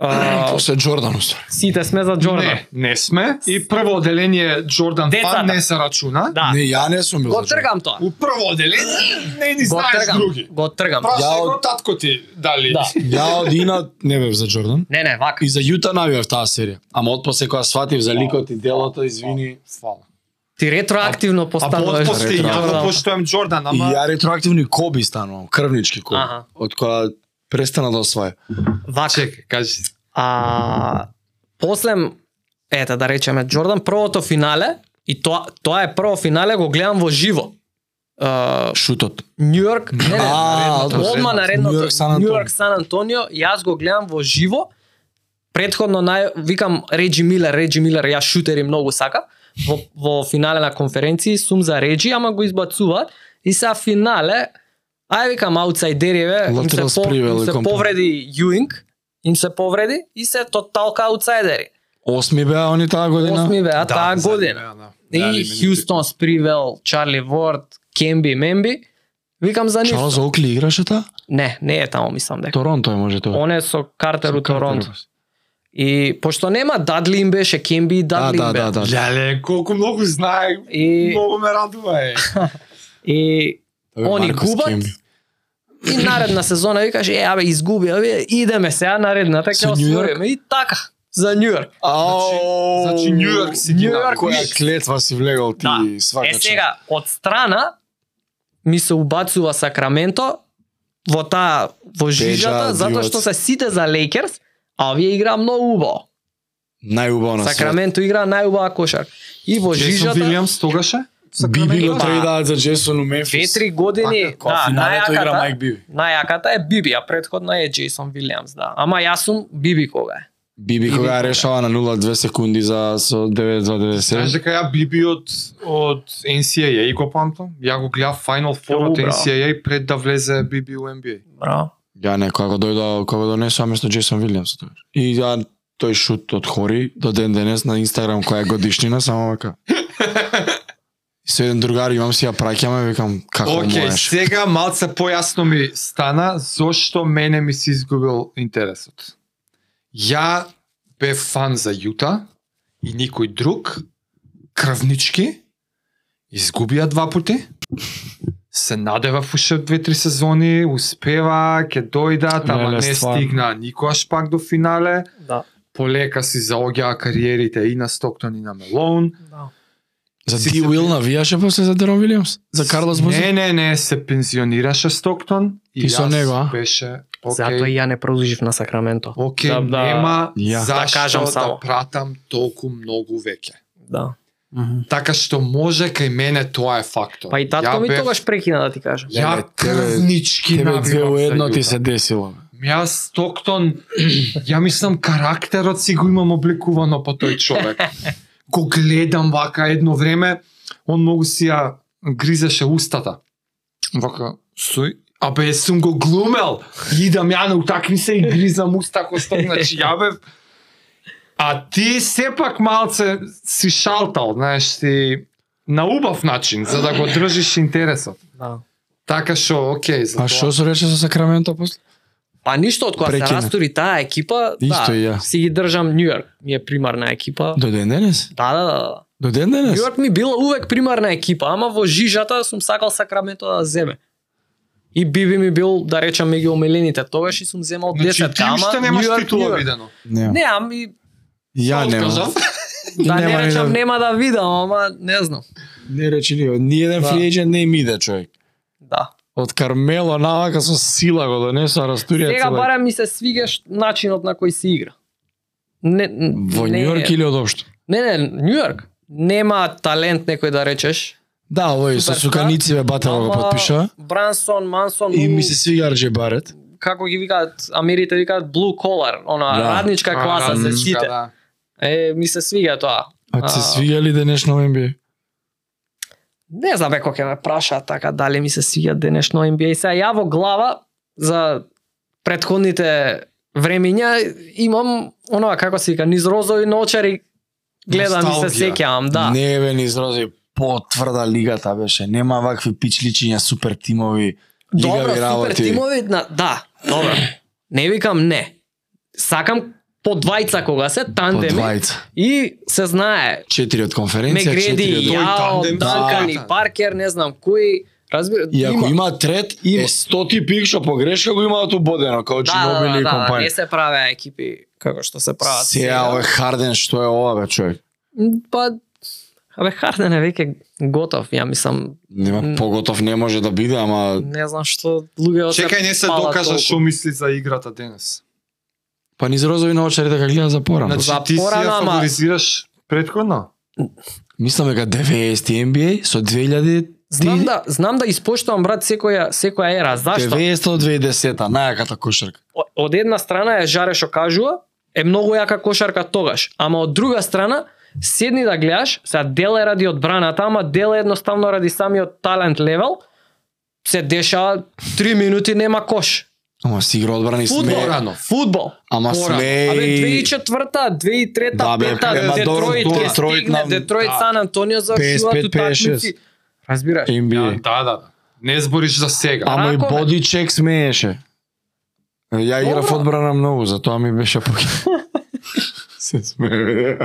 Speaker 3: а,
Speaker 2: После Джордан, устар.
Speaker 3: сите сме за Джордан.
Speaker 1: Не, не сме. И прво оделение Джордан
Speaker 3: Децата.
Speaker 1: Фан не се рачуна.
Speaker 3: Да.
Speaker 2: Не, ја не сум бил
Speaker 3: Го
Speaker 2: за Джордан.
Speaker 3: тргам тоа.
Speaker 1: У прво оделение не ни
Speaker 3: Го
Speaker 1: знаеш
Speaker 3: тргам.
Speaker 1: други.
Speaker 3: Го тргам.
Speaker 1: Прашај
Speaker 2: Ја од-
Speaker 1: го татко ти дали.
Speaker 3: Да.
Speaker 2: Ја од Ина не бев за Джордан.
Speaker 3: Не, не, вака.
Speaker 2: И за Јута навивав таа серија. Ама од после кога сватив за ликот и делото, извини.
Speaker 1: Фала.
Speaker 3: Ти ретроактивно
Speaker 1: А
Speaker 3: постануваш.
Speaker 1: потпосле
Speaker 2: ретро.
Speaker 1: ја го
Speaker 3: Джордан.
Speaker 1: поштојам Джордан,
Speaker 2: И
Speaker 1: ама
Speaker 2: ја ретроактивни коби станувам, крвнички коби.
Speaker 3: Аха.
Speaker 2: Од која престана да осваја.
Speaker 3: Вака.
Speaker 1: чекај, кажи.
Speaker 3: А после ете да речеме Джордан првото финале и тоа тоа е прво финале го гледам во живо. А,
Speaker 2: Шутот.
Speaker 3: Нью Йорк, не, не,
Speaker 2: А,
Speaker 1: наредното,
Speaker 3: одма
Speaker 2: наредното. Нью
Speaker 3: наредното,
Speaker 2: Йорк, Сан Антонио.
Speaker 3: Нью Йорк Сан Антонио, јас го гледам во живо. Предходно нај викам Реджи Милер, Реджи Милер, јас шутери многу сакам. Во во финале на конференција сум за Реджи, ама го избацуваат и са финале ај викам аутсайдереве, им
Speaker 2: Lateral
Speaker 3: се, по,
Speaker 2: spreewell
Speaker 3: им
Speaker 2: и
Speaker 3: се
Speaker 2: компани.
Speaker 3: повреди Јуинг, им се повреди и се тоталка аутсайдери.
Speaker 2: Осми беа они таа година.
Speaker 3: Осми
Speaker 1: Да,
Speaker 3: беа таа година. И Хјустон, Спривел, Чарли Ворд, Кемби, Мемби. Викам за нив.
Speaker 2: Чарлз Оукли играше таа?
Speaker 3: Не, не е таму, мислам дека.
Speaker 2: Торонто е може тоа.
Speaker 3: Он е со Картер у
Speaker 2: Со Картер.
Speaker 3: Торонто. И пошто нема Дадли им беше, Кемби и
Speaker 2: Да,
Speaker 3: Дадли им
Speaker 2: да,
Speaker 3: беа.
Speaker 2: да, да.
Speaker 1: Леле, колку многу знае,
Speaker 3: И,
Speaker 1: многу ме радува е.
Speaker 3: и,
Speaker 2: Тоа бе
Speaker 3: Они
Speaker 2: Маркос
Speaker 3: губат.
Speaker 2: Кемби.
Speaker 3: и наредна сезона викаш, е, абе, изгуби, абе, идеме сега наредната,
Speaker 2: Со
Speaker 3: ќе
Speaker 2: Њујорк?
Speaker 3: освоиме. И така, за Њујорк.
Speaker 2: Ау,
Speaker 1: Значи Нью Йорк си ги
Speaker 3: Нью Йорк
Speaker 1: направи.
Speaker 2: Која клетва си влегал ти
Speaker 3: Да. Е,
Speaker 2: свакаче.
Speaker 3: сега, од страна, ми се убацува Сакраменто во таа, во жижата,
Speaker 2: Пеџа,
Speaker 3: затоа
Speaker 2: Дивац.
Speaker 3: што се сите за Лейкерс, а овие игра многу убаво.
Speaker 2: Најубаво на свет.
Speaker 3: Сакраменто игра најубава кошар. И во
Speaker 1: Джейсон
Speaker 3: жижата,
Speaker 1: Вилиамс тогаше?
Speaker 2: Биби го
Speaker 3: Па,
Speaker 2: трейдаат за Джейсон у Мемфис.
Speaker 3: две-три години,
Speaker 2: Така, која
Speaker 3: да,
Speaker 2: финалето игра
Speaker 3: најаката,
Speaker 2: Майк Биби.
Speaker 3: Најаката е Биби, а предходна е Джейсон Вилиамс, да. Ама јас сум Биби кога е.
Speaker 2: Биби кога ја решава на 0-2 секунди за со 9-2-97.
Speaker 1: Знаеш дека ја Биби од, од NCAA и го памтам. Ја го гледав Final Four од
Speaker 3: Добра.
Speaker 1: NCAA пред да влезе Биби у NBA.
Speaker 3: Браво.
Speaker 2: Ја не, кога го дојда, кога го донесува место Джейсон Вилиамс тоа. И ја тој шут од Хори до ден денес на Инстаграм која е годишнина само вака. И со еден другар имам си ја праќаме, викам како
Speaker 1: Океј,
Speaker 2: можеш.
Speaker 1: сега малце појасно ми стана зошто мене ми се изгубил интересот. Ја бев фан за Јута и никој друг крвнички изгубија два пути. Се надева уше две-три сезони, успева, ќе дојдат, ама
Speaker 2: Леле,
Speaker 1: не
Speaker 2: стварно.
Speaker 1: стигна никогаш пак до финале.
Speaker 3: Да.
Speaker 1: Полека си заоѓаа кариерите и на Стоктон и на Мелоун.
Speaker 3: да.
Speaker 2: За
Speaker 1: Си
Speaker 2: Ди
Speaker 1: се
Speaker 2: Уил навијаше после за Дерон Вилиамс? За Карлос Бузе?
Speaker 1: Не, не, не, се пензионираше Стоктон и
Speaker 2: Ти со
Speaker 1: јас
Speaker 2: него, а?
Speaker 1: беше
Speaker 3: Затоа
Speaker 1: окей.
Speaker 3: ја не продолжив на Сакраменто.
Speaker 1: Океј,
Speaker 3: Да, да.
Speaker 1: нема
Speaker 2: Ја.
Speaker 1: зашто
Speaker 3: Да кажам
Speaker 1: да,
Speaker 3: само.
Speaker 1: пратам толку многу веќе.
Speaker 3: Да.
Speaker 1: Така што може кај мене тоа е фактор.
Speaker 3: Па и татко
Speaker 1: Ја
Speaker 3: ми
Speaker 1: бев-
Speaker 3: тогаш прекина да ти кажам.
Speaker 1: Ја
Speaker 2: Леле, тебе-
Speaker 1: крвнички
Speaker 2: Тебе две
Speaker 1: навивам
Speaker 2: у
Speaker 1: за
Speaker 2: едно ти
Speaker 1: Јута.
Speaker 2: се десило.
Speaker 1: Ја Стоктон, ја мислам карактерот си го имам обликувано по тој човек. Го гледам вака едно време, он многу си ја гризеше устата. Вака, сој, а бе, сум го глумел. Идам ја на утакмица и гризам уста кој сток, значи ја бев А ти сепак малце си шалтал, знаеш, си на убав начин, за да го држиш интересот.
Speaker 3: Да.
Speaker 1: Така што, окей, за
Speaker 2: Па што се рече со Сакраменто после?
Speaker 3: Па ништо од кога се
Speaker 2: Прекина.
Speaker 3: растури таа екипа,
Speaker 2: Исто
Speaker 3: да,
Speaker 2: и ја.
Speaker 3: си ги држам Њујорк. Ми е примарна екипа.
Speaker 2: До ден денес?
Speaker 3: Да, да, да.
Speaker 2: До ден денес?
Speaker 3: Њујорк ми била увек примарна екипа, ама во жижата сум сакал Сакраменто да земе. И Биби ми бил, да речам, меѓу омилените. Тогаш и сум земал 10
Speaker 1: Значи, ти уште немаш
Speaker 3: Њујорк,
Speaker 1: титула
Speaker 3: Њујорк.
Speaker 1: видено.
Speaker 2: Не.
Speaker 3: Не, ами
Speaker 2: Ја
Speaker 1: Тоа
Speaker 2: нема.
Speaker 1: кажав.
Speaker 3: Да
Speaker 2: Нема
Speaker 3: не
Speaker 2: ни
Speaker 3: речам
Speaker 2: да-
Speaker 3: нема да видам, ама не знам.
Speaker 2: Не речи ни, ни еден
Speaker 3: Да.
Speaker 2: фри agent не им иде човек.
Speaker 3: Да.
Speaker 2: Од Кармело навака со сила го донесоа растурија
Speaker 3: Сега барем ми се свигаш начинот на кој се игра. Не, н-
Speaker 2: Во
Speaker 3: не,
Speaker 2: Нью Йорк или одопшто?
Speaker 3: Не, не, Нью Йорк. Нема талент некој да речеш.
Speaker 2: Да, овој со
Speaker 3: Суперстар.
Speaker 2: суканици ве батало го
Speaker 3: ама
Speaker 2: подпиша.
Speaker 3: Брансон, Мансон,
Speaker 2: И
Speaker 3: у,
Speaker 2: ми се свига Рже Барет.
Speaker 3: како ги викаат, Америте викаат blue collar, она
Speaker 2: Да.
Speaker 3: радничка класа се сите.
Speaker 1: Да.
Speaker 3: Е, ми се свига тоа.
Speaker 2: А ти се
Speaker 3: А.
Speaker 2: свига ли денешно NBA?
Speaker 3: Не знам бе, кој ќе ме праша така дали ми се свиѓа денешно NBA. Сега ја во глава за предходните времиња имам онова како се вика низ розови ночари гледам и се
Speaker 1: Носталгија.
Speaker 3: сеќавам, да.
Speaker 2: Не бе ни изрази потврда лигата беше. Нема вакви пичличиња, супер тимови,
Speaker 3: Добро,
Speaker 2: лигави
Speaker 3: супер
Speaker 2: работи.
Speaker 3: тимови, на... да, добро. Не викам не. Сакам по двајца кога се
Speaker 2: По
Speaker 3: тандеми
Speaker 2: двајца.
Speaker 3: и се знае
Speaker 2: Четири од конференција,
Speaker 3: Мегреди,
Speaker 2: четири од...
Speaker 1: Тој
Speaker 3: Јао,
Speaker 1: тандем,
Speaker 3: Данкан
Speaker 1: да.
Speaker 3: и Паркер, не знам кој, разбира,
Speaker 2: И ако
Speaker 3: има.
Speaker 2: има трет,
Speaker 3: Има.
Speaker 2: е стоти пик што погрешка го имаат убодено, као
Speaker 3: Да, да,
Speaker 2: Чинобили
Speaker 3: да,
Speaker 2: и
Speaker 3: да, не
Speaker 2: компанија.
Speaker 3: се праве екипи како што се прават.
Speaker 2: Сеја, овој Харден, што е ова, бе, човек?
Speaker 3: М, Па, абе, Харден е веќе готов, ја мислам,
Speaker 2: Нема,
Speaker 3: М.
Speaker 2: поготов не може да биде, ама...
Speaker 3: не знам што луѓето
Speaker 1: Чекај не се докажа што мисли за играта денес.
Speaker 2: Па низ розови на очарите дека гледа за порам.
Speaker 1: Значи ти си
Speaker 3: порано,
Speaker 1: ја
Speaker 3: ама-
Speaker 1: фаворизираш предходно?
Speaker 2: Мислам дека 90 NBA со 2000
Speaker 3: Знам да, знам да испоштувам брат секоја секоја ера. Зашто?
Speaker 2: 90 од 2010-та, најаката кошарка.
Speaker 3: О- од една страна е жаре што кажува, е многу јака кошарка тогаш, ама од друга страна седни да гледаш, сега дел е ради одбраната, ама дел е едноставно ради самиот талент левел, се дешава 3 минути нема кош.
Speaker 2: Ама си игра одбрана и
Speaker 3: Фудбал,
Speaker 2: сме.
Speaker 1: Порано.
Speaker 3: фудбал.
Speaker 2: Ама
Speaker 1: Порано.
Speaker 2: сме
Speaker 3: Абе
Speaker 2: и
Speaker 3: 2004-та, 2003-та,
Speaker 2: Да, бе,
Speaker 3: 5-та,
Speaker 1: ема,
Speaker 3: Детройт,
Speaker 1: добро,
Speaker 3: ке
Speaker 2: Детройт
Speaker 3: стигне,
Speaker 2: нам-
Speaker 3: Детройт,
Speaker 1: да.
Speaker 3: Сан Антонио завршуваат
Speaker 2: 55,
Speaker 3: утакмици.
Speaker 2: 56.
Speaker 3: Разбираш?
Speaker 1: Да,
Speaker 2: NBA.
Speaker 1: да, да. Не збориш за сега.
Speaker 2: Ама и
Speaker 3: ракове.
Speaker 2: боди чек смееше. Ја играв
Speaker 3: Добро.
Speaker 2: одбрана многу, затоа ми беше поки. Се смее.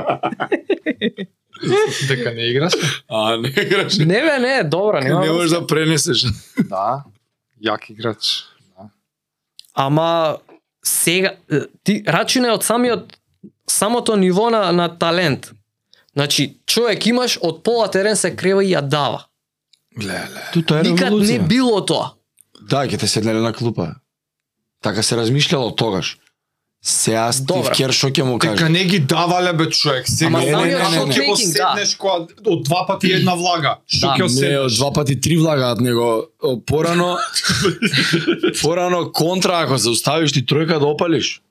Speaker 1: Дека не играш?
Speaker 2: А не играш.
Speaker 3: Не бе, не, добро, нема.
Speaker 2: Не можеш
Speaker 3: врска.
Speaker 2: да пренесеш.
Speaker 1: Да. Јак играч.
Speaker 3: Ама сега е, ти рачина е од самиот самото ниво на, на талент. Значи, човек имаш од пола терен се крева и ја дава.
Speaker 2: Глеле. Тута е
Speaker 3: Никад не
Speaker 2: револуција.
Speaker 3: било тоа.
Speaker 2: Да, ќе те седнеле на клупа. Така се размишлело тогаш. Сега Стив
Speaker 3: Добра.
Speaker 2: Кер што ќе му
Speaker 1: Дека
Speaker 2: каже?
Speaker 1: не ги давале бе човек. Сега
Speaker 3: Ама
Speaker 1: не,
Speaker 2: самиот
Speaker 1: не, не,
Speaker 2: шок
Speaker 1: ќе го
Speaker 3: мейкинг, да.
Speaker 1: седнеш која од два пати една влага. Што
Speaker 3: Да,
Speaker 1: ќе го
Speaker 2: Не, од
Speaker 1: седнеш?
Speaker 2: два пати три влагаат него. О, Порано порано контра ако се уставиш ти тројка да опалиш.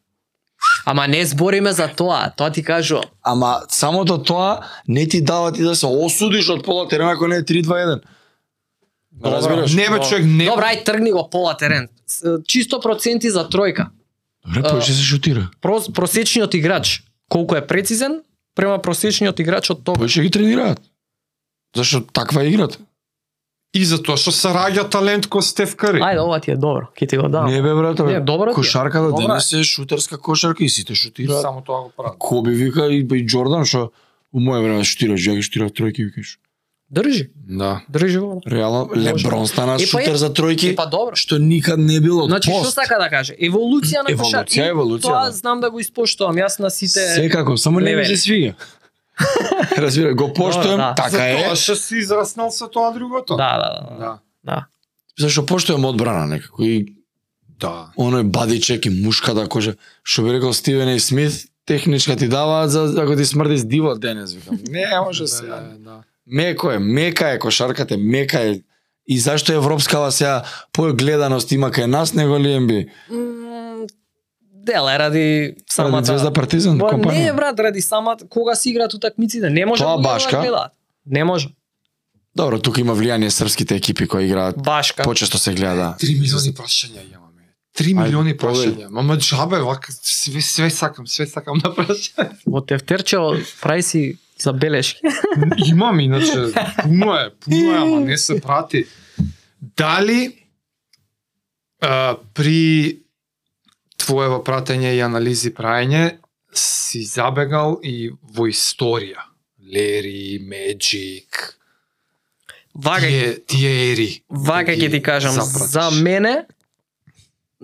Speaker 3: Ама не збориме за тоа, тоа ти кажувам.
Speaker 2: Ама самото тоа не ти дава ти да се осудиш од пола терен ако не е 3-2-1.
Speaker 3: Добро.
Speaker 2: Разбираш?
Speaker 1: Не бе човек, не.
Speaker 3: Добра, ај тргни го пола терен. С- е, Чисто проценти за тројка.
Speaker 2: Добре, повеќе се шутира.
Speaker 3: Прос, просечниот играч, колку е прецизен, према просечниот играч од тоа.
Speaker 2: Повеќе ги тренираат. Зашто таква е играта?
Speaker 1: И затоа што се раѓа талент кој Стеф Кари.
Speaker 3: Ајде, ова ти е добро, ќе ти го дам.
Speaker 2: Не бе брат, бе.
Speaker 3: Не, добро ти е.
Speaker 2: Кошарката
Speaker 3: Добра е.
Speaker 2: денес е шутерска кошарка и сите шутираат.
Speaker 1: Само тоа го прави.
Speaker 2: Коби вика и, па и Джордан што у мое време шутираш, ја ги шутирав тројки викаш.
Speaker 3: Држи,
Speaker 1: Да.
Speaker 3: држи вода.
Speaker 2: Реално Леброн стана
Speaker 3: Е, па е.
Speaker 2: шутер за тројки
Speaker 3: Е, па добро.
Speaker 2: што никад не било
Speaker 3: Значи, што
Speaker 2: пост.
Speaker 3: сака да каже? Еволуција на кошар.
Speaker 2: Еволуција,
Speaker 3: И
Speaker 2: еволуција,
Speaker 3: Тоа
Speaker 2: да.
Speaker 3: знам да го испоштувам. Јас на сите...
Speaker 2: Секако, само не ми
Speaker 3: левели.
Speaker 2: се свига. Разбира, го поштојам,
Speaker 3: да.
Speaker 2: така е,
Speaker 1: Затоа што си израснал со тоа другото.
Speaker 3: Да, да, да, да.
Speaker 1: Да.
Speaker 3: да.
Speaker 2: зашто поштојам одбрана некако и
Speaker 1: Да.
Speaker 2: оној бадичек и мушката кожа, што би рекол Стивен и Смит, техничка ти даваат за ако ти смрдиш диво денес, викам. Не може се.
Speaker 1: да.
Speaker 2: Меко е, мека е кошарката, мека е. И зашто европскава сега пој гледаност има кај нас него ли МБ?
Speaker 3: М, Деле, ради самата...
Speaker 2: Ради Звезда Партизан
Speaker 3: Ба, не,
Speaker 2: компанија.
Speaker 3: брат, ради самата... Кога се играат утакмиците? Не може
Speaker 2: Тоа
Speaker 3: луѓето
Speaker 2: башка.
Speaker 3: да гледаат. Не може.
Speaker 2: Добро, тука има влијание српските екипи кои играат.
Speaker 3: Башка.
Speaker 2: Почесто се гледа.
Speaker 1: Три милиони прашања имаме. Три
Speaker 2: Ајде,
Speaker 1: милиони
Speaker 2: повели.
Speaker 1: прашања. Мама джабе, вака, све, све сакам, све сакам да прашам.
Speaker 3: Во тефтерче прави си забелешки.
Speaker 1: Имам, иначе, пуно е, пуно е, ама не се прати. Дали а, при твоево пратење и анализи праење си забегал и во историја? Лери, Меджик,
Speaker 3: Вака,
Speaker 1: тие, тие ери.
Speaker 3: вака ќе ти кажам,
Speaker 1: запратиш.
Speaker 3: за мене,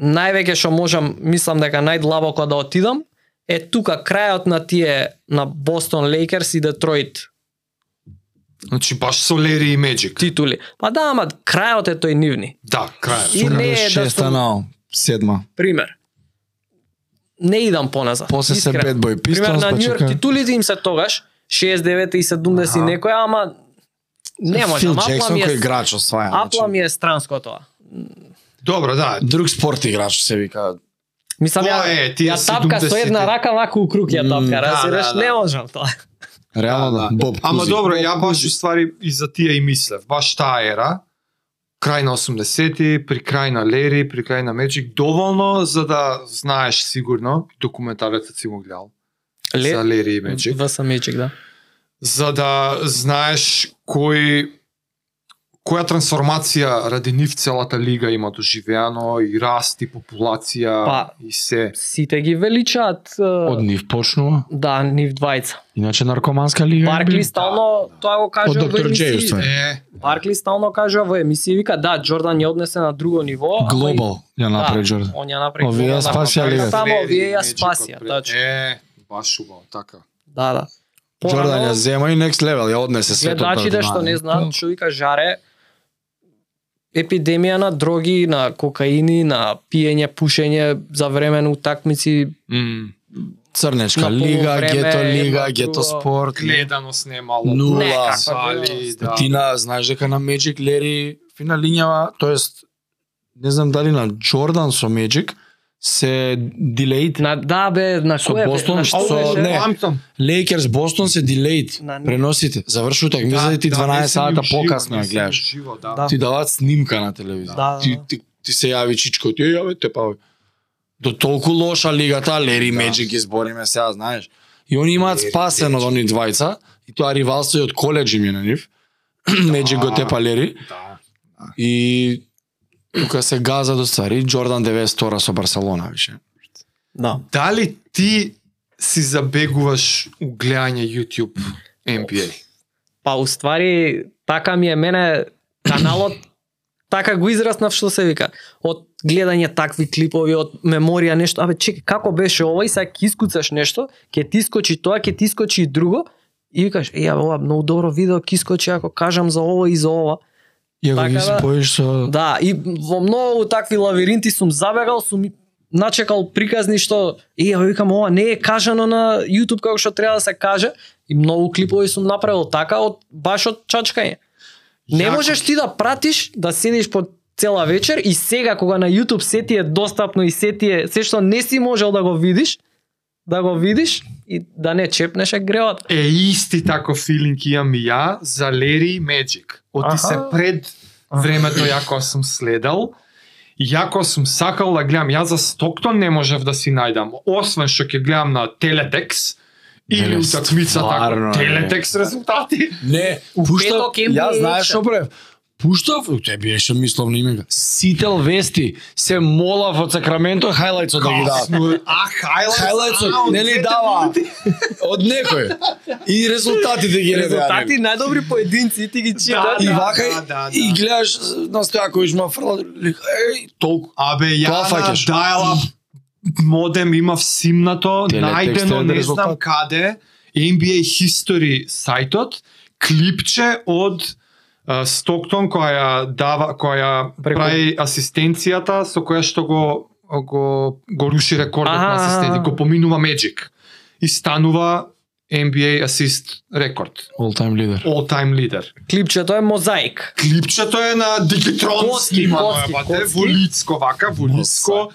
Speaker 3: највеќе што можам, мислам дека најдлабоко да отидам, е тука крајот на тие на Бостон Лейкерс и Детройт
Speaker 1: Значи баш Солери и Меджик.
Speaker 3: титули. Па да, ама крајот е тој нивни.
Speaker 1: Да, крај.
Speaker 3: И не е да
Speaker 2: Шеста
Speaker 3: сум
Speaker 2: нао, седма.
Speaker 3: пример. Не идам поназад.
Speaker 2: После се
Speaker 3: искрено.
Speaker 2: Bad Boy Pistons,
Speaker 3: Пример на
Speaker 2: па
Speaker 3: Нью Йорк
Speaker 2: чека.
Speaker 3: титулите им се тогаш 6, 9 и 70 и
Speaker 1: Аха.
Speaker 3: некоја, ама не може.
Speaker 2: Фил
Speaker 3: Ама апла
Speaker 2: Джексон
Speaker 3: ми
Speaker 2: кој
Speaker 3: е,
Speaker 2: играч осваја.
Speaker 3: апла
Speaker 2: значи.
Speaker 3: ми е странско тоа.
Speaker 1: Добро, да.
Speaker 2: Друг спорт играч се вика.
Speaker 3: Мислам,
Speaker 1: Тоа
Speaker 3: ја,
Speaker 1: е, тие
Speaker 3: ја тапка со
Speaker 1: 70-те.
Speaker 3: една рака ваку у круг ја
Speaker 2: М,
Speaker 1: да,
Speaker 3: тапка, разбираш,
Speaker 1: да, да.
Speaker 3: не можам тоа.
Speaker 2: Реално да. Боб
Speaker 1: Ама
Speaker 2: Кузи.
Speaker 1: добро, ја баш ствари и за тие и мислев. Баш таа ера, крај на 80-ти, при крај на Лери, при крај на Меджик, доволно за да знаеш сигурно, документарецот си го гледал, за Лери и Меджик.
Speaker 3: Васа Меджик, да.
Speaker 1: за да знаеш кој која трансформација ради нив целата лига има доживеано и раст и популација
Speaker 3: Па,
Speaker 1: и се.
Speaker 3: Сите ги величаат е,
Speaker 4: Од нив почнува,
Speaker 3: да, нив двајца.
Speaker 4: иначе наркоманска лига. е
Speaker 3: Баркли
Speaker 4: бил.
Speaker 3: стално тоа го
Speaker 2: Од
Speaker 3: кажува
Speaker 2: Dr.
Speaker 3: во
Speaker 2: J,
Speaker 3: емисии.
Speaker 2: уствари.
Speaker 1: Е,
Speaker 3: Баркли стално кажува во емисии вика да, Джордан ја однесе на друго ниво. ама и-
Speaker 2: Глобал ја
Speaker 3: Да.
Speaker 2: направи Джордан.
Speaker 3: Он ја направи.
Speaker 2: Овие ја
Speaker 3: Глобал,
Speaker 2: спасија
Speaker 3: направи
Speaker 2: лигата.
Speaker 3: Само
Speaker 1: да, Лери
Speaker 3: овие
Speaker 1: и
Speaker 3: ја
Speaker 1: Меджик
Speaker 3: спасија,
Speaker 1: отпред.
Speaker 3: тачно.
Speaker 1: Е, баш убаво, така.
Speaker 3: Да, да.
Speaker 2: Джордан ја
Speaker 3: Порано,
Speaker 2: зема и next level ја однесе светот.
Speaker 3: гледачите
Speaker 2: брат,
Speaker 3: што
Speaker 2: знаеш.
Speaker 3: не знаат, човека жаре епидемија на дроги, на кокаини, на пиење, пушење за време на утакмици.
Speaker 1: Mm.
Speaker 3: На
Speaker 2: Црнечка лига,
Speaker 3: полувреме
Speaker 2: гето лига,
Speaker 3: едно
Speaker 2: гето
Speaker 3: друго.
Speaker 2: спорт.
Speaker 1: Гледаност немало.
Speaker 2: Нула.
Speaker 1: Некаква
Speaker 3: Сали,
Speaker 1: да.
Speaker 2: Ти на, знаеш дека на Magic Лери фина лињава, тоест не знам дали на Джордан со Magic се дилејт.
Speaker 3: На да бе, на
Speaker 2: Со
Speaker 3: кое бе?
Speaker 2: Бостон,
Speaker 3: на
Speaker 2: со-
Speaker 3: што беше?
Speaker 2: не.
Speaker 1: Ламптон.
Speaker 2: Лейкерс Бостон се дилејт.
Speaker 3: На-
Speaker 2: Преносите. Заврши утакмица да, ти 12 сата покасно ја гледаш.
Speaker 1: Да.
Speaker 3: Да.
Speaker 2: Ти даваат снимка на телевизија.
Speaker 3: Да, да,
Speaker 2: ти,
Speaker 3: да.
Speaker 2: ти, ти се јави чичко, ти јаве те па. До толку лоша лигата, Лери
Speaker 1: Да.
Speaker 2: Меджи ги збориме сега, знаеш. И они имаат
Speaker 1: Лери,
Speaker 2: спасено од они двајца, и тоа ривалство и од колеџ им е на нив. Меджи го тепа Лери
Speaker 1: да.
Speaker 2: и тука се газа до стари Джордан 92 со Барселона више.
Speaker 3: Да.
Speaker 1: Дали ти си забегуваш у гледање YouTube NBA?
Speaker 3: Па уствари така ми е мене каналот така го израснав што се вика. Од гледање такви клипови, од меморија нешто, абе чеки како беше ова и сега ќе искуцаш нешто, ќе ти искочи тоа, ќе ти искочи и друго и викаш е абе ова многу добро видео ќе искочи ако кажам за ова и за ова.
Speaker 2: Ја го
Speaker 3: Така
Speaker 2: ги
Speaker 3: да.
Speaker 2: споиш со
Speaker 3: Да, и во многу такви лавиринти сум забегал, сум начекал приказни што и ја викам ова не е кажано на YouTube како што треба да се каже и многу клипови сум направил така од баш од чачкање. Не
Speaker 1: Јако.
Speaker 3: можеш ти да пратиш да седиш по цела вечер и сега кога на YouTube се ти е достапно и се ти е се што не си можел да го видиш, да го видиш и да не чепнеш е гревот.
Speaker 1: Е исти тако филинг имам и ја за Лери и Меджик. Оти
Speaker 3: Аха.
Speaker 1: се пред времето јако сум следел. и Јако сум сакал да гледам. Ја за Стоктон не можев да си најдам. Освен што ќе гледам на Телетекс или
Speaker 2: Неле,
Speaker 1: утакмица
Speaker 2: стварно,
Speaker 1: така.
Speaker 2: е.
Speaker 1: Телетекс резултати.
Speaker 2: Не,
Speaker 3: петок им
Speaker 2: ја
Speaker 3: е
Speaker 2: знаеш
Speaker 3: вечер.
Speaker 2: што брев? Пуштав, те беше мисловно име. га. Сител Вести се молав од Сакраменто хайлајтсо да ги дава.
Speaker 1: А, хайлайтс.
Speaker 2: Хайлайтсот,
Speaker 1: а,
Speaker 2: не ли
Speaker 1: од
Speaker 2: дава? Од некој. И резултатите ги ревеа.
Speaker 3: Резултати најдобри поединци ти ги читаш.
Speaker 2: И
Speaker 1: Да,
Speaker 2: вака
Speaker 1: да, да, да.
Speaker 2: и гледаш на Стојаковиќ ма фрла лика, еј, толку.
Speaker 1: Абе, ја
Speaker 2: Тоа
Speaker 1: на
Speaker 2: фаќаш.
Speaker 1: dial-up модем имав симнато,
Speaker 2: Телетекст е
Speaker 1: најдено не
Speaker 2: резултат.
Speaker 1: знам каде, NBA History сајтот, клипче од е, Стоктон која ја дава која ја
Speaker 3: Преку-
Speaker 1: прави асистенцијата со која што го го го руши рекордот на
Speaker 3: Аха.
Speaker 1: асистенти, го поминува Меджик и станува NBA асист рекорд,
Speaker 2: All time leader.
Speaker 1: all time лидер.
Speaker 3: Клипчето е мозаик.
Speaker 1: Клипчето е на Дигитрон
Speaker 3: Коски,
Speaker 1: снимано
Speaker 3: коски,
Speaker 1: е бате,
Speaker 3: коски.
Speaker 1: во Лицко вака, во Лицко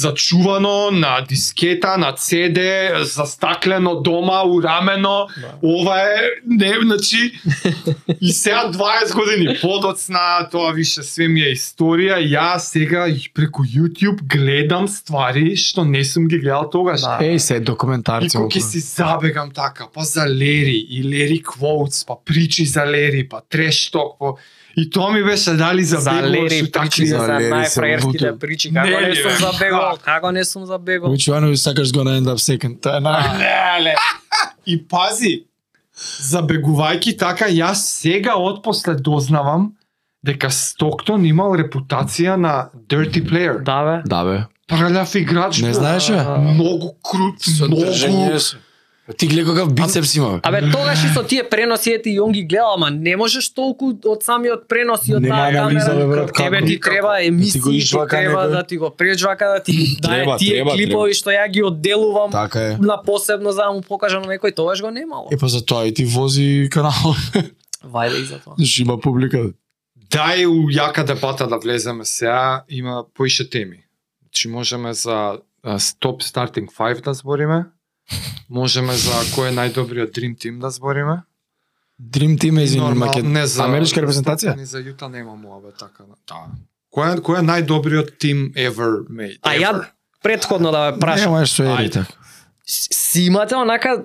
Speaker 1: зачувано на дискета, на CD, застаклено дома, урамено. Ова е не, значи и сега 20 години подоцна, тоа више све ми е историја. Ја сега и преку YouTube гледам ствари што не сум ги гледал тогаш.
Speaker 3: Да.
Speaker 2: Еј, се
Speaker 1: И
Speaker 2: документарци.
Speaker 1: кога ќе си забегам така, па за Лери и Лери Квоутс, па причи за Лери, па трешток, па... И тоа ми беше дали за
Speaker 3: за Лери
Speaker 1: така
Speaker 3: причи, за
Speaker 2: за Лери се
Speaker 3: најфраерските
Speaker 2: лутам.
Speaker 3: причи, како
Speaker 1: Не,
Speaker 3: не,
Speaker 1: не,
Speaker 3: сум
Speaker 1: бе.
Speaker 3: забегал, како не сум забегал.
Speaker 2: Вичуванови сакаш го на end up second. Тоа е на...
Speaker 1: Леле. И пази, забегувајки така, јас сега отпосле дознавам дека Стоктон имал репутација на dirty player.
Speaker 3: Да бе.
Speaker 2: Да, бе.
Speaker 1: Прљав играч.
Speaker 2: Не
Speaker 1: бе.
Speaker 2: знаеш, бе?
Speaker 1: Многу крут,
Speaker 2: Со
Speaker 1: многу
Speaker 2: држење, со- Ти гледа какав бицепс има. бе.
Speaker 3: Абе, тогаш и со тие преноси, ете, и он ги гледа, ама не можеш толку од самиот пренос и од
Speaker 4: Нема
Speaker 3: таа
Speaker 4: анализа, бе,
Speaker 3: камера.
Speaker 4: брат,
Speaker 3: Кај тебе
Speaker 4: како?
Speaker 3: ти треба емисии,
Speaker 2: го
Speaker 3: ти
Speaker 2: изжвака
Speaker 3: треба
Speaker 2: некој.
Speaker 3: да ти го преджвака, да ти ги дае
Speaker 2: Треба,
Speaker 3: тие
Speaker 2: треба,
Speaker 3: клипови што ја ги одделувам
Speaker 2: Така е.
Speaker 3: на посебно за да му покажам на некој, тогаш го немало.
Speaker 2: Е па за тоа и ти вози канал.
Speaker 3: Вајде и за тоа.
Speaker 2: Што има публика. бе.
Speaker 1: Дај у јака дебата да влеземе сега, има поише теми. Значи можеме за а, Stop Starting 5 да збориме, можеме за кој е најдобриот Dream Team да збориме.
Speaker 2: Dream Team е извини
Speaker 1: Нормал-
Speaker 2: Макед.
Speaker 1: не за
Speaker 2: Америчка репрезентација?
Speaker 1: Ни за Јута нема муа бе така. Да. Кој е кој е најдобриот тим ever made?
Speaker 3: А ја
Speaker 1: ever?
Speaker 3: предходно да ве прашам.
Speaker 2: Нема што е
Speaker 1: Ајде.
Speaker 2: и така.
Speaker 3: С- си имате онака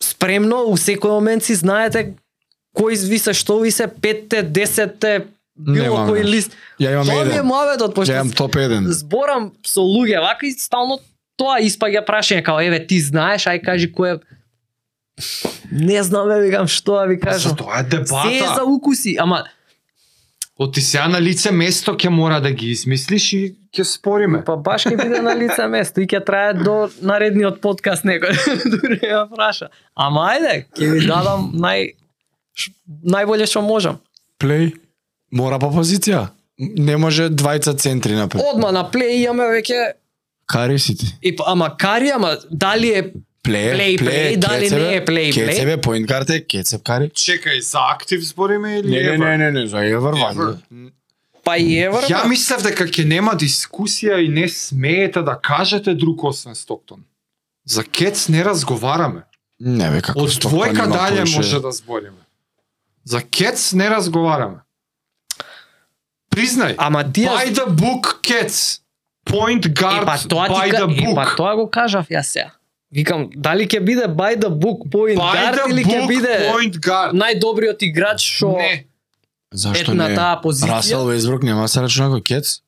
Speaker 3: спремно у секој момент си знаете кој ви се што ви се петте, десетте, било
Speaker 2: Немаме.
Speaker 3: кој лист.
Speaker 2: Ја имам
Speaker 3: Тоа ми е
Speaker 2: еден.
Speaker 3: муабетот,
Speaker 2: Ја
Speaker 3: пошто
Speaker 2: имам топ еден.
Speaker 3: зборам со луѓе, вака и стално тоа испаѓа прашање, као еве ти знаеш, ај кажи кој е Не знам, ја викам што да ви
Speaker 1: Па,
Speaker 3: кажам.
Speaker 1: За тоа е
Speaker 3: Се е за
Speaker 1: дебата.
Speaker 3: укуси, ама
Speaker 1: Оти сега на лице место ќе мора да ги измислиш и ќе спориме.
Speaker 3: па баш ќе биде на лице место и ќе трае до наредниот подкаст некој. Дури ја праша. Ама ајде, ќе ви дадам нај ш- најболе што можам.
Speaker 2: Плей. Мора по позиција. Не може двајца центри напред.
Speaker 3: Одма на плей имаме веќе
Speaker 2: Кари си ти.
Speaker 3: и па- ама кари, ама дали е
Speaker 2: Плей,
Speaker 3: Плей, плей, дали не е плей, плей?
Speaker 2: Кецебе, поинт карте, кецеб кари.
Speaker 1: Чекај, за актив збориме или ever?
Speaker 2: не, не, за Евер
Speaker 1: Ever.
Speaker 3: па и евр.
Speaker 1: Ја
Speaker 3: бе.
Speaker 1: мислев дека ќе нема дискусија и не смеете да кажете друг освен Стоктон. За Кец не разговараме.
Speaker 2: Не, бе, како
Speaker 1: Од
Speaker 2: Стоктон
Speaker 1: двојка
Speaker 2: има
Speaker 1: дале
Speaker 2: повеќе.
Speaker 1: може да збориме. За Кец не разговараме. Признај,
Speaker 3: Ама тие
Speaker 1: by the book Кец. Point guard
Speaker 3: Е, па тоа ти
Speaker 1: by
Speaker 3: ка-
Speaker 1: the
Speaker 3: Е,
Speaker 1: book.
Speaker 3: па тоа го кажав ја сега. Викам, дали ќе биде by the book point
Speaker 1: by
Speaker 3: guard
Speaker 1: the
Speaker 3: или ќе
Speaker 1: book
Speaker 3: биде
Speaker 1: point guard.
Speaker 3: најдобриот играч што
Speaker 1: Не,
Speaker 2: Зашто
Speaker 3: е на
Speaker 2: не?
Speaker 3: таа позиција?
Speaker 2: Расел Везбрук нема да се рачуна како кец?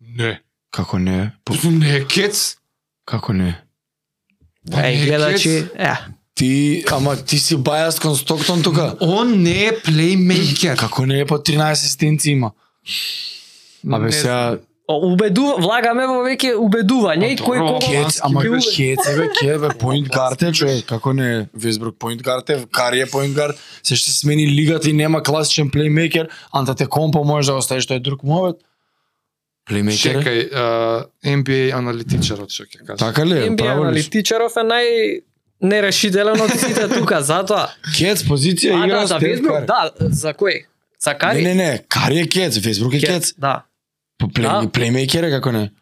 Speaker 1: не.
Speaker 2: Како не? По-
Speaker 1: Не е Кец.
Speaker 2: Како не?
Speaker 1: Па не
Speaker 3: Е,
Speaker 1: е
Speaker 3: гледачи,
Speaker 1: Кец.
Speaker 3: е.
Speaker 2: Ти, ама ти си бајас кон Стоктон тука.
Speaker 1: Он не е плеймейкер.
Speaker 2: Како не е по 13 асистенци има? Абе
Speaker 1: Не
Speaker 2: сега
Speaker 3: О, Убедува, влагаме во веќе убедување и
Speaker 1: Па
Speaker 3: кој
Speaker 1: добро,
Speaker 3: кого
Speaker 1: ке-
Speaker 2: Кец, ама
Speaker 3: ќе
Speaker 2: кец,
Speaker 3: уве-
Speaker 2: кец, бе, кец, бе, поинт гард е, човек, како не е? Везбрук поинт гард е, Кари е поинт гард, се ще смени лигата и нема класичен плеймейкер, анта те компо можеш да оставиш, тој е друг мовет. Плеймейкер е?
Speaker 1: Чекај, а, NBA аналитичарот што ќе каже.
Speaker 2: Така ли е?
Speaker 3: NBA
Speaker 2: Право ли? си?
Speaker 3: аналитичаров е нај нерешителен од сите тука, затоа.
Speaker 2: Кец, позиција,
Speaker 3: А, да,
Speaker 2: игра,
Speaker 3: за
Speaker 2: Стеф
Speaker 3: Везбрук,
Speaker 2: Кари.
Speaker 3: да, за кој? За
Speaker 2: Не,
Speaker 3: Кари?
Speaker 2: не, не, Кари е кец, Везбрук е кец.
Speaker 3: Да.
Speaker 2: Па плей-
Speaker 3: Да.
Speaker 2: Плеймейкер е, како не?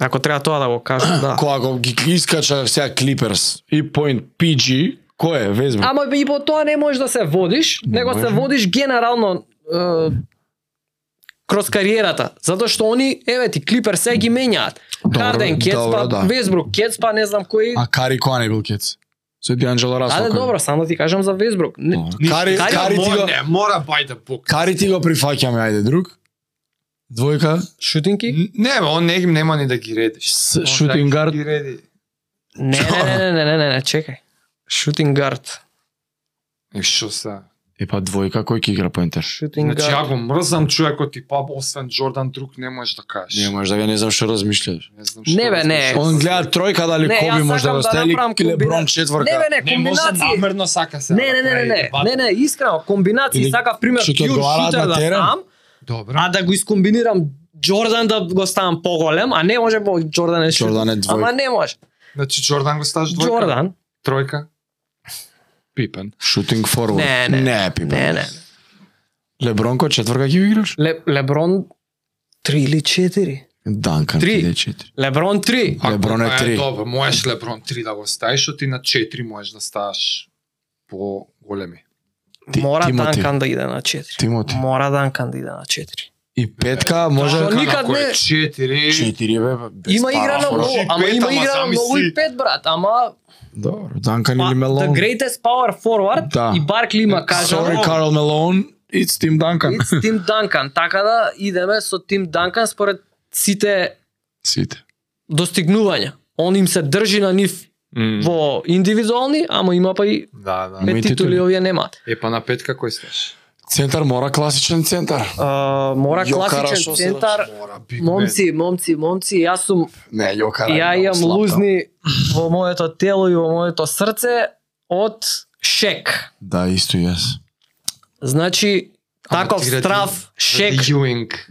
Speaker 3: Ако треба тоа да го кажам, да.
Speaker 2: Кога го ги искача сега Клиперс и поинт PG, кој е Везбрук?
Speaker 3: Ама и по тоа не можеш да се водиш,
Speaker 2: Не
Speaker 3: него се
Speaker 2: може.
Speaker 3: водиш генерално е, кроз кариерата, затоа што они, еве ти, Клипер се ги менјаат.
Speaker 2: Добро,
Speaker 3: Харден, Кец,
Speaker 2: добро,
Speaker 3: па
Speaker 2: да.
Speaker 3: Везбрук, Кец, па не знам кој.
Speaker 2: А Кари која не бил кец? Се Дианджело Расел.
Speaker 3: Ајде
Speaker 2: кој е?
Speaker 3: добро, само да ти кажам за Везбрук. Не,
Speaker 2: Па. Кари,
Speaker 3: Кари
Speaker 2: Кари ти го...
Speaker 1: Не, мора by the book.
Speaker 2: Кари ти го прифаќаме, ајде друг. Двојка,
Speaker 3: шутинки?
Speaker 1: Не, бе, он не, нема ни да ги редиш.
Speaker 2: С-
Speaker 1: Он
Speaker 2: шутинг
Speaker 1: да
Speaker 2: гард.
Speaker 1: ги реди.
Speaker 3: Не, не, не, не, не, не, не, не, чекај. Шутинг гард.
Speaker 1: И што се?
Speaker 2: е па двојка кој ќе игра поентер?
Speaker 3: Шутинг
Speaker 1: Значи, ја
Speaker 3: гард.
Speaker 1: го мрзам човекот и па, освен Джордан, друг не можеш да кажеш.
Speaker 2: Не може да ве не знам што размислуваш.
Speaker 1: Не знам да значи.
Speaker 3: Не, бе, не.
Speaker 1: размислуваш.
Speaker 2: Он гледа тројка дали
Speaker 3: Не,
Speaker 2: Коби
Speaker 3: јас
Speaker 2: може да
Speaker 3: сакам
Speaker 2: го
Speaker 3: да
Speaker 2: стели
Speaker 3: направам
Speaker 2: или Леброн
Speaker 3: комбина-
Speaker 2: четворка.
Speaker 3: Не, бе, не,
Speaker 1: Не може
Speaker 3: комбинации.
Speaker 1: намерно сака се. да
Speaker 3: Не, не, не, не, не, не, не, искрено, комбинации
Speaker 2: Или
Speaker 3: сакав пример
Speaker 2: ќе
Speaker 3: Кјур
Speaker 2: одговараат
Speaker 3: шутер
Speaker 2: на
Speaker 3: да
Speaker 2: терен?
Speaker 3: сам,
Speaker 1: Добра.
Speaker 3: а да го искомбинирам Джордан да го ставам поголем, а не може по Джордан е шутер.
Speaker 2: Джордан е
Speaker 3: Ама
Speaker 2: двојка.
Speaker 3: не може.
Speaker 1: Значи, Джордан го ставаш двојка?
Speaker 3: Джордан.
Speaker 1: Тројка? Пипен.
Speaker 2: Шутинг форвард.
Speaker 3: Не, не.
Speaker 2: не, пипа.
Speaker 3: Не, не.
Speaker 2: Леброн кој четворка ќе го играш?
Speaker 3: Ле, Леброн 3 или 4?
Speaker 2: Данкан
Speaker 3: Три.
Speaker 2: ти е четири.
Speaker 3: Леброн 3.
Speaker 1: Ако
Speaker 2: Леброн е
Speaker 1: тоа
Speaker 2: три.
Speaker 1: Добро, можеш Леброн 3 да го ставиш, оти на 4 можеш да ставаш по големи.
Speaker 2: Ти-
Speaker 3: Мора
Speaker 2: Тимоти.
Speaker 3: Данкан да иде на 4.
Speaker 2: Тимоти.
Speaker 3: Мора Данкан да иде на 4.
Speaker 2: И петка може
Speaker 3: Тоа
Speaker 1: Така,
Speaker 3: никад
Speaker 1: ако е
Speaker 3: не-
Speaker 1: 4...
Speaker 2: четири бе. без
Speaker 3: Има
Speaker 2: пара,
Speaker 3: игра на
Speaker 2: фора.
Speaker 3: многу,
Speaker 1: Значи
Speaker 3: ама
Speaker 1: пет,
Speaker 3: има
Speaker 1: ама
Speaker 3: игра на
Speaker 1: замисли-
Speaker 3: многу и 5 брат, ама
Speaker 2: Добро, Данкан
Speaker 3: па,
Speaker 2: или
Speaker 3: the
Speaker 2: Мелон.
Speaker 3: greatest power forward
Speaker 2: Да.
Speaker 3: и Баркли има кажа.
Speaker 2: Sorry, Карл Мелон. It's Тим Данкан.
Speaker 3: It's Тим Данкан, така да идеме со Тим Данкан според сите
Speaker 2: Сите.
Speaker 3: достигнувања. Он им се држи на нив во индивидуални, ама има па и
Speaker 1: Да, да.
Speaker 2: Ме-
Speaker 3: пет
Speaker 2: титули.
Speaker 3: титули овие немаат.
Speaker 1: Е, па на петка кој ставаш?
Speaker 2: Центар мора класичен центар.
Speaker 3: А, мора
Speaker 2: Јо
Speaker 3: класичен
Speaker 2: Карашо се
Speaker 3: центар.
Speaker 1: Мора, Биг
Speaker 3: Момци, момци, момци, јас сум
Speaker 2: Не, Јокара.
Speaker 3: ја
Speaker 2: е много
Speaker 3: имам
Speaker 2: слаб, да.
Speaker 3: лузни во моето тело и во моето срце од шек.
Speaker 2: Да, Да, исто и јас.
Speaker 3: Значи,
Speaker 1: Ама
Speaker 3: таков
Speaker 1: ти гради-
Speaker 3: страв, шек.
Speaker 1: Юинг.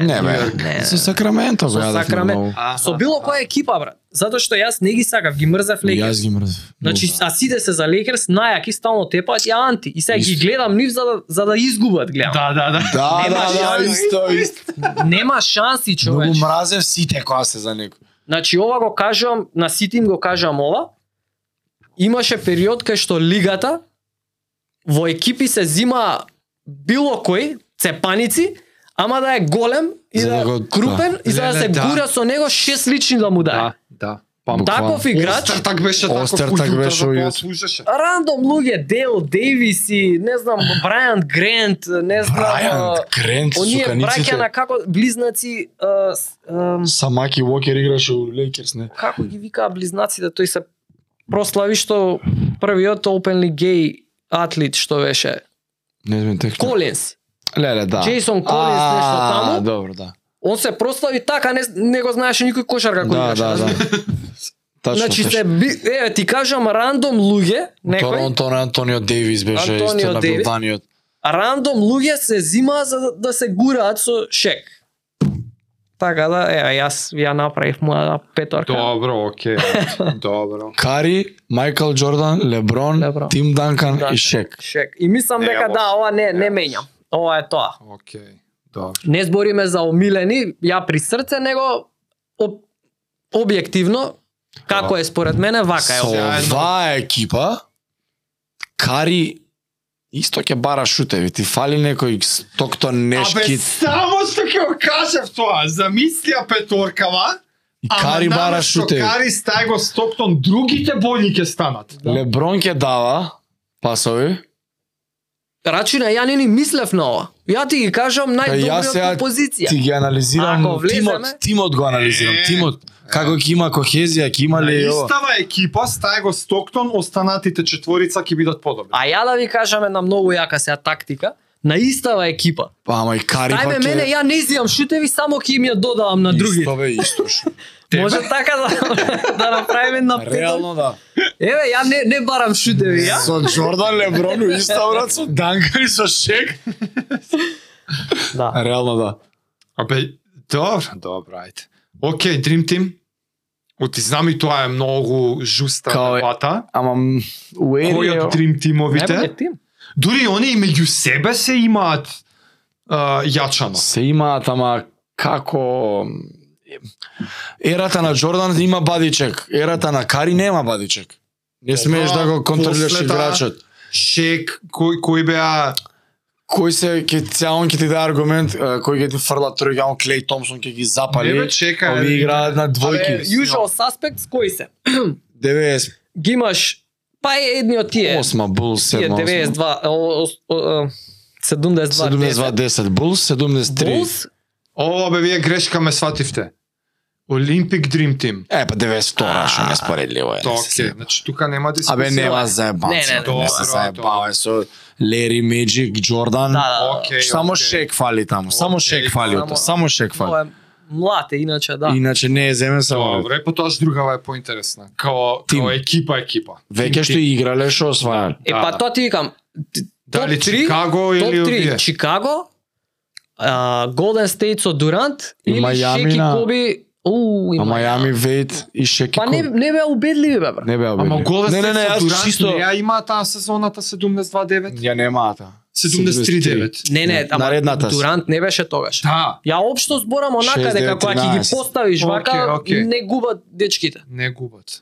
Speaker 2: Не, бе.
Speaker 3: не.
Speaker 2: Со Сакраменто го
Speaker 3: Со
Speaker 2: јадев
Speaker 3: Сакрамен-
Speaker 2: Сакраменто.
Speaker 3: Со било која екипа, брат. Затоа што јас не ги сакав, ги мрзав
Speaker 2: Јас
Speaker 3: Лейкерс.
Speaker 2: ги мрзев.
Speaker 3: Значи,
Speaker 2: Много.
Speaker 3: а сите се за Лейкерс, најаки стално тепаат ја анти. И сега ги
Speaker 2: Исто.
Speaker 3: гледам нив за да, за да изгубат, гледам.
Speaker 1: Да, да, да.
Speaker 2: Да,
Speaker 3: нема
Speaker 2: да, да,
Speaker 3: шанс.
Speaker 2: исто, исто.
Speaker 3: Нема шанси, човеч.
Speaker 2: Многу мразев сите која се за некој.
Speaker 3: Значи ова го кажувам, на сите им го кажувам ова. Имаше период кај што лигата во екипи се зима било кој цепаници, ама да е голем и
Speaker 2: За
Speaker 3: да,
Speaker 2: да
Speaker 3: е
Speaker 2: го-
Speaker 3: крупен и за да
Speaker 1: Леле,
Speaker 3: се
Speaker 1: да.
Speaker 3: гура со него шест лични да му дае.
Speaker 1: да.
Speaker 2: Буквално.
Speaker 3: Таков играч,
Speaker 1: Остар так беше таков
Speaker 2: Остар
Speaker 1: ујутар,
Speaker 2: так беше
Speaker 1: за тоа
Speaker 2: ујутар.
Speaker 1: да слушаше.
Speaker 3: рандом луѓе, Дейл Дейвис и не знам Брајан Грент, не знам
Speaker 2: Брајан,
Speaker 3: а,
Speaker 2: Грент,
Speaker 3: оние браќа на
Speaker 2: суканиците.
Speaker 3: како близнаци а, с- а,
Speaker 2: Самаки Уокер играше у Лейкерс, не?
Speaker 3: како ги викаа близнаците, тој се прослави што првиот openly gay атлет што беше.
Speaker 2: Не знам тек.
Speaker 3: Колинс.
Speaker 2: Леле, да.
Speaker 3: Джейсон Колинс нешто
Speaker 2: А,
Speaker 3: таму.
Speaker 2: Добро, да.
Speaker 3: Он се прослави така, не, не го знаеше никој кошарка кој
Speaker 2: Да,
Speaker 3: играше.
Speaker 2: да, да.
Speaker 3: разбираш?
Speaker 2: Тачно,
Speaker 3: Значи
Speaker 2: тачно.
Speaker 3: се би, еве ти кажам рандом луѓе, некој
Speaker 2: Торонто на Антонио Дейвис беше
Speaker 3: Антонио
Speaker 2: исто
Speaker 3: Дейвис.
Speaker 2: наблюданиот.
Speaker 3: рандом луѓе се зима за да, да се гураат со шек. Така да, еве јас ја направив моја петорка.
Speaker 1: Добро, окей. Добро.
Speaker 2: Кари, Майкл Джордан, Леброн,
Speaker 3: Леброн.
Speaker 2: Тим Данкан
Speaker 3: Данкан.
Speaker 2: и Шек.
Speaker 3: Шек. И мислам
Speaker 1: Не,
Speaker 3: дека
Speaker 1: ова-
Speaker 3: да, ова не не менјам. Ова е тоа.
Speaker 1: Окей. Добро.
Speaker 3: не збориме за омилени, ја при срце, него об, објективно, како е според мене, вака е.
Speaker 2: Со
Speaker 3: ова.
Speaker 1: Сеајно.
Speaker 2: оваа екипа, Кари исто ќе бара шутеви. Ти фали некој стокто
Speaker 1: Абе,
Speaker 2: нешки.
Speaker 1: само што ќе го кажев тоа, замислија петоркава,
Speaker 2: И
Speaker 1: ама
Speaker 2: Кари
Speaker 1: наместо
Speaker 2: бара шутеви.
Speaker 1: Кари стај го Стоктон, другите бољи ќе станат.
Speaker 3: Да.
Speaker 2: Леброн ќе дава пасови.
Speaker 3: Рачина, ја не ни мислев на ова. Ја ти ги кажам
Speaker 2: Па, ја
Speaker 3: најдобриот
Speaker 2: сега
Speaker 3: по позиција.
Speaker 2: Ти ги анализирам
Speaker 3: Ако влеземе-
Speaker 2: тимот, тимот го анализирам,
Speaker 1: Е,
Speaker 2: тимот. Како ќе има кохезија, ќе има
Speaker 1: На
Speaker 2: ли ова?
Speaker 1: Истава екипа, стај го Стоктон, останатите четворица ќе бидат подобри.
Speaker 3: А ја да ви кажам една многу јака сега тактика, на истава екипа.
Speaker 2: Па, Ама и Кари
Speaker 3: Тајме
Speaker 2: пак
Speaker 3: мене,
Speaker 2: е
Speaker 3: ја не изијам шутеви, само ќе им ја додавам на други.
Speaker 2: Исто бе, исто. шо.
Speaker 3: Може така да, да направиме на петок.
Speaker 2: Реално да.
Speaker 3: Еве, ја не, не барам шутеви, ја.
Speaker 2: Со Джордан Леброн у иста брат, со Данкан и со Шек.
Speaker 3: Да.
Speaker 2: Реално да.
Speaker 1: Абе, добро, добро, ајде. Океј, Dream Team. Оти знам и тоа е многу жуста
Speaker 2: Као е-
Speaker 1: дебата.
Speaker 2: Ама
Speaker 1: Кој од
Speaker 2: Уери
Speaker 1: Dream Teamовите?
Speaker 3: Најбоље тим.
Speaker 1: Дури они и меѓу себе се имаат а, јачама.
Speaker 2: се имаат ама како Ерата на Джордан има бадичек, ерата на Кари нема бадичек. Не смееш да го контролираш
Speaker 1: после таа-
Speaker 2: играчот.
Speaker 1: Шек, кој кој беа
Speaker 2: кој се ќе ця он ќе ти даде аргумент а, кој ќе ти фрла трој он Клей Томпсон ќе ги запали.
Speaker 1: Не бе, чека,
Speaker 2: Ови
Speaker 1: е,
Speaker 2: играат на
Speaker 3: Абе,
Speaker 2: двојки.
Speaker 3: usual suspects кои се?
Speaker 2: 90
Speaker 3: ги имаш па е едни од тие
Speaker 2: осма Булс
Speaker 3: тие
Speaker 2: 7
Speaker 3: 92 о, о, о, 72
Speaker 2: 72-10 Булс 73.
Speaker 3: Булс
Speaker 1: О, бе, вие грешка ме свативте. Олимпик Dream Team.
Speaker 2: Е, па 92 што не споредливо е.
Speaker 1: Тоа
Speaker 2: не се
Speaker 1: окей, значи тука нема дискусија.
Speaker 2: Абе нема
Speaker 3: Не,
Speaker 2: заебан.
Speaker 3: не,
Speaker 2: се,
Speaker 3: не,
Speaker 2: Не се
Speaker 1: добро,
Speaker 2: заебава е со Лери Меджик, Джордан.
Speaker 3: да да
Speaker 1: Окей,
Speaker 2: Само
Speaker 1: окей.
Speaker 2: Шек фали таму, само
Speaker 1: Окей,
Speaker 2: Шек фали
Speaker 3: само-
Speaker 2: ота, само Шек
Speaker 3: да
Speaker 2: фали.
Speaker 3: тоа е млад е иначе да
Speaker 2: Иначе не е земен само.
Speaker 1: Добре, потоа другава е поинтересна. Као,
Speaker 2: Тим.
Speaker 1: као екипа, екипа.
Speaker 2: Веќе што играле што освајале.
Speaker 3: е па
Speaker 1: да.
Speaker 3: тоа ти викам
Speaker 1: Дали
Speaker 3: топ три,
Speaker 1: Чикаго
Speaker 3: топ
Speaker 1: или
Speaker 3: 3
Speaker 1: овие?
Speaker 3: Чикаго а, Голден Стейт со Дурант
Speaker 2: И
Speaker 3: или
Speaker 2: Мајами
Speaker 3: Шеки
Speaker 2: на-
Speaker 3: Коби у и
Speaker 2: А
Speaker 3: Мајами.
Speaker 2: Мајами Вейт и Шек и
Speaker 3: па не
Speaker 2: Кол.
Speaker 3: не беа убедливи бе брат
Speaker 2: не беа
Speaker 1: Ама Голден
Speaker 2: Не, не, не,
Speaker 1: Стейт со
Speaker 2: јас
Speaker 1: Дурант
Speaker 2: чисто
Speaker 1: не ја има таа сезоната 72-9?
Speaker 2: ја немаат.
Speaker 1: 73-9.
Speaker 3: не не ама
Speaker 2: Наредната се.
Speaker 3: Дурант не беше тогаш
Speaker 1: Да,
Speaker 3: Ја општо зборам онака
Speaker 2: 6,
Speaker 3: дека кога ќе ги
Speaker 2: 13.
Speaker 3: поставиш
Speaker 1: Океј,
Speaker 3: вака
Speaker 1: океј.
Speaker 3: не губат дечките.
Speaker 1: не губат.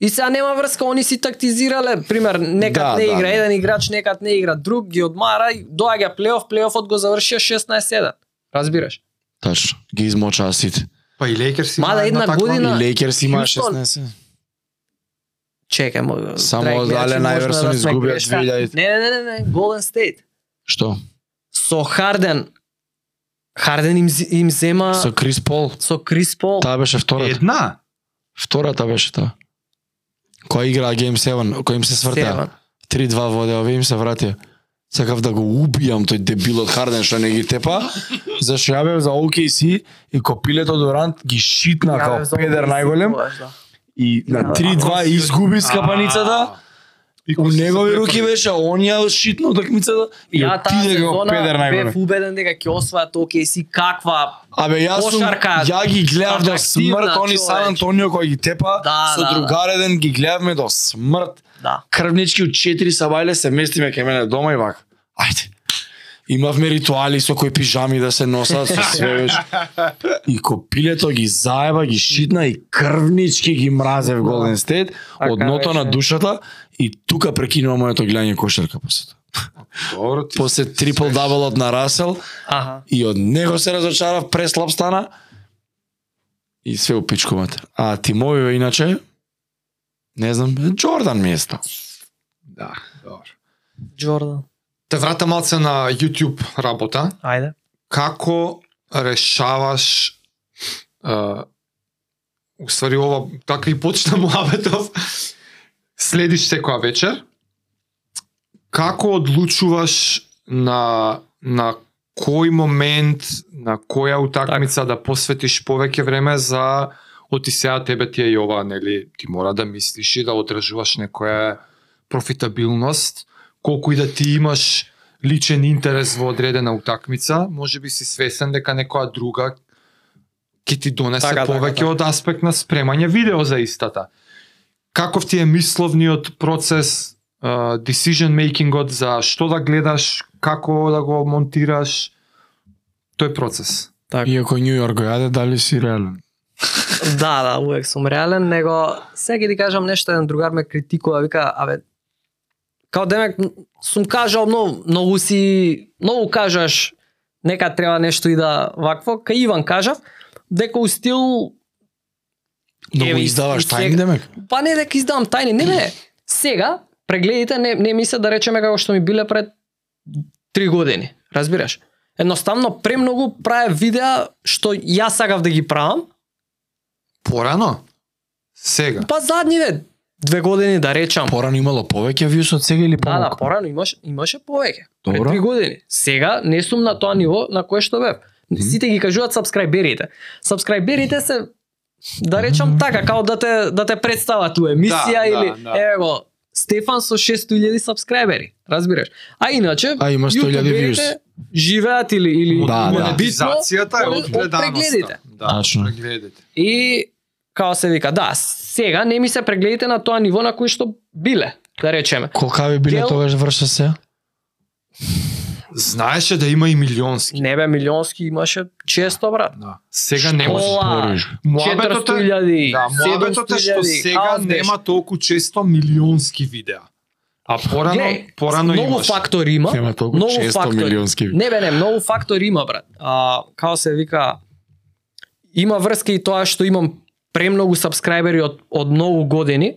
Speaker 3: И сега нема врска, они си тактизирале, пример, некад
Speaker 2: Да,
Speaker 3: не
Speaker 2: да,
Speaker 3: игра
Speaker 2: да.
Speaker 3: еден играч, некад не игра друг, ги одмара и доаѓа плейоф, плейофот го завршија 16-7. Разбираш?
Speaker 2: Тачно, ги измочаа сите.
Speaker 1: Па и Лейкерс
Speaker 3: Мада една
Speaker 2: И
Speaker 3: година- На-
Speaker 2: Лейкерс има
Speaker 3: Хјустон.
Speaker 2: 16.
Speaker 3: Чекај, му,
Speaker 2: Само
Speaker 3: драги
Speaker 2: дале
Speaker 3: гледачи,
Speaker 2: најверојатно
Speaker 3: можна да сме
Speaker 2: изгубија
Speaker 3: грешка.
Speaker 2: 2000.
Speaker 3: Не, не, не, не, не, Golden State.
Speaker 2: Што?
Speaker 3: Со Харден, Харден им, зи- им зема
Speaker 2: Со
Speaker 3: со,
Speaker 2: Крис Пол.
Speaker 3: Крис Пол.
Speaker 2: Таа беше втората.
Speaker 1: Една?
Speaker 2: Втората беше таа. Која игра Game 7, кој им се свртеа.
Speaker 3: Севан.
Speaker 2: 3-2 воде, овие им се вратија. Сакав да го убијам тој дебилот Харден што не ги тепа. Зашто ја бев за OKC и копилето Дорант ги шитна
Speaker 3: Така,
Speaker 2: као педер најголем и на 3-2 изгуби скапаницата.
Speaker 1: И
Speaker 2: У
Speaker 1: кој се
Speaker 2: негови
Speaker 1: запрепали.
Speaker 2: руки беше, он ја шитна утакмицата и
Speaker 3: Ја таа
Speaker 2: отиде го
Speaker 3: сезона
Speaker 2: педер
Speaker 3: бев
Speaker 2: најголем.
Speaker 3: убеден дека ќе освојат OKC каква
Speaker 2: Абе јас сум
Speaker 3: Кошарка,
Speaker 2: ја ги гледав до
Speaker 3: атрактивна,
Speaker 2: смрт, они Сан
Speaker 3: човече.
Speaker 2: Антонио кој ги тепа,
Speaker 3: Да,
Speaker 2: со
Speaker 3: да, да.
Speaker 2: другареден ги гледавме до смрт.
Speaker 3: да.
Speaker 2: крвнички од 4 сабајле се местиме кај мене дома и вака. Ајде. Имавме ритуали со кои пижами да се носат, со све веш. И копилето ги заеба, ги шитна и крвнички ги мразев Голден Стейт
Speaker 3: Така
Speaker 2: од ното на
Speaker 3: беше.
Speaker 2: душата и тука прекинува моето гледање кошарка после тоа.
Speaker 1: Добро, ти
Speaker 2: После трипл даблот на Расел
Speaker 3: Аха.
Speaker 2: и од него се разочарав, преслаб стана и све у пичку матер. А тимовиве иначе не знам, Джордан ми е стал.
Speaker 1: Да, добро.
Speaker 3: Джордан.
Speaker 1: Те врата малце на YouTube работа.
Speaker 3: Ајде.
Speaker 1: Како решаваш е, уствари ова, така и почна муабетов, следиш секоја вечер, како одлучуваш на, на кој момент, на која утакмица да посветиш повеќе време за оти сега тебе ти е и ова, нели, ти мора да мислиш и да одржуваш некоја профитабилност, колку и да ти имаш личен интерес во одредена утакмица, може би си свесен дека некоја друга ќе ти донесе
Speaker 3: Така, така,
Speaker 1: повеќе
Speaker 3: така.
Speaker 1: од аспект на спремање видео за истата. Каков ти е мисловниот процес, а, decision makingот за што да гледаш, како да го монтираш, тој процес.
Speaker 3: Така.
Speaker 4: Иако Нью Йорк го јаде, дали си реален?
Speaker 3: Да, да, увек сум реален, него сега ќе ти кажам нешто, еден другар ме критикува, вика, абе, као демек сум кажал многу, многу си, многу кажаш, нека треба нешто и да вакво, кај Иван кажав, дека у стил
Speaker 2: Да
Speaker 3: Еве,
Speaker 2: го
Speaker 3: и-
Speaker 2: издаваш
Speaker 3: и
Speaker 2: тајни
Speaker 3: сега-
Speaker 2: демек.
Speaker 3: Па не дека издавам тајни, не не. Сега прегледите не не мисля да речеме како што ми биле пред 3 години, разбираш? Едноставно премногу правев видеа што јас сакав да ги правам,
Speaker 1: Порано? Сега.
Speaker 3: па задниве две години да речам.
Speaker 2: Порано имало повеќе вјус од сега или
Speaker 3: Да, да,
Speaker 2: помалку?
Speaker 3: порано имаше имаше повеќе. Пред
Speaker 2: Добро.
Speaker 3: 3 години. Сега не сум на тоа ниво на кое што бев. Сите ги кажуваат сабскрајберите. Сабскрајберите се да речам така, као да те да те представат у емисија
Speaker 1: Да,
Speaker 3: или
Speaker 1: да, да.
Speaker 3: еве го Стефан со 600.000 сабскрајбери, разбираш? А иначе
Speaker 2: А има 100.000
Speaker 3: јутуберите
Speaker 2: views.
Speaker 3: живеат или или
Speaker 2: Да, да.
Speaker 1: Монетизацијата е
Speaker 3: битно,
Speaker 1: од гледаноста.
Speaker 3: прегледите.
Speaker 1: Да,
Speaker 2: Точно.
Speaker 1: прегледите.
Speaker 3: И као се вика, да, сега не ми се прегледите на тоа ниво на кој што биле, да речеме.
Speaker 2: Колкави биле
Speaker 3: Дел-
Speaker 2: тогаш врша се?
Speaker 1: Знаеше да има и милионски.
Speaker 3: Не бе милионски имаше често брат.
Speaker 1: Да. Сега нема.
Speaker 3: Ола,
Speaker 1: Муабетот е
Speaker 3: 400.000,
Speaker 1: Да, муабетот е што
Speaker 3: 700.000,
Speaker 1: сега
Speaker 3: као беше.
Speaker 1: нема толку често милионски видеа. А порано,
Speaker 3: Глеј,
Speaker 1: порано
Speaker 3: многу
Speaker 1: имаш.
Speaker 3: фактори има.
Speaker 2: Нема толку
Speaker 3: Многу
Speaker 2: 600
Speaker 3: фактори.
Speaker 2: милионски.
Speaker 3: Не бе, не, многу фактори има брат. А како се вика има врска и тоа што имам премногу сабскрајбери од од многу години.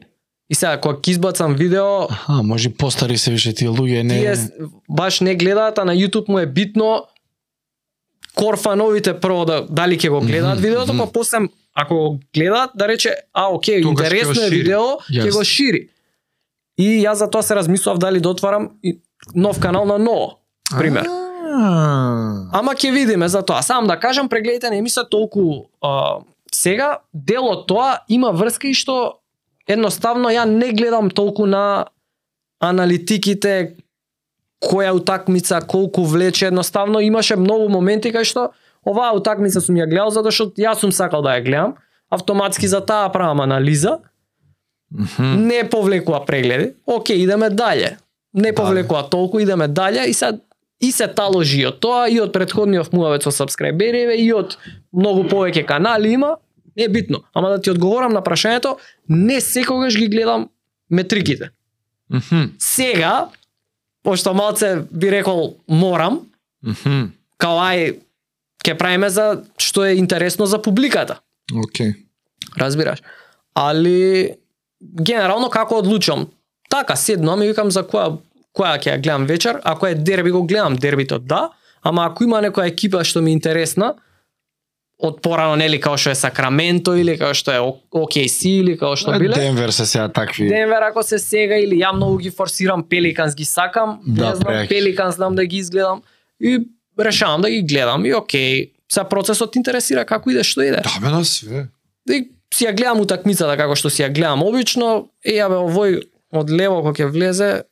Speaker 3: И сега кога ќе избацам видео,
Speaker 2: Аха, може и постари се више тие луѓе, не.
Speaker 3: тие с- баш не гледаат, а на YouTube му е битно корфановите прво да дали ќе го гледаат
Speaker 2: Мгм,
Speaker 3: видеото,
Speaker 2: мгм.
Speaker 3: па после ако го гледаат да рече а
Speaker 1: Тогаш
Speaker 3: оке,
Speaker 1: ќе го
Speaker 3: интересно е
Speaker 1: шири.
Speaker 3: видео, ќе
Speaker 2: Јасно.
Speaker 3: го шири. И јас за тоа се размислував дали да отварам и нов канал на ново, пример.
Speaker 2: А,
Speaker 3: Ама ќе видиме за тоа. Сам да кажам, прегледите не мисля толку а, сега, дел од тоа има врска и што едноставно ја не гледам толку на аналитиките која утакмица, колку влече, едноставно имаше многу моменти кај што оваа утакмица сум ја гледал затоа што јас сум сакал да ја гледам, автоматски за таа правам анализа,
Speaker 2: мгм.
Speaker 3: не повлекува прегледи. Океј, идеме дале. Не повлекува толку, идеме дале и се и се таложи од тоа и од претходниот муавец со сабскрајбериве и од многу повеќе канали има, не е битно. Ама да ти одговорам на прашањето, не секогаш ги гледам метриките.
Speaker 1: Мгм,
Speaker 3: Сега, пошто малце би рекол морам,
Speaker 1: мгм.
Speaker 3: као ај, ке правиме за што е интересно за публиката.
Speaker 1: Океј.
Speaker 3: Разбираш. Али генерално како одлучам? Така седнам и викам за која која ќе ја гледам вечер, ако е дерби го гледам дербито, да, ама ако има некоја екипа што ми е интересна, од порано, нели, као што е Сакраменто или као што е ОКС или као што биле.
Speaker 4: Денвер се сега такви.
Speaker 3: Денвер ако се сега или ја многу ги форсирам Пеликанс ги сакам,
Speaker 4: Да,
Speaker 3: не знам
Speaker 4: преки.
Speaker 3: Пеликанс знам да ги изгледам и решавам да ги гледам и окей, са процесот интересира како иде што иде.
Speaker 1: Да, бе, на све.
Speaker 3: И си ја гледам утакмицата како што си ја гледам обично, е ја бе овој од лево кој ќе влезе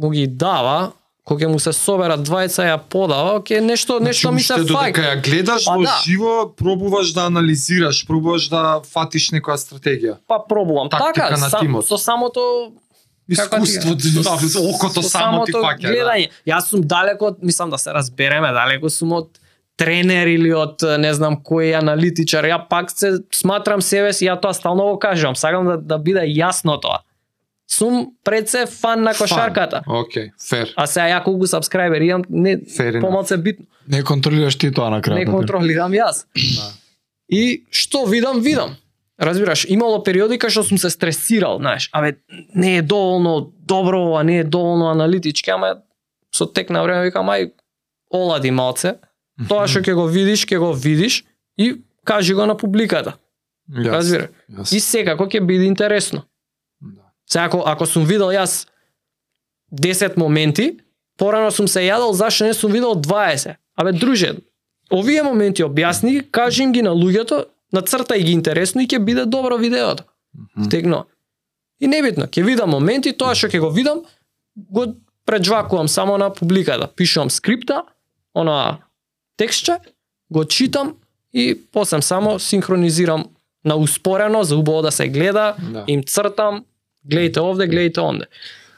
Speaker 3: му ги дава, кој ќе му се собера двајца ја подава, окей, нешто нешто ми се
Speaker 1: Значи, уште
Speaker 3: фаќа.
Speaker 1: Додека ја гледаш
Speaker 3: Па
Speaker 1: во
Speaker 3: да.
Speaker 1: живо, пробуваш да анализираш, пробуваш да фатиш некоја стратегија.
Speaker 3: Па пробувам.
Speaker 1: Тактика
Speaker 3: Така,
Speaker 1: на
Speaker 3: сам,
Speaker 1: тимот.
Speaker 3: со самото Како ти е?
Speaker 1: Искуството, да, окото само ти фаќа. да.
Speaker 3: гледање. Јас сум далеко, од- мислам да се разбереме, далеко сум од тренер или од е, не знам кој аналитичар. Ја пак се сматрам себе си, ја тоа стално го кажам. Сакам да, да биде јасно тоа. Сум пред се фан на
Speaker 1: Фан.
Speaker 3: кошарката.
Speaker 1: Океј, фер.
Speaker 3: А сега ја колку сабскрајбер имам, не
Speaker 1: Fair enough.
Speaker 3: помалце битно.
Speaker 4: Не контролираш ти тоа на крајот.
Speaker 3: Не контролирам јас.
Speaker 1: Да.
Speaker 3: И што видам, видам. Разбираш, имало периоди кај што сум се стресирал, знаеш, абе не е доволно добро, ова не е доволно аналитички, ама со тек на време викам ај олади малце. Тоа што ќе го видиш, ќе го видиш и кажи го на публиката.
Speaker 1: Јас,
Speaker 3: Разбира.
Speaker 1: јас.
Speaker 3: И секако ќе биде интересно.
Speaker 1: Да.
Speaker 3: Се ако ако сум видел јас 10 моменти, порано сум се јадел зашто не сум видел 20. Абе друже, овие моменти објасни, ги, кажи им ги на луѓето, нацртај ги интересно и ќе биде добро видеото. Стегно. И небитно, ќе видам моменти, тоа што ќе го видам, го преджвакувам само на публиката. Пишувам скрипта, она текстче, го читам и после само синхронизирам на успорено за убаво да се гледа,
Speaker 1: Да.
Speaker 3: им цртам, гледате овде, гледате онде.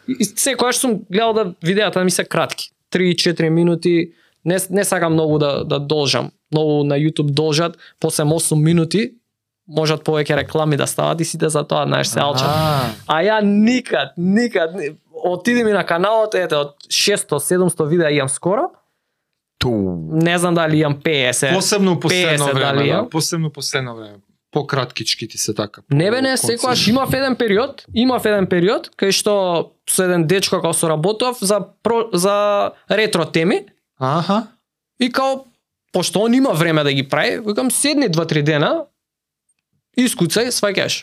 Speaker 3: И- И секогаш сум гледал да видеата ми се кратки, 3-4 минути, не, не сакам многу да, да должам. Многу на YouTube должат, после 8 минути, можат повеќе реклами да стават и сите за тоа, знаеш, се алчат.
Speaker 1: А,
Speaker 3: А ја никад, никад, ни- отиди ми на каналот, ете, од 600-700 видеа имам скоро,
Speaker 2: Ту.
Speaker 3: не знам дали имам 50.
Speaker 1: Посебно последно
Speaker 3: 50
Speaker 1: време,
Speaker 3: дали,
Speaker 1: да,
Speaker 3: ја?
Speaker 1: посебно последно време. Пократкички ти се така.
Speaker 3: Не бе не,
Speaker 1: по-конци-
Speaker 3: секогаш имав еден период, имав еден период, кај што со еден дечко као соработав за, про, за ретро теми,
Speaker 1: Аха.
Speaker 3: И као, пошто он има време да ги прави, викам седни два-три дена, искуцај, сваќаш.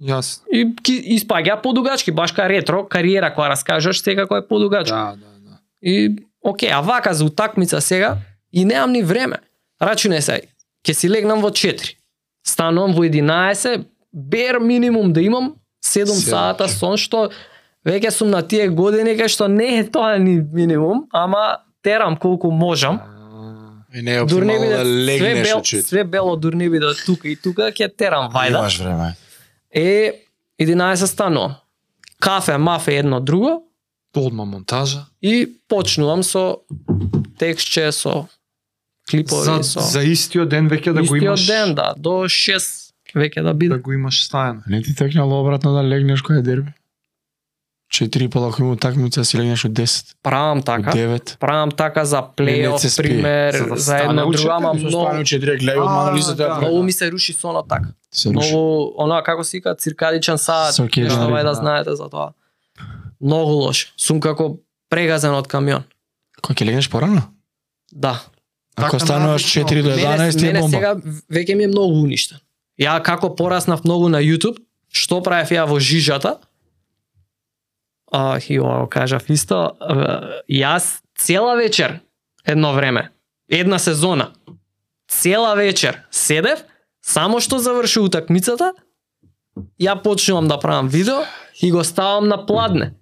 Speaker 1: Јас.
Speaker 3: И ки, испаѓа подугачки, баш ка ретро, кариера која раскажеш, секако е подугачка.
Speaker 1: Да, да, да.
Speaker 3: И, окей, а вака за утакмица сега, и немам ни време. Рачуне се, ќе си легнам во 4. Станувам во 11, бер минимум да имам 7
Speaker 1: Седум.
Speaker 3: сата сон, што веќе сум на тие години кај што не е тоа ни минимум, ама терам колку можам.
Speaker 2: И не е
Speaker 3: Дур не
Speaker 2: оптимално
Speaker 3: биде
Speaker 2: да
Speaker 3: све,
Speaker 2: легнеш
Speaker 3: бел,
Speaker 2: од чит.
Speaker 3: све бело дур не биде тука и тука ќе терам вајда.
Speaker 2: Имаш време.
Speaker 3: Е 11 станувам. Кафе, мафе едно друго
Speaker 1: Одма монтажа.
Speaker 3: и почнувам со текстче со
Speaker 1: За,
Speaker 3: клипови со
Speaker 1: за истиот ден веќе да го
Speaker 3: истиот
Speaker 1: имаш.
Speaker 3: ден да до 6 веќе да
Speaker 1: Да
Speaker 3: биде.
Speaker 1: го имаш стајано.
Speaker 4: Не ти текнало обратно да легнеш кој е дерби? Четири пола кој има такмица си легнеш од 10,
Speaker 3: Правам
Speaker 4: од
Speaker 3: така.
Speaker 4: 9.
Speaker 3: Правам така за
Speaker 4: Не се
Speaker 3: плейоф
Speaker 4: спие.
Speaker 3: пример
Speaker 1: За да
Speaker 3: за
Speaker 1: стане
Speaker 3: едно
Speaker 1: учител,
Speaker 3: друго, ама
Speaker 2: Со
Speaker 3: многу
Speaker 2: Спанио че директ гледај од
Speaker 1: А,
Speaker 2: анализата.
Speaker 1: да.
Speaker 2: ја прави.
Speaker 3: многу ми се руши сонот така.
Speaker 4: Се руши.
Speaker 3: Многу, она како се вика, циркадичен саат,
Speaker 4: Со
Speaker 3: okay,
Speaker 4: кежари,
Speaker 3: што да, да
Speaker 4: да.
Speaker 3: знаете за тоа. Многу лош. Сум како прегазен од камион.
Speaker 4: Кој ќе легнеш порано?
Speaker 3: Да.
Speaker 4: Ако
Speaker 1: Така,
Speaker 4: стануваш
Speaker 1: навично.
Speaker 4: 4 до
Speaker 3: Мене,
Speaker 4: 11 е
Speaker 3: мене
Speaker 4: бомба.
Speaker 3: сега веќе ми е многу уништен. Ја како пораснав многу на YouTube, што правев ја во жижата, а, и ова го кажав исто, а, јас цела вечер, едно време, една сезона, цела вечер седев, само што заврши утакмицата, ја почнувам да правам видео и го ставам на пладне.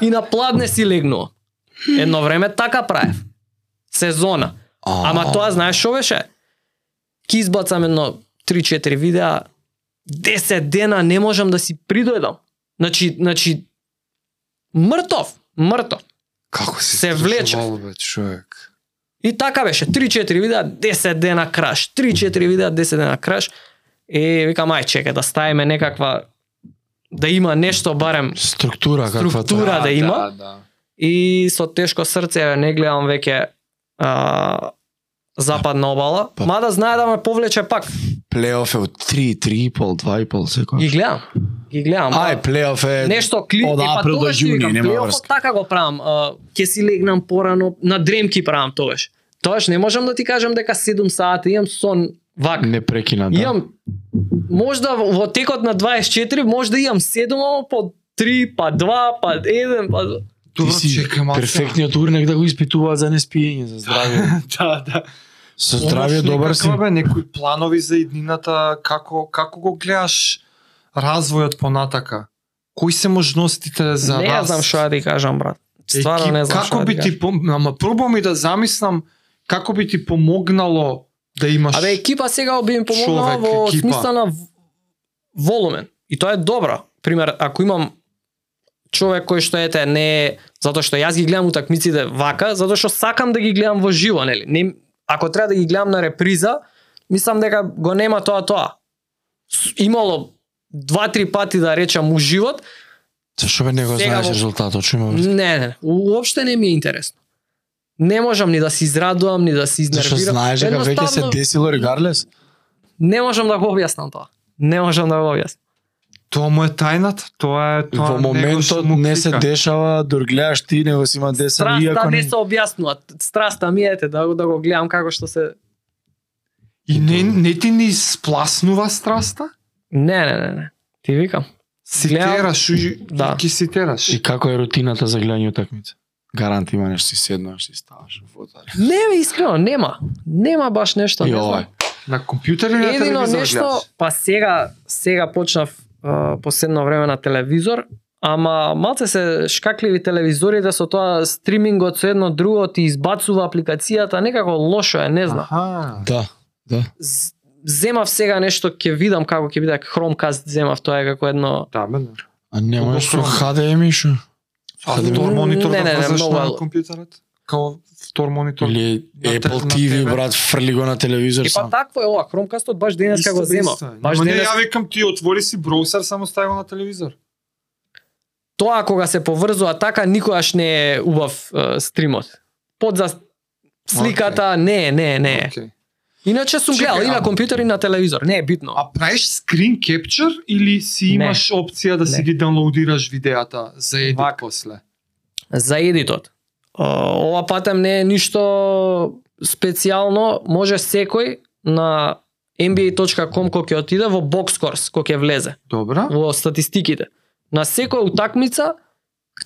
Speaker 3: И на пладне си легнувам. Едно време така правев. Сезона. Ама тоа знаеш што беше? Ки избацам едно 3-4 видеа, 10 дена не можам да си придојдам. Значи, значи мртов, мртов.
Speaker 1: Како си
Speaker 3: Се влече.
Speaker 1: струшувал, бе, човек.
Speaker 3: И така беше, 3-4 видеа, 10 дена краш, 3-4 видеа, 10 дена краш. Е, викам, ај, чека, да ставиме некаква, да има нешто барем.
Speaker 4: Структура каква
Speaker 3: Структура.
Speaker 4: тоа.
Speaker 3: да
Speaker 1: Да,
Speaker 3: има.
Speaker 1: да.
Speaker 3: И со тешко срце, еве, не гледам веќе а, западна обала.
Speaker 2: Па-
Speaker 3: Мада знае да ме повлече пак.
Speaker 2: Плейоф е од 3, 3,5, 2,5
Speaker 3: Ги
Speaker 2: секој.
Speaker 3: гледам. Ги гледам.
Speaker 2: Ај,
Speaker 3: да.
Speaker 2: плейоф е
Speaker 3: нешто кли
Speaker 2: од
Speaker 3: е, па
Speaker 2: април до
Speaker 3: тогаш ти
Speaker 2: јуни,
Speaker 3: викам,
Speaker 2: нема
Speaker 3: плейофот
Speaker 2: врска.
Speaker 3: Така го правам, а, ќе си легнам порано, на дремки правам тогаш. Тогаш не можам да ти кажам дека 7 сати имам сон Вака.
Speaker 4: Не прекина, да.
Speaker 3: Имам, можда во текот на 24, можда имам 7, ама по 3, па 2, па 1, па...
Speaker 1: Добро,
Speaker 4: Ти си
Speaker 1: чекам, аз сега.
Speaker 4: перфектниот урник да го испитуваат за неспиење, за здравје.
Speaker 1: да, да.
Speaker 2: Со здравје
Speaker 1: Имаш
Speaker 2: добар си.
Speaker 1: некаква, Бе, некои планови за иднината, како, како го гледаш развојот понатака? Кои се можностите за
Speaker 3: не ја
Speaker 1: вас?
Speaker 3: знам што ја ти кажам, брат. Стварно
Speaker 1: Екип,
Speaker 3: не знам да
Speaker 1: како
Speaker 3: шо ја
Speaker 1: би
Speaker 3: ти
Speaker 1: ти, пом... ама пробам и да замислам како би ти помогнало да
Speaker 4: Па
Speaker 1: имаш
Speaker 3: Абе, екипа сега би им помогнала
Speaker 1: Човек,
Speaker 3: во
Speaker 1: екипа.
Speaker 3: смисла на в- волумен. И тоа е добра. Пример, ако имам човек кој што ете не е- затоа што јас ги гледам утакмиците вака, затоа што сакам да ги гледам во живо, нели? Не, ако треба да ги гледам на реприза, мислам дека го нема тоа тоа. С- Имало два-три пати да речам у живот,
Speaker 4: Зашо бе не го
Speaker 3: Сега
Speaker 4: знаеш
Speaker 3: во-
Speaker 4: резултатот, што има?
Speaker 3: не, не, уопште не ми е интересно. Не можам ни да се израдувам, ни да се
Speaker 4: Зашо
Speaker 3: изнервирам.
Speaker 4: знаеш дека веќе се
Speaker 3: Едноставно-
Speaker 4: десило регалес?
Speaker 3: Не можам да го објаснам тоа. Не можам да го објаснам.
Speaker 1: тоа му е тајната тоа е тоа
Speaker 2: Во
Speaker 1: него што
Speaker 2: моментот
Speaker 1: му
Speaker 2: не се
Speaker 1: клика.
Speaker 2: дешава, дур гледаш ти, него си има десен,
Speaker 3: Страста
Speaker 2: иако
Speaker 3: да не
Speaker 2: не...
Speaker 3: се објаснува. Страста ми ете да, го- да го гледам како што се...
Speaker 1: и не, не ти не испласнува страста
Speaker 3: Не, не, не, не. Ти викам. Гледам-
Speaker 1: ситераш и
Speaker 3: Да.
Speaker 1: ќе ситераш
Speaker 4: И како е рутината за гледање утакмица?
Speaker 2: Гарант има нешто си седнаш, си ставаш. во фотар.
Speaker 3: Не, бе, искрено, нема. Нема баш нешто.
Speaker 2: И
Speaker 3: Не
Speaker 2: ова
Speaker 3: знам.
Speaker 2: е.
Speaker 1: на компјутер или на
Speaker 3: Едино
Speaker 1: телевизор гледаш?
Speaker 3: нешто, па сега, сега почнав а, последно време на телевизор, ама малце се шкакливи телевизорите со тоа стримингот со едно друго ти избацува апликацијата, некако лошо е, не знам.
Speaker 1: Аха.
Speaker 2: Да.
Speaker 3: З- Земав сега нешто, ќе видам како ќе биде Chromecast, земав тоа е како едно
Speaker 1: Да, бе, да.
Speaker 4: А нема
Speaker 1: Во
Speaker 4: со
Speaker 1: хром.
Speaker 4: HDMI шо?
Speaker 1: А
Speaker 3: Хаде,
Speaker 1: втор
Speaker 3: бе.
Speaker 1: монитор
Speaker 3: Не,
Speaker 1: да
Speaker 3: не, не,
Speaker 1: влезеш
Speaker 3: много
Speaker 1: на
Speaker 3: е.
Speaker 1: компјутерот? Као втор монитор.
Speaker 4: Или
Speaker 1: На те-
Speaker 4: Apple
Speaker 1: на
Speaker 4: TV,
Speaker 1: тебе.
Speaker 4: брат, фрли го на телевизор
Speaker 3: И па
Speaker 4: сам.
Speaker 3: такво е ова, Chromecastот баш денеска
Speaker 1: Исто,
Speaker 3: го зема.
Speaker 1: исто е.
Speaker 3: Баш
Speaker 1: Ама не,
Speaker 3: денес,
Speaker 1: ја викам ти отвори си браузер, само стави го на телевизор.
Speaker 3: тоа кога се поврзува така никогаш не е убав е, стримот. Под за сликата не, е, не, е, не. е.
Speaker 1: Океј.
Speaker 3: Иначе сум
Speaker 1: Чекај,
Speaker 3: гледал и
Speaker 1: а-
Speaker 3: на компјутер и на телевизор, не е битно.
Speaker 1: А правиш скрин кепчер или си
Speaker 3: Не.
Speaker 1: имаш опција да си
Speaker 3: Не.
Speaker 1: ги даунлоудираш видеата за едит после?
Speaker 3: За едитот. О, Ова патем не е ништо специјално, може секој на nba.com кој ќе отиде во бокскорс, кој ќе влезе.
Speaker 1: Добра.
Speaker 4: Да,
Speaker 3: во статистиките. На секоја утакмица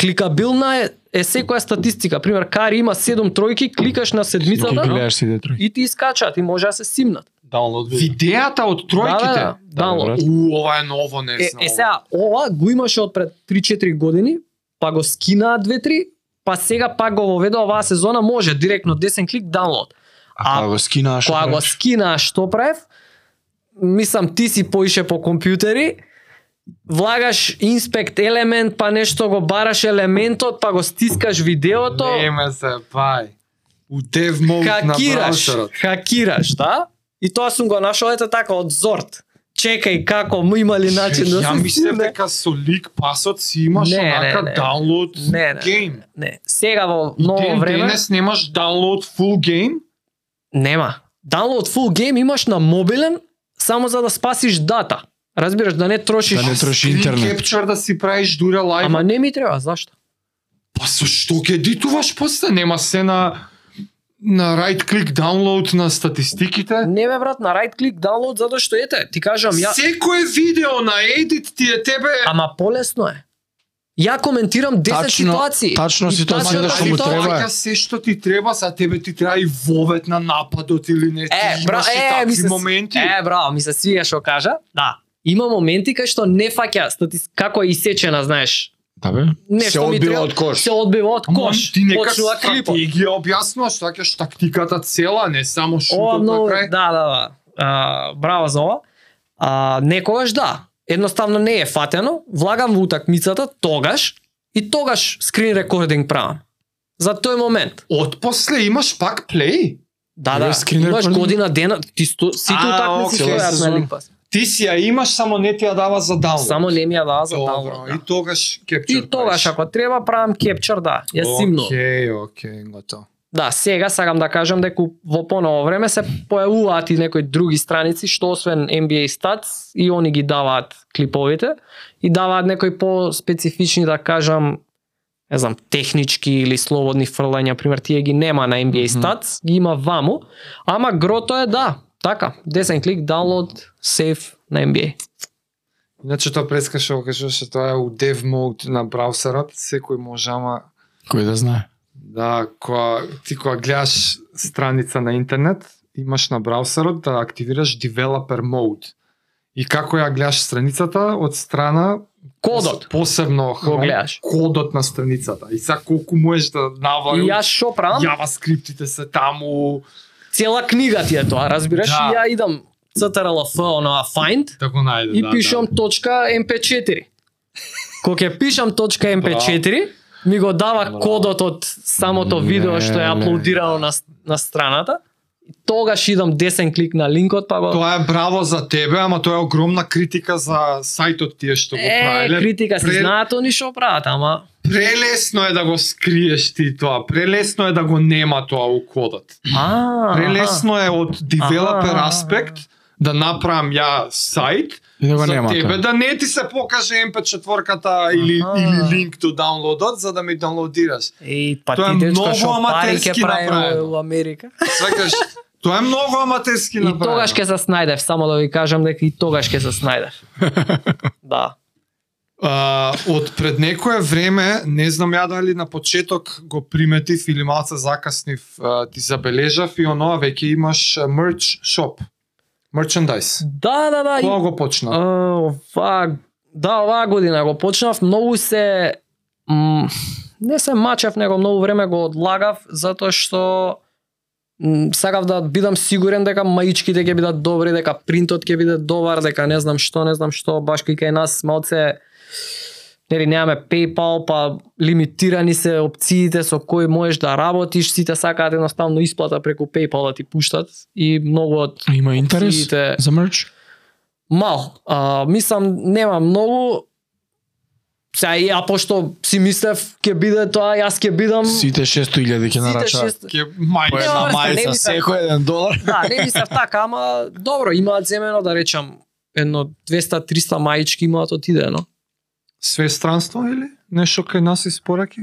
Speaker 3: кликабилна е, е секоја статистика. Пример, Кари има 7 тројки, кликаш на
Speaker 4: Ги
Speaker 3: седмицата
Speaker 4: гледаш си детрој.
Speaker 3: и ти искачат и може да се симнат.
Speaker 4: да,
Speaker 2: Download
Speaker 1: Видеата од
Speaker 3: Да,
Speaker 1: тројките.
Speaker 3: да, да, download.
Speaker 4: брат.
Speaker 1: У, ова е ново, не
Speaker 3: Е,
Speaker 1: знам.
Speaker 3: е
Speaker 1: ова.
Speaker 3: сега, ова го имаше од пред 3-4 години, па го скинаа 2-3, па сега пак го воведе оваа сезона, може директно десен клик даунлод.
Speaker 4: А кога го скинаа шо?
Speaker 3: Кога го
Speaker 4: правиш?
Speaker 3: скинаа што правев, мислам ти си поише по компјутери, влагаш инспект елемент, па нешто го бараш елементот, па го стискаш видеото,
Speaker 1: Не ме се, бај. У дев мод на
Speaker 3: хакираш,
Speaker 1: браузерот.
Speaker 3: хакираш, да? И тоа сум го нашол ето така од зорт. Чекај како му има ли начин да
Speaker 1: Ја
Speaker 3: се
Speaker 1: мислев
Speaker 3: стигне?
Speaker 1: дека со лик пасот си имаш
Speaker 3: Не, не,
Speaker 1: онака
Speaker 3: не.
Speaker 1: download
Speaker 3: Не, не.
Speaker 1: game.
Speaker 3: Не, сега во
Speaker 1: И ден
Speaker 3: ново време
Speaker 1: денес немаш download full game?
Speaker 3: нема. Download full game имаш на мобилен само за да спасиш дата. Разбираш да не трошиш.
Speaker 4: Да не троши
Speaker 1: Screen
Speaker 4: интернет.
Speaker 1: capture да си правиш дура лайв.
Speaker 3: Ама не ми треба, зашто?
Speaker 1: Па со што ќе дитуваш после? Нема се на на right click download на статистиките.
Speaker 3: Не бе брат, на right click download затоа што ете, ти кажам ја
Speaker 1: Секое видео на edit ти е тебе
Speaker 3: Ама полесно е. Ја коментирам 10
Speaker 4: Тачно-
Speaker 3: ситуации.
Speaker 4: тачно
Speaker 3: И
Speaker 4: ситуацијата
Speaker 3: тачната
Speaker 4: што му
Speaker 3: ситуација-
Speaker 4: треба е.
Speaker 1: Ајка да така се што ти треба, за тебе ти треба и вовет на нападот или не. ти
Speaker 3: Е, бра,
Speaker 1: имаш и
Speaker 3: е,
Speaker 1: такви
Speaker 3: ми се,
Speaker 1: моменти.
Speaker 3: Е, браво, ми се свига што кажа. Да. Има моменти кај што не фаќа статис... како е isечена, знаеш.
Speaker 4: Да бе.
Speaker 3: Нешто
Speaker 2: Се
Speaker 3: ми
Speaker 2: одбива
Speaker 3: треба-
Speaker 2: од кош.
Speaker 3: Се одбива од
Speaker 1: Ама
Speaker 3: кош.
Speaker 1: ти нека
Speaker 3: Почнува клипот.
Speaker 1: стратегија објаснуваш, сакаш тактиката цела, не само
Speaker 3: Ова
Speaker 1: шутот на
Speaker 3: многу, да,
Speaker 1: крај.
Speaker 3: да, да. А, браво за ова. А, некогаш да, едноставно не е фатено, влагам во утакмицата тогаш и тогаш скрин рекординг правам. За тој момент.
Speaker 1: Од после имаш пак плей.
Speaker 3: Да,
Speaker 4: Е,
Speaker 3: да,
Speaker 4: скрин
Speaker 3: имаш
Speaker 4: рекординг?
Speaker 3: година дена, ти сто, сите
Speaker 1: А,
Speaker 3: утакмици
Speaker 1: окей.
Speaker 3: стојат на
Speaker 1: Сезон.
Speaker 3: Ликпас.
Speaker 1: Ти си ја имаш, само не ти ја дава за download.
Speaker 3: Само не ми ја дава за
Speaker 1: Добро,
Speaker 3: download, да.
Speaker 1: и тогаш кепчер.
Speaker 3: И тогаш ако треба правам кепчер, да, ја симно.
Speaker 1: Океј, океј, готово.
Speaker 3: Да, сега сакам да кажам дека во поново време се појавуваат и некои други страници што освен NBA Stats и они ги даваат клиповите и даваат некои по-специфични да кажам не знам, технички или слободни фрлања, пример, тие ги нема на NBA Stats, ги има ваму, ама грото е да, Така, десен клик, download, save на NBA.
Speaker 1: Иначе тоа прескаше, го кажуваше, тоа е у dev mode на браузерот, секој може, ама
Speaker 4: Кој да знае.
Speaker 1: Да, која, ти кога гледаш страница на интернет, имаш на браузерот да активираш developer mode. И како ја гледаш страницата од страна
Speaker 3: Кодот.
Speaker 1: посебно хром-
Speaker 3: гледаш.
Speaker 1: кодот на страницата. И сега колку можеш да
Speaker 3: И
Speaker 1: навалиш
Speaker 3: јас шо правам?
Speaker 1: JavaScript-ите се таму
Speaker 3: Цела книга ти е тоа, разбираш?
Speaker 1: Да.
Speaker 3: И Ја идам CTRLF, оноа find,
Speaker 1: да го најде.
Speaker 3: и
Speaker 1: да,
Speaker 3: пишам точка mp4. Кога ќе пишам точка mp4, ми го дава кодот од самото видео што е
Speaker 4: Леле.
Speaker 3: аплодирано на, на страната. И Тогаш идам десен клик на линкот, па
Speaker 1: да.
Speaker 3: го...
Speaker 1: Тоа е браво за тебе, ама тоа е огромна критика за сајтот тие што го
Speaker 3: Е,
Speaker 1: правеле.
Speaker 3: критика се
Speaker 1: Пред-
Speaker 3: знаат они што прават, ама
Speaker 1: Прелесно е да го скриеш ти тоа, прелесно е да го нема тоа у кодот.
Speaker 3: а,
Speaker 1: Прелесно е од
Speaker 3: Аха, аха.
Speaker 1: девелопер аспект да направам ја сайт,
Speaker 4: И да го
Speaker 1: за
Speaker 4: нема.
Speaker 1: тебе
Speaker 4: тоа.
Speaker 1: да не ти се покаже MP4-ката или,
Speaker 3: Аха.
Speaker 1: или линк до даунлодот, за да ми даунлодираш.
Speaker 3: Еј, па
Speaker 1: Тоа е
Speaker 3: ти дечко
Speaker 1: многу
Speaker 3: што пари ќе
Speaker 1: аматерски
Speaker 3: прави
Speaker 1: направено.
Speaker 3: во Америка.
Speaker 1: Свакаш, тоа е многу аматерски
Speaker 3: И
Speaker 1: направено.
Speaker 3: тогаш ќе се снајдев, само да ви кажам дека и тогаш ќе се снајдев. да.
Speaker 1: А, од пред некое време, не знам ја дали на почеток го приметив или малце закаснив, а, ти забележав и оноа веќе имаш мерч шоп. Мерчендайз.
Speaker 3: Да, да, да. и-
Speaker 1: Кога го почна?
Speaker 3: А, ова, да, оваа година го почнав, многу се м, не се мачев, него многу време го одлагав затоа што м, сакав да бидам сигурен дека маичките ќе бидат добри, дека принтот ќе биде добар, дека не знам што, не знам што, баш кај кај нас малце нели немаме PayPal, па лимитирани се опциите со кои можеш да работиш, сите сакаат едноставно исплата преку PayPal да ти пуштат и многу од
Speaker 4: Има интерес
Speaker 3: Опциите.
Speaker 4: за мерч?
Speaker 3: Мал, а, мислам нема многу. Сега и а пошто си мислев ќе биде тоа, јас ќе бидам
Speaker 4: Сите 600.000 ќе нарачаат.
Speaker 3: шест-
Speaker 1: Ќе мај
Speaker 3: Па е, Нема врска, не мислам.
Speaker 2: секој еден долар.
Speaker 3: Да, не мислев така, ама добро, имаат земено да речам едно 200-300 маички имаат отидено.
Speaker 1: све странство или нешто кај нас испораки?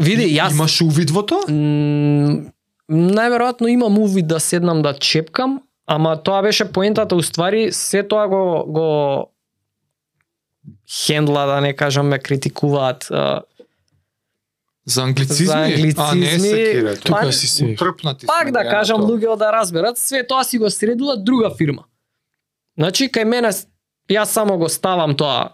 Speaker 3: Види, јас
Speaker 1: Имаш увид во тоа?
Speaker 3: М, најверојатно имам увид да седнам да чепкам, ама тоа беше поентата уствари, се тоа го го хендла да не кажам ме критикуваат. а,
Speaker 1: За англицизми?
Speaker 3: За англицизми,
Speaker 1: А, не се кире.
Speaker 4: Тука
Speaker 1: Тука
Speaker 3: Па,
Speaker 4: си се.
Speaker 1: утрпнати
Speaker 3: Пак да кажам луѓето да разберат, све тоа си го средила друга фирма. Значи кај мене с- јас само го ставам тоа кај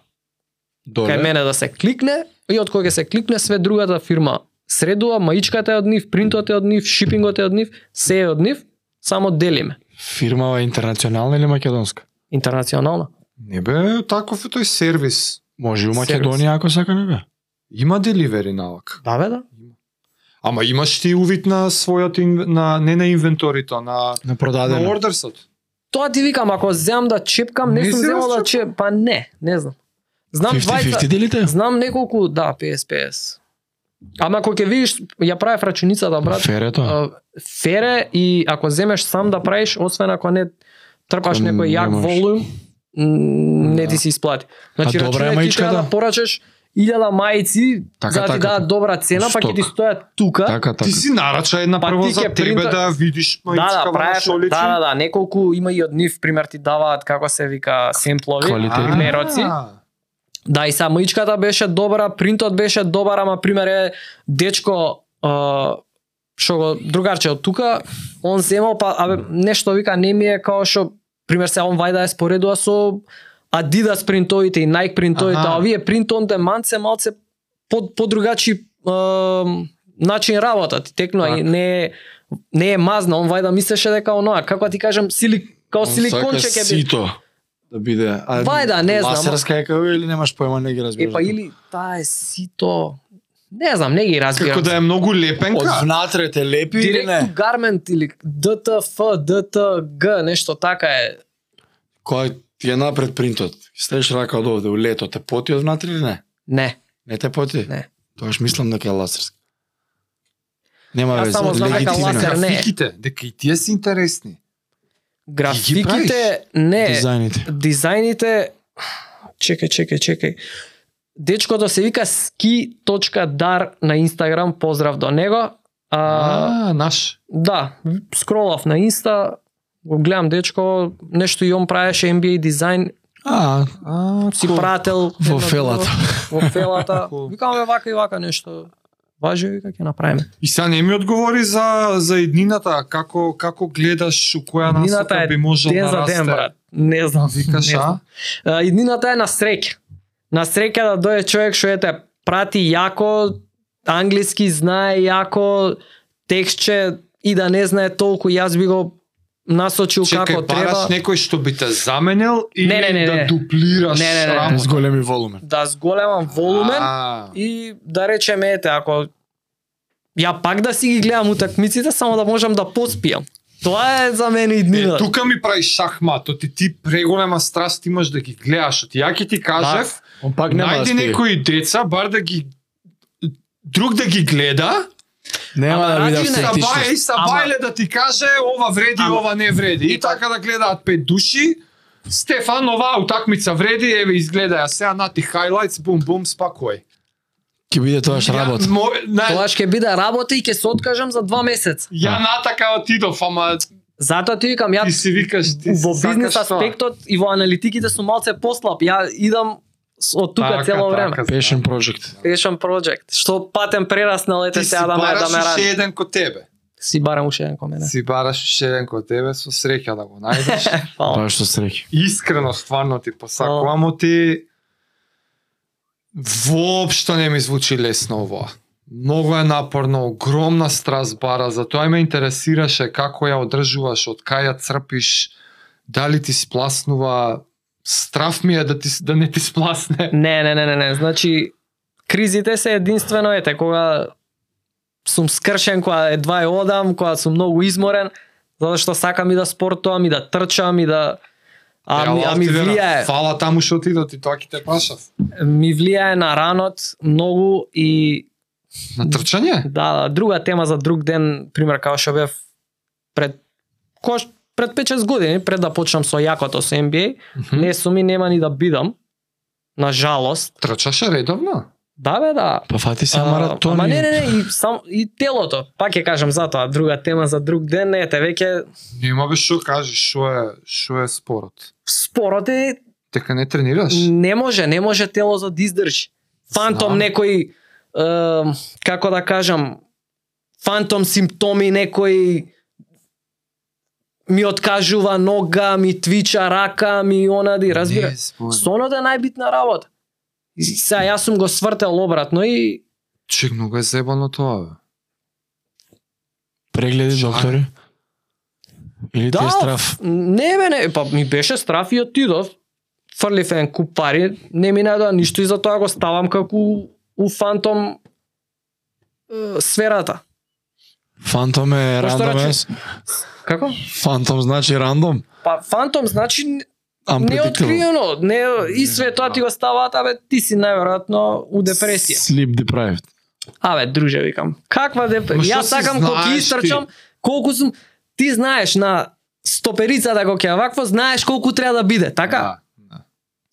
Speaker 2: Долар.
Speaker 3: мене да се кликне и од кога ќе се кликне све другата фирма средува, маичката е од нив, принтот е од нив, шипингот е од нив, се е од нив, само делиме.
Speaker 4: Фирмава интернационална или македонска?
Speaker 3: Интернационално.
Speaker 1: Не бе, таков е тој сервис.
Speaker 4: Може и у Македонија ако сака не бе.
Speaker 1: Има деливери навак.
Speaker 3: Да бе да.
Speaker 1: Ама имаш ти увид на својот инв... на не на инвенторито, на
Speaker 4: На
Speaker 1: на
Speaker 4: продадено.
Speaker 1: ордерсот.
Speaker 3: Тоа ти викам, ако земам да чепкам, не,
Speaker 1: Не
Speaker 3: сум
Speaker 1: си
Speaker 3: земал да
Speaker 1: разчепкал?
Speaker 3: чеп, па не, не знам. Знам
Speaker 4: 50-50
Speaker 3: двајца,
Speaker 4: делите?
Speaker 3: знам неколку, да, 50-50. Ама ако ќе видиш, ја правев рачуницата, брат,
Speaker 4: Фер е тоа.
Speaker 3: а, фере и ако земеш сам да правиш, освен ако не трпаш
Speaker 4: Ако
Speaker 3: некој јак
Speaker 4: немаш. Да.
Speaker 3: волум, м, не ти се исплати. Значи,
Speaker 4: А добра е
Speaker 3: рачунај, ти
Speaker 4: маичката?
Speaker 3: треба да порачаш 1000 мајци,
Speaker 4: Така,
Speaker 3: за да ти
Speaker 4: така,
Speaker 3: дадат добра цена, па ќе
Speaker 4: Сток.
Speaker 3: ти стојат тука.
Speaker 4: Така, така.
Speaker 1: Ти си нарача една
Speaker 3: Па
Speaker 1: прво
Speaker 3: ти
Speaker 1: за
Speaker 3: ќе
Speaker 1: тебе
Speaker 3: принта-
Speaker 1: да ја видиш
Speaker 3: Да, да,
Speaker 1: мајцкава на
Speaker 3: правеш,
Speaker 1: шоличи.
Speaker 3: да, да, да, неколку има и од нив, пример ти даваат како се вика семплови,
Speaker 4: Квалитет.
Speaker 1: А,
Speaker 3: да. примероци. Да, и са маичката беше добра, принтот беше добар, ама пример е дечко а, што го другарче од тука, он земал па абе нешто вика не ми е као што пример се он вајда ја споредува со Adidas принтовите и Nike принтовите,
Speaker 1: Аха.
Speaker 3: а овие принт on demand се малце по подругачи ем, начин работа ти текнува и не е- не е мазна, он вајда мислеше дека оноа, како да ти кажам, сили као силиконче ќе би.
Speaker 2: Сито. Да биде. А,
Speaker 3: Вајда, не знам.
Speaker 2: Ласерска е како или немаш појма, не ги разбираш.
Speaker 3: Епа па или таа е сито. Не знам, не ги разбирам.
Speaker 1: Како да е многу лепенка.
Speaker 2: Од внатре те лепи или
Speaker 3: Директно
Speaker 2: не?
Speaker 3: гармент или ДТФ, ДТГ, нешто така е.
Speaker 2: Кој ти е напред принтот? Стаеш рака од овде, у лето те поти од внатре или не?
Speaker 3: Не.
Speaker 2: Не те поти?
Speaker 3: Не.
Speaker 2: Тогаш мислам дека е ласерска. Нема
Speaker 3: Јас
Speaker 2: веќе.
Speaker 3: само знам дека ласер не е.
Speaker 1: Графиките, дека и тие се интересни.
Speaker 3: Графиките не.
Speaker 4: Дизајните.
Speaker 3: Дизајните Чекај, чекај, чекај. Дечкото се вика ski.dar на Инстаграм, поздрав до него. А,
Speaker 1: А, наш.
Speaker 3: да, скролав на Инста, го гледам дечко, нещо и он правеше NBA дизайн,
Speaker 4: А,
Speaker 3: си прател.
Speaker 4: Во
Speaker 3: едно друго,
Speaker 4: фелата.
Speaker 3: Во фелата. Викаме вака и вака нещо. Важи ви как ја направиме.
Speaker 1: И сега не ми одговори за, за еднината, како, како гледаш у која
Speaker 3: Еднината
Speaker 1: насока
Speaker 3: е
Speaker 1: би можел
Speaker 3: Ден
Speaker 1: да
Speaker 3: за
Speaker 1: расте.
Speaker 3: ден, брат. Не знам.
Speaker 1: Викаш,
Speaker 3: не знам.
Speaker 1: а?
Speaker 3: А, Иднината е на среќа. На среќа да дојде човек што ете прати јако, англиски знае јако, текстче и да не знае толку, јас би го насочил
Speaker 1: Чекај,
Speaker 3: како треба.
Speaker 1: бараш некој што би те заменил или
Speaker 3: Не, не, не,
Speaker 1: да
Speaker 3: не.
Speaker 1: дуплираш
Speaker 3: Не, не, не.
Speaker 1: работа?
Speaker 4: без големи волумен.
Speaker 3: Да зголемам волумен
Speaker 1: А,
Speaker 3: и да речеме ете ако ја пак да си ги гледам утакмиците само да можам да поспијам. Тоа е за мене
Speaker 1: Е,
Speaker 3: иднината.
Speaker 1: тука ми прави шахмат, оти ти преголема страст имаш да ги гледаш. Оти ја ќе ти кажев,
Speaker 4: Он пак
Speaker 3: да
Speaker 1: најди некои деца, бар да ги друг да ги гледа,
Speaker 4: Нема
Speaker 3: Ама
Speaker 4: да видам
Speaker 3: ради не.
Speaker 4: статичност.
Speaker 1: сабај и сабајле да ти каже ова вреди,
Speaker 3: Ама-
Speaker 1: ова не вреди. И така да гледаат пет души, Стефан, ова утакмица вреди, еве изгледа ја сега нати хайлайтс, бум бум, спакој.
Speaker 4: Ќе биде тоа што
Speaker 1: Ја,
Speaker 4: работа.
Speaker 1: мо- на-
Speaker 3: Тоа ќе биде работа и ќе се откажам за два месеца.
Speaker 1: Ја натака отидов, ама
Speaker 3: Затоа ти викам, ја
Speaker 1: ти си викаш ти
Speaker 3: во
Speaker 1: сакаш
Speaker 3: бизнес
Speaker 1: тоа.
Speaker 3: аспектот и во аналитиките сум малце послаб. Ја идам с- од тука
Speaker 1: Така,
Speaker 3: цело време.
Speaker 1: така,
Speaker 4: Passion project.
Speaker 3: Passion project. Што патен прераснал ете
Speaker 1: така. Ти си
Speaker 3: сега да ме да
Speaker 1: бараш
Speaker 3: ме
Speaker 1: уште
Speaker 3: ради.
Speaker 1: еден ко тебе.
Speaker 3: Си барам уште еден комене.
Speaker 1: Си бараш уште еден ко тебе со среќа да го најдеш.
Speaker 3: Фала.
Speaker 4: Тоа што среќа.
Speaker 1: Искрено стварно ти посакувам, но ти воопшто не ми звучи лесно ова. Многу е напорно, огромна страст бара, затоа ме интересираше како ја одржуваш, од кај ја црпиш, дали ти спласнува, страф ми е да, ти, да не ти спласне.
Speaker 3: Не, не, не, не, не. Значи, кризите се единствено ете, кога сум скршен, кога едва е одам, кога сум многу изморен, затоа што сакам и да спортувам, и да трчам, и да... А, ми, а ми
Speaker 1: Ела,
Speaker 3: влијае.
Speaker 1: Фала таму што отидов ти тоа ќе те прашав.
Speaker 3: Ми влијае на ранот многу и
Speaker 1: На трчање?
Speaker 3: Да, да, друга тема за друг ден, пример како што бев пред кош пред 5-6 години, пред да почнам со јакото со NBA, не сум и нема ни да бидам. На жалост.
Speaker 1: Трчаше редовно?
Speaker 3: Да бе, да.
Speaker 4: Па фати се
Speaker 3: А,
Speaker 4: маратон.
Speaker 3: Ама не,
Speaker 4: и-
Speaker 3: не, не, и, сам, и телото. Пак ќе кажам затоа, друга тема за друг ден, не, те веќе
Speaker 1: Нема бе што кажеш, што е, што е спорот.
Speaker 3: спорот е,
Speaker 1: Дека не тренираш?
Speaker 3: не може, не може тело за да издржи. Фантом
Speaker 1: Знам.
Speaker 3: некој, е, како да кажам, фантом симптоми некој ми откажува нога, ми твича рака, ми онади, разбира.
Speaker 1: Не е спорот.
Speaker 3: Сонот е најбитна работа. И Сега јас сум го свртел обратно и
Speaker 1: Чек, многу е зебано тоа, бе.
Speaker 4: Прегледи
Speaker 1: Шак.
Speaker 4: доктори. Или ти
Speaker 3: Да,
Speaker 4: е страф.
Speaker 3: не бе, не, па ми беше страф и отидов. Фрлив еден куп пари, не ми најдоа ништо и затоа го ставам како у- у фантом е, сферата.
Speaker 4: Фантом е
Speaker 3: Па што
Speaker 4: рандом.
Speaker 3: рече?
Speaker 4: е.
Speaker 3: Како?
Speaker 4: Фантом значи рандом.
Speaker 3: Па фантом значи н-
Speaker 4: Unpredictable.
Speaker 3: неоткриено, не и све тоа ти го ставаат, абе ти си најверојатно у депресија.
Speaker 4: Sleep deprived.
Speaker 3: Абе друже викам, каква
Speaker 1: Ма што
Speaker 3: депресија? Јас
Speaker 1: си
Speaker 3: сакам колку
Speaker 1: знаеш
Speaker 3: истрчам, колку сум ти знаеш на стоперица да го ќе вакво, знаеш колку треба да биде, така?
Speaker 1: Да, да.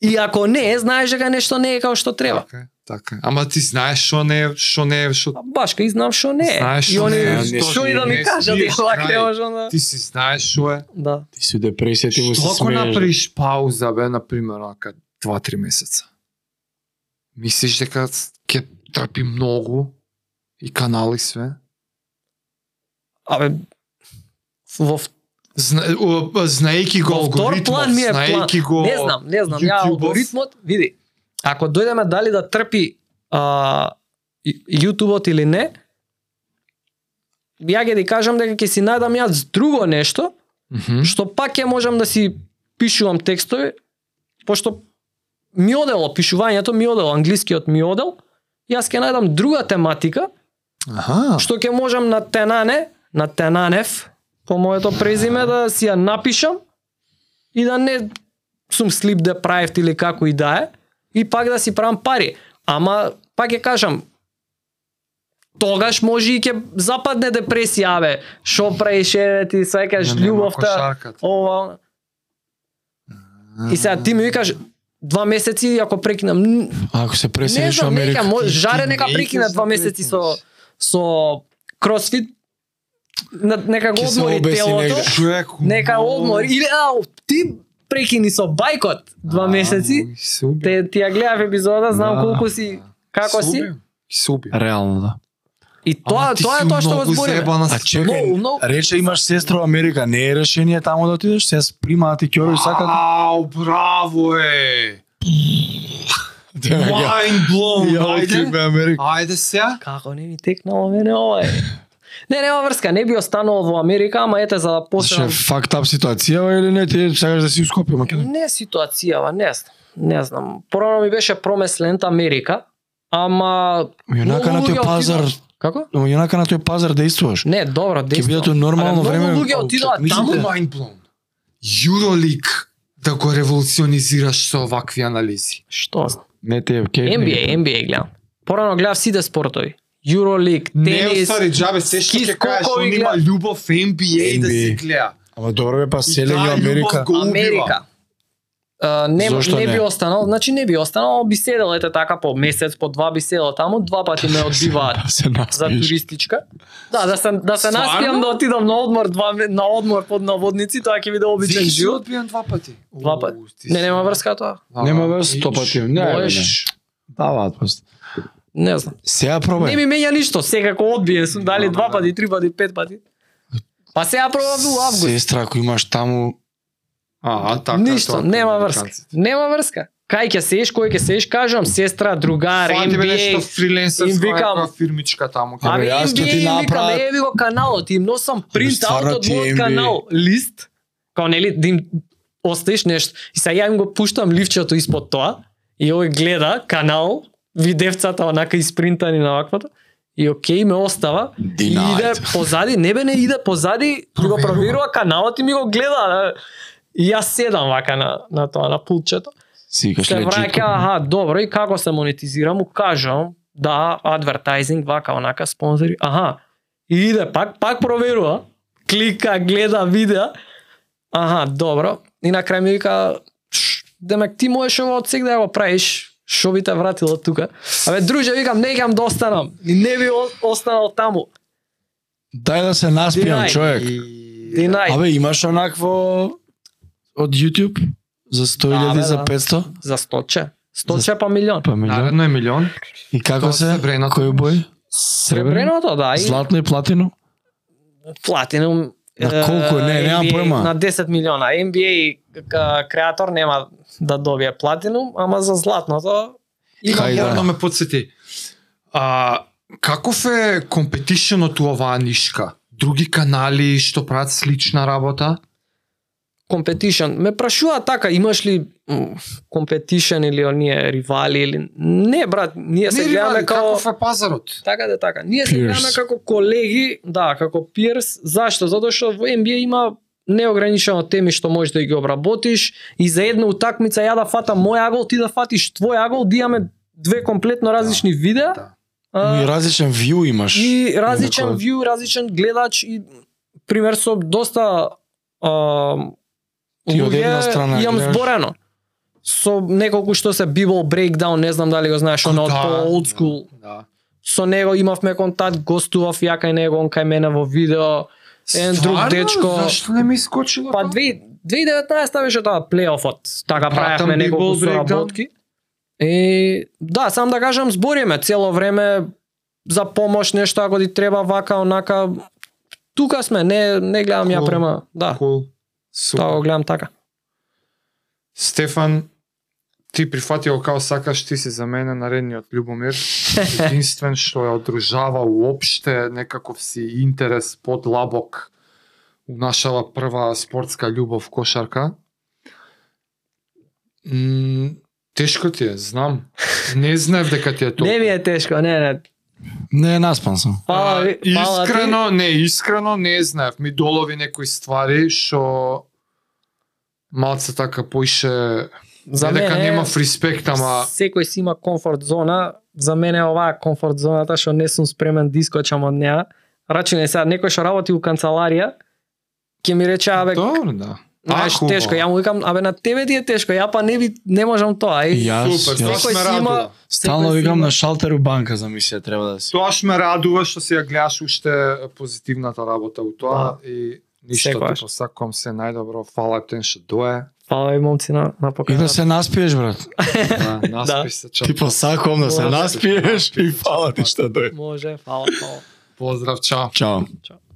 Speaker 3: И ако не, знаеш дека нешто не е како што треба.
Speaker 1: Така, е, така. е. Ама ти знаеш што не е, што не е, што
Speaker 3: А Баш кај знам што не е.
Speaker 1: Знаеш
Speaker 3: и
Speaker 1: што
Speaker 3: они
Speaker 1: не е,
Speaker 3: што,
Speaker 1: што
Speaker 3: и да
Speaker 1: не
Speaker 3: ми
Speaker 1: е,
Speaker 3: кажат
Speaker 1: смиеш,
Speaker 3: ја лак не
Speaker 1: крај.
Speaker 3: можам да.
Speaker 1: ти си знаеш што е.
Speaker 3: Да.
Speaker 4: Ти си у депресија, ти му се
Speaker 1: Што ако
Speaker 4: смееш.
Speaker 1: направиш пауза бе на пример онака 2-3 месеца? Мислиш дека с- ќе трпи многу и канали све?
Speaker 3: Абе во в-
Speaker 1: Зна, у- знаејќи го
Speaker 3: во втор
Speaker 1: алгоритмот,
Speaker 3: план ми е план.
Speaker 1: знаејќи го
Speaker 3: Не знам, не знам, ја
Speaker 1: YouTube-ов.
Speaker 3: алгоритмот, види. Ако дојдеме дали да трпи а YouTube-от или не, ја ќе ти кажам дека ќе си најдам јас друго нешто
Speaker 1: Мгм.
Speaker 3: што пак ќе можам да си пишувам текстови, пошто ми одело пишувањето, ми одело англискиот ми одел, јас ќе најдам друга тематика,
Speaker 1: Аха.
Speaker 3: што ќе можам на Тенане, на Тенанев, по моето презиме, да си ја напишам и да не сум sleep deprived или како и да е, и пак да си правам пари. Ама, пак ќе кажам, тогаш може и ќе западне депресија, абе. Шо правиш, еве ти, сваќаш
Speaker 1: Ја нема
Speaker 3: љубовта.
Speaker 1: кошарката.
Speaker 3: Ова. она. И сега ти ми викаш два месеци ако прекинам. н-
Speaker 4: Ако се
Speaker 3: Не
Speaker 4: преселиш у
Speaker 3: знам, нека
Speaker 4: Америка.
Speaker 3: може
Speaker 1: ти
Speaker 3: жаре нека
Speaker 1: не
Speaker 3: прекина
Speaker 1: искаш
Speaker 3: два
Speaker 1: да
Speaker 3: месеци со
Speaker 1: прекинеш.
Speaker 3: со кросфит на- нека го
Speaker 2: Ќе се
Speaker 3: одмори
Speaker 2: обеси
Speaker 3: телото.
Speaker 2: негде.
Speaker 1: Човек,
Speaker 3: Нека
Speaker 1: много-
Speaker 3: одмори. Или, ау, ти прекини со бајкот два
Speaker 1: А,
Speaker 3: месеци.
Speaker 1: и се уби.
Speaker 3: Те, ти ја гледав епизода, знам
Speaker 4: Да.
Speaker 3: колку си, како
Speaker 1: Се
Speaker 3: си.
Speaker 1: уби. Се уби.
Speaker 4: Реално да.
Speaker 3: И тоа,
Speaker 1: Ама ти
Speaker 3: тоа е
Speaker 1: си
Speaker 3: тоа што го
Speaker 1: многу
Speaker 3: збориме.
Speaker 1: заебана
Speaker 2: А
Speaker 1: си.
Speaker 2: чекай,
Speaker 3: Многу, многу.
Speaker 2: рече имаш сестра во Америка, не е решение таму да отидеш, се спримаат ти кјори и сакат.
Speaker 1: Ау, браво е!
Speaker 2: Те ме га-
Speaker 1: Mind blown!
Speaker 2: Ја
Speaker 1: Ајде,
Speaker 2: отивме Америка.
Speaker 1: ајде сега.
Speaker 3: Како не ми текнало мене ова е. Не, нема врска, не би останал во Америка, ама ете за да
Speaker 4: Ше
Speaker 3: посебен...
Speaker 4: факт ап ситуацијава или не, ти сакаш да си ускопи Македонија.
Speaker 3: Не ситуација, ба, не знам. Не знам. Прво ми беше промеслената Америка, ама...
Speaker 4: Јунака на
Speaker 3: многу
Speaker 4: тој
Speaker 3: луѓе
Speaker 4: пазар,
Speaker 3: отидоа- Како?
Speaker 4: но јунака на тој пазар да действуваш.
Speaker 3: Не, добро,
Speaker 4: Ќе
Speaker 3: действам.
Speaker 4: биде тоа нормално
Speaker 3: Ама
Speaker 4: време.
Speaker 3: Многу луѓе отидоа
Speaker 1: Таму
Speaker 3: таму.
Speaker 1: mind blown. Euroleague да го револуционизираш со овакви анализи.
Speaker 3: Што? знам.
Speaker 4: Не те е окей.
Speaker 3: NBA, NBA гледам. Порано гледав сите спортови. Eurolиг,
Speaker 1: Не
Speaker 3: тенис.
Speaker 1: остари джабе се што
Speaker 3: ски
Speaker 1: ќе кажеш,
Speaker 3: скокови
Speaker 1: он има
Speaker 3: гледа.
Speaker 1: љубов NBA, да
Speaker 2: NBA.
Speaker 1: си гледа.
Speaker 2: Ама добро бе, па
Speaker 1: И таа
Speaker 2: селење
Speaker 1: љубов
Speaker 2: Америка.
Speaker 1: го убива.
Speaker 3: Америка. А, не,
Speaker 2: Зошто
Speaker 3: не,
Speaker 2: не?
Speaker 3: би останал, значи не би останал, би седел ете така по месец, по два би седел таму, два пати ме одбиваат
Speaker 2: Се
Speaker 3: за
Speaker 2: наспиш.
Speaker 3: туристичка. Да, да се да се
Speaker 1: Стварно?
Speaker 3: наспијам да отидам на одмор, два ме- на одмор под наводници, тоа ќе биде обичен
Speaker 1: Зих си
Speaker 3: живот.
Speaker 1: одбиен два пати.
Speaker 3: Два пати. Не, нема врска тоа.
Speaker 4: Нема врз сто пати. Не, Не, не.
Speaker 3: Можеш.
Speaker 4: Даваат
Speaker 2: па.
Speaker 4: просто.
Speaker 3: Не знам.
Speaker 2: Сега
Speaker 3: Не
Speaker 2: пробај.
Speaker 3: ми мења ништо, секако одбиен сум, дали
Speaker 1: Да, да,
Speaker 3: два
Speaker 1: да.
Speaker 3: пати, три пати, пет пати. Па сега пробав во август.
Speaker 4: Сестра, ако имаш таму,
Speaker 1: А, така.
Speaker 3: Ништо, нема врска. Нема врска. Кај ќе сееш, кој ќе сееш, кажам, сестра, другар,
Speaker 1: Фати бе нешто
Speaker 3: NBA.
Speaker 1: фриленсерска
Speaker 3: им викам-
Speaker 1: некоја фирмичка таму. ќе
Speaker 3: Ами
Speaker 1: бе.
Speaker 2: јас ќе
Speaker 3: NBA
Speaker 2: ти
Speaker 3: им викам,
Speaker 2: направам-
Speaker 3: еве го каналот, им носам принт
Speaker 2: стварно
Speaker 3: аут од
Speaker 2: ти е
Speaker 3: мојот
Speaker 2: NBA.
Speaker 3: канал, лист, као нели, да им оставиш нешто. И сега ја им го пуштам ливчето испод тоа, и овој гледа канал, ви девцата онака испринтани на ваквото, и окей ме остава, и иде
Speaker 2: Динајд.
Speaker 3: позади, не бе не иде позади, ми го проверува каналот и ми го гледа. да. И јас седам вака на, на тоа, на пулчето.
Speaker 2: Си викаш
Speaker 3: Се
Speaker 2: легит.
Speaker 3: враќа, аха, добро, и како се монетизира, му кажам, да, адвертайзинг, вака, онака, спонзори, аха. И иде, пак, пак проверува, клика, гледа, видеа, аха, добро. И на крај ми вика, «Ш, демек ти можеш ова од сега да го правиш, шо би те вратило тука. Абе, друже, викам, не гам да останам. И не би о- останал таму.
Speaker 2: Дај да се наспијам,
Speaker 3: Динајд.
Speaker 2: човек.
Speaker 3: Динај,
Speaker 2: Абе, имаш онакво од YouTube за 100.000
Speaker 3: Абе,
Speaker 2: за
Speaker 3: да.
Speaker 2: 500?
Speaker 3: за сточе. Сточе па милион.
Speaker 4: па милион.
Speaker 1: Наредно е милион.
Speaker 2: И како
Speaker 1: Тоа
Speaker 2: се?
Speaker 1: сребреното.
Speaker 2: Кој бој? Сребрено?
Speaker 3: Сребреното, да, и
Speaker 2: Златно и платино?
Speaker 3: платинум
Speaker 2: На колку е? Не,
Speaker 3: е,
Speaker 2: немам
Speaker 3: NBA,
Speaker 2: појма.
Speaker 3: На 10 милиона. NBA к- креатор нема да добие платинум, ама за златното
Speaker 1: Има
Speaker 2: Хајде.
Speaker 1: мора да ме подсети. А, каков е компетишенот у оваа нишка? Други канали што прават слична работа?
Speaker 3: компетишн. Ме прашува така, имаш ли компетишн или оние ривали или не брат, ние се
Speaker 1: Не,
Speaker 3: гледаме
Speaker 1: ревали,
Speaker 3: како
Speaker 1: каков е пазарот?
Speaker 3: Така да, така. Ние се
Speaker 2: Peers.
Speaker 3: гледаме како колеги, да, како peers. Зашто? Затоа што во NBA има неограничено теми што можеш да ги обработиш и за една утакмица ја да фатам мој агол, ти да фатиш твој агол, да имаме две комплетно различни видеа.
Speaker 1: да.
Speaker 2: И
Speaker 3: а,
Speaker 2: различен вју имаш.
Speaker 3: И различен
Speaker 2: Инако-
Speaker 3: вју, различен гледач и пример со доста а,
Speaker 2: Ти од една страна
Speaker 3: имам
Speaker 2: гледаш.
Speaker 3: зборено. Со неколку што се Bibble Breakdown, не знам дали го знаеш, она од
Speaker 1: Да,
Speaker 3: по old school
Speaker 1: Да.
Speaker 3: со него имавме контакт, гостував ја кај него, он кај мене во видео. Еден друг
Speaker 1: Стварно?
Speaker 3: дечко-
Speaker 1: Зашто не ми искочило?
Speaker 3: Па
Speaker 1: тоа?
Speaker 3: две- 2019 беше тоа плейофот, така
Speaker 1: Пратам
Speaker 3: правевме
Speaker 1: Big
Speaker 3: неколку
Speaker 1: Ball Breakdown.
Speaker 3: соработки. Е, да, сам да кажам, збориме цело време за помош нешто ако ти треба вака онака. Тука сме, не не гледам ја
Speaker 1: Cool.
Speaker 3: према, да,
Speaker 1: Cool. Супер.
Speaker 3: тоа го гледам така.
Speaker 1: Стефан, ти прифати го као сакаш, ти си за мене наредниот Любомир. Единствен што ја одржава уопште некаков си интерес под лабок у нашава прва спортска љубов кошарка. М, тешко ти е, знам. Не знаев дека ти е тоа.
Speaker 3: Не ми е тешко, не, не.
Speaker 2: Не, наспан сум.
Speaker 3: Фала ви, фала ти.
Speaker 1: искрено, не, искрено не знаев. Ми долови некои ствари што малце така поише
Speaker 3: За
Speaker 1: не дека
Speaker 3: мене-
Speaker 1: нема респект, ама
Speaker 3: секој си има комфорт зона, за мене е оваа комфорт зоната што не сум спремен да искочам од неа. Рачи не сега, некој што работи у канцеларија, ќе ми рече, абе,
Speaker 4: Добро, да.
Speaker 1: А,
Speaker 3: Знаеш,
Speaker 1: хубаво.
Speaker 3: тешко. Ја му викам, абе на тебе ти е тешко, ја па не ви не можам тоа. И,
Speaker 2: Ја- Аз-
Speaker 1: Супер, тоа
Speaker 2: јас-
Speaker 1: што ме
Speaker 3: Секој си има-
Speaker 1: радува.
Speaker 2: Стално
Speaker 3: секој си
Speaker 2: викам
Speaker 3: има-
Speaker 2: на шалтер у банка за мисија треба да си.
Speaker 1: Тоа што ме радува што си ја гледаш уште позитивната работа у тоа
Speaker 3: Да.
Speaker 1: и ништо
Speaker 3: Секогаш.
Speaker 1: ти посакувам се најдобро, фала тој што дое.
Speaker 3: Фала ви момци на, на
Speaker 2: И
Speaker 3: поканата.
Speaker 2: да се наспиеш, брат.
Speaker 1: Да, Наспи се, чао.
Speaker 2: Ти посакувам да се
Speaker 3: Може.
Speaker 2: наспиеш и фала ти што дојде.
Speaker 3: Може, фала, фала.
Speaker 1: Поздрав, чао.
Speaker 2: Чао.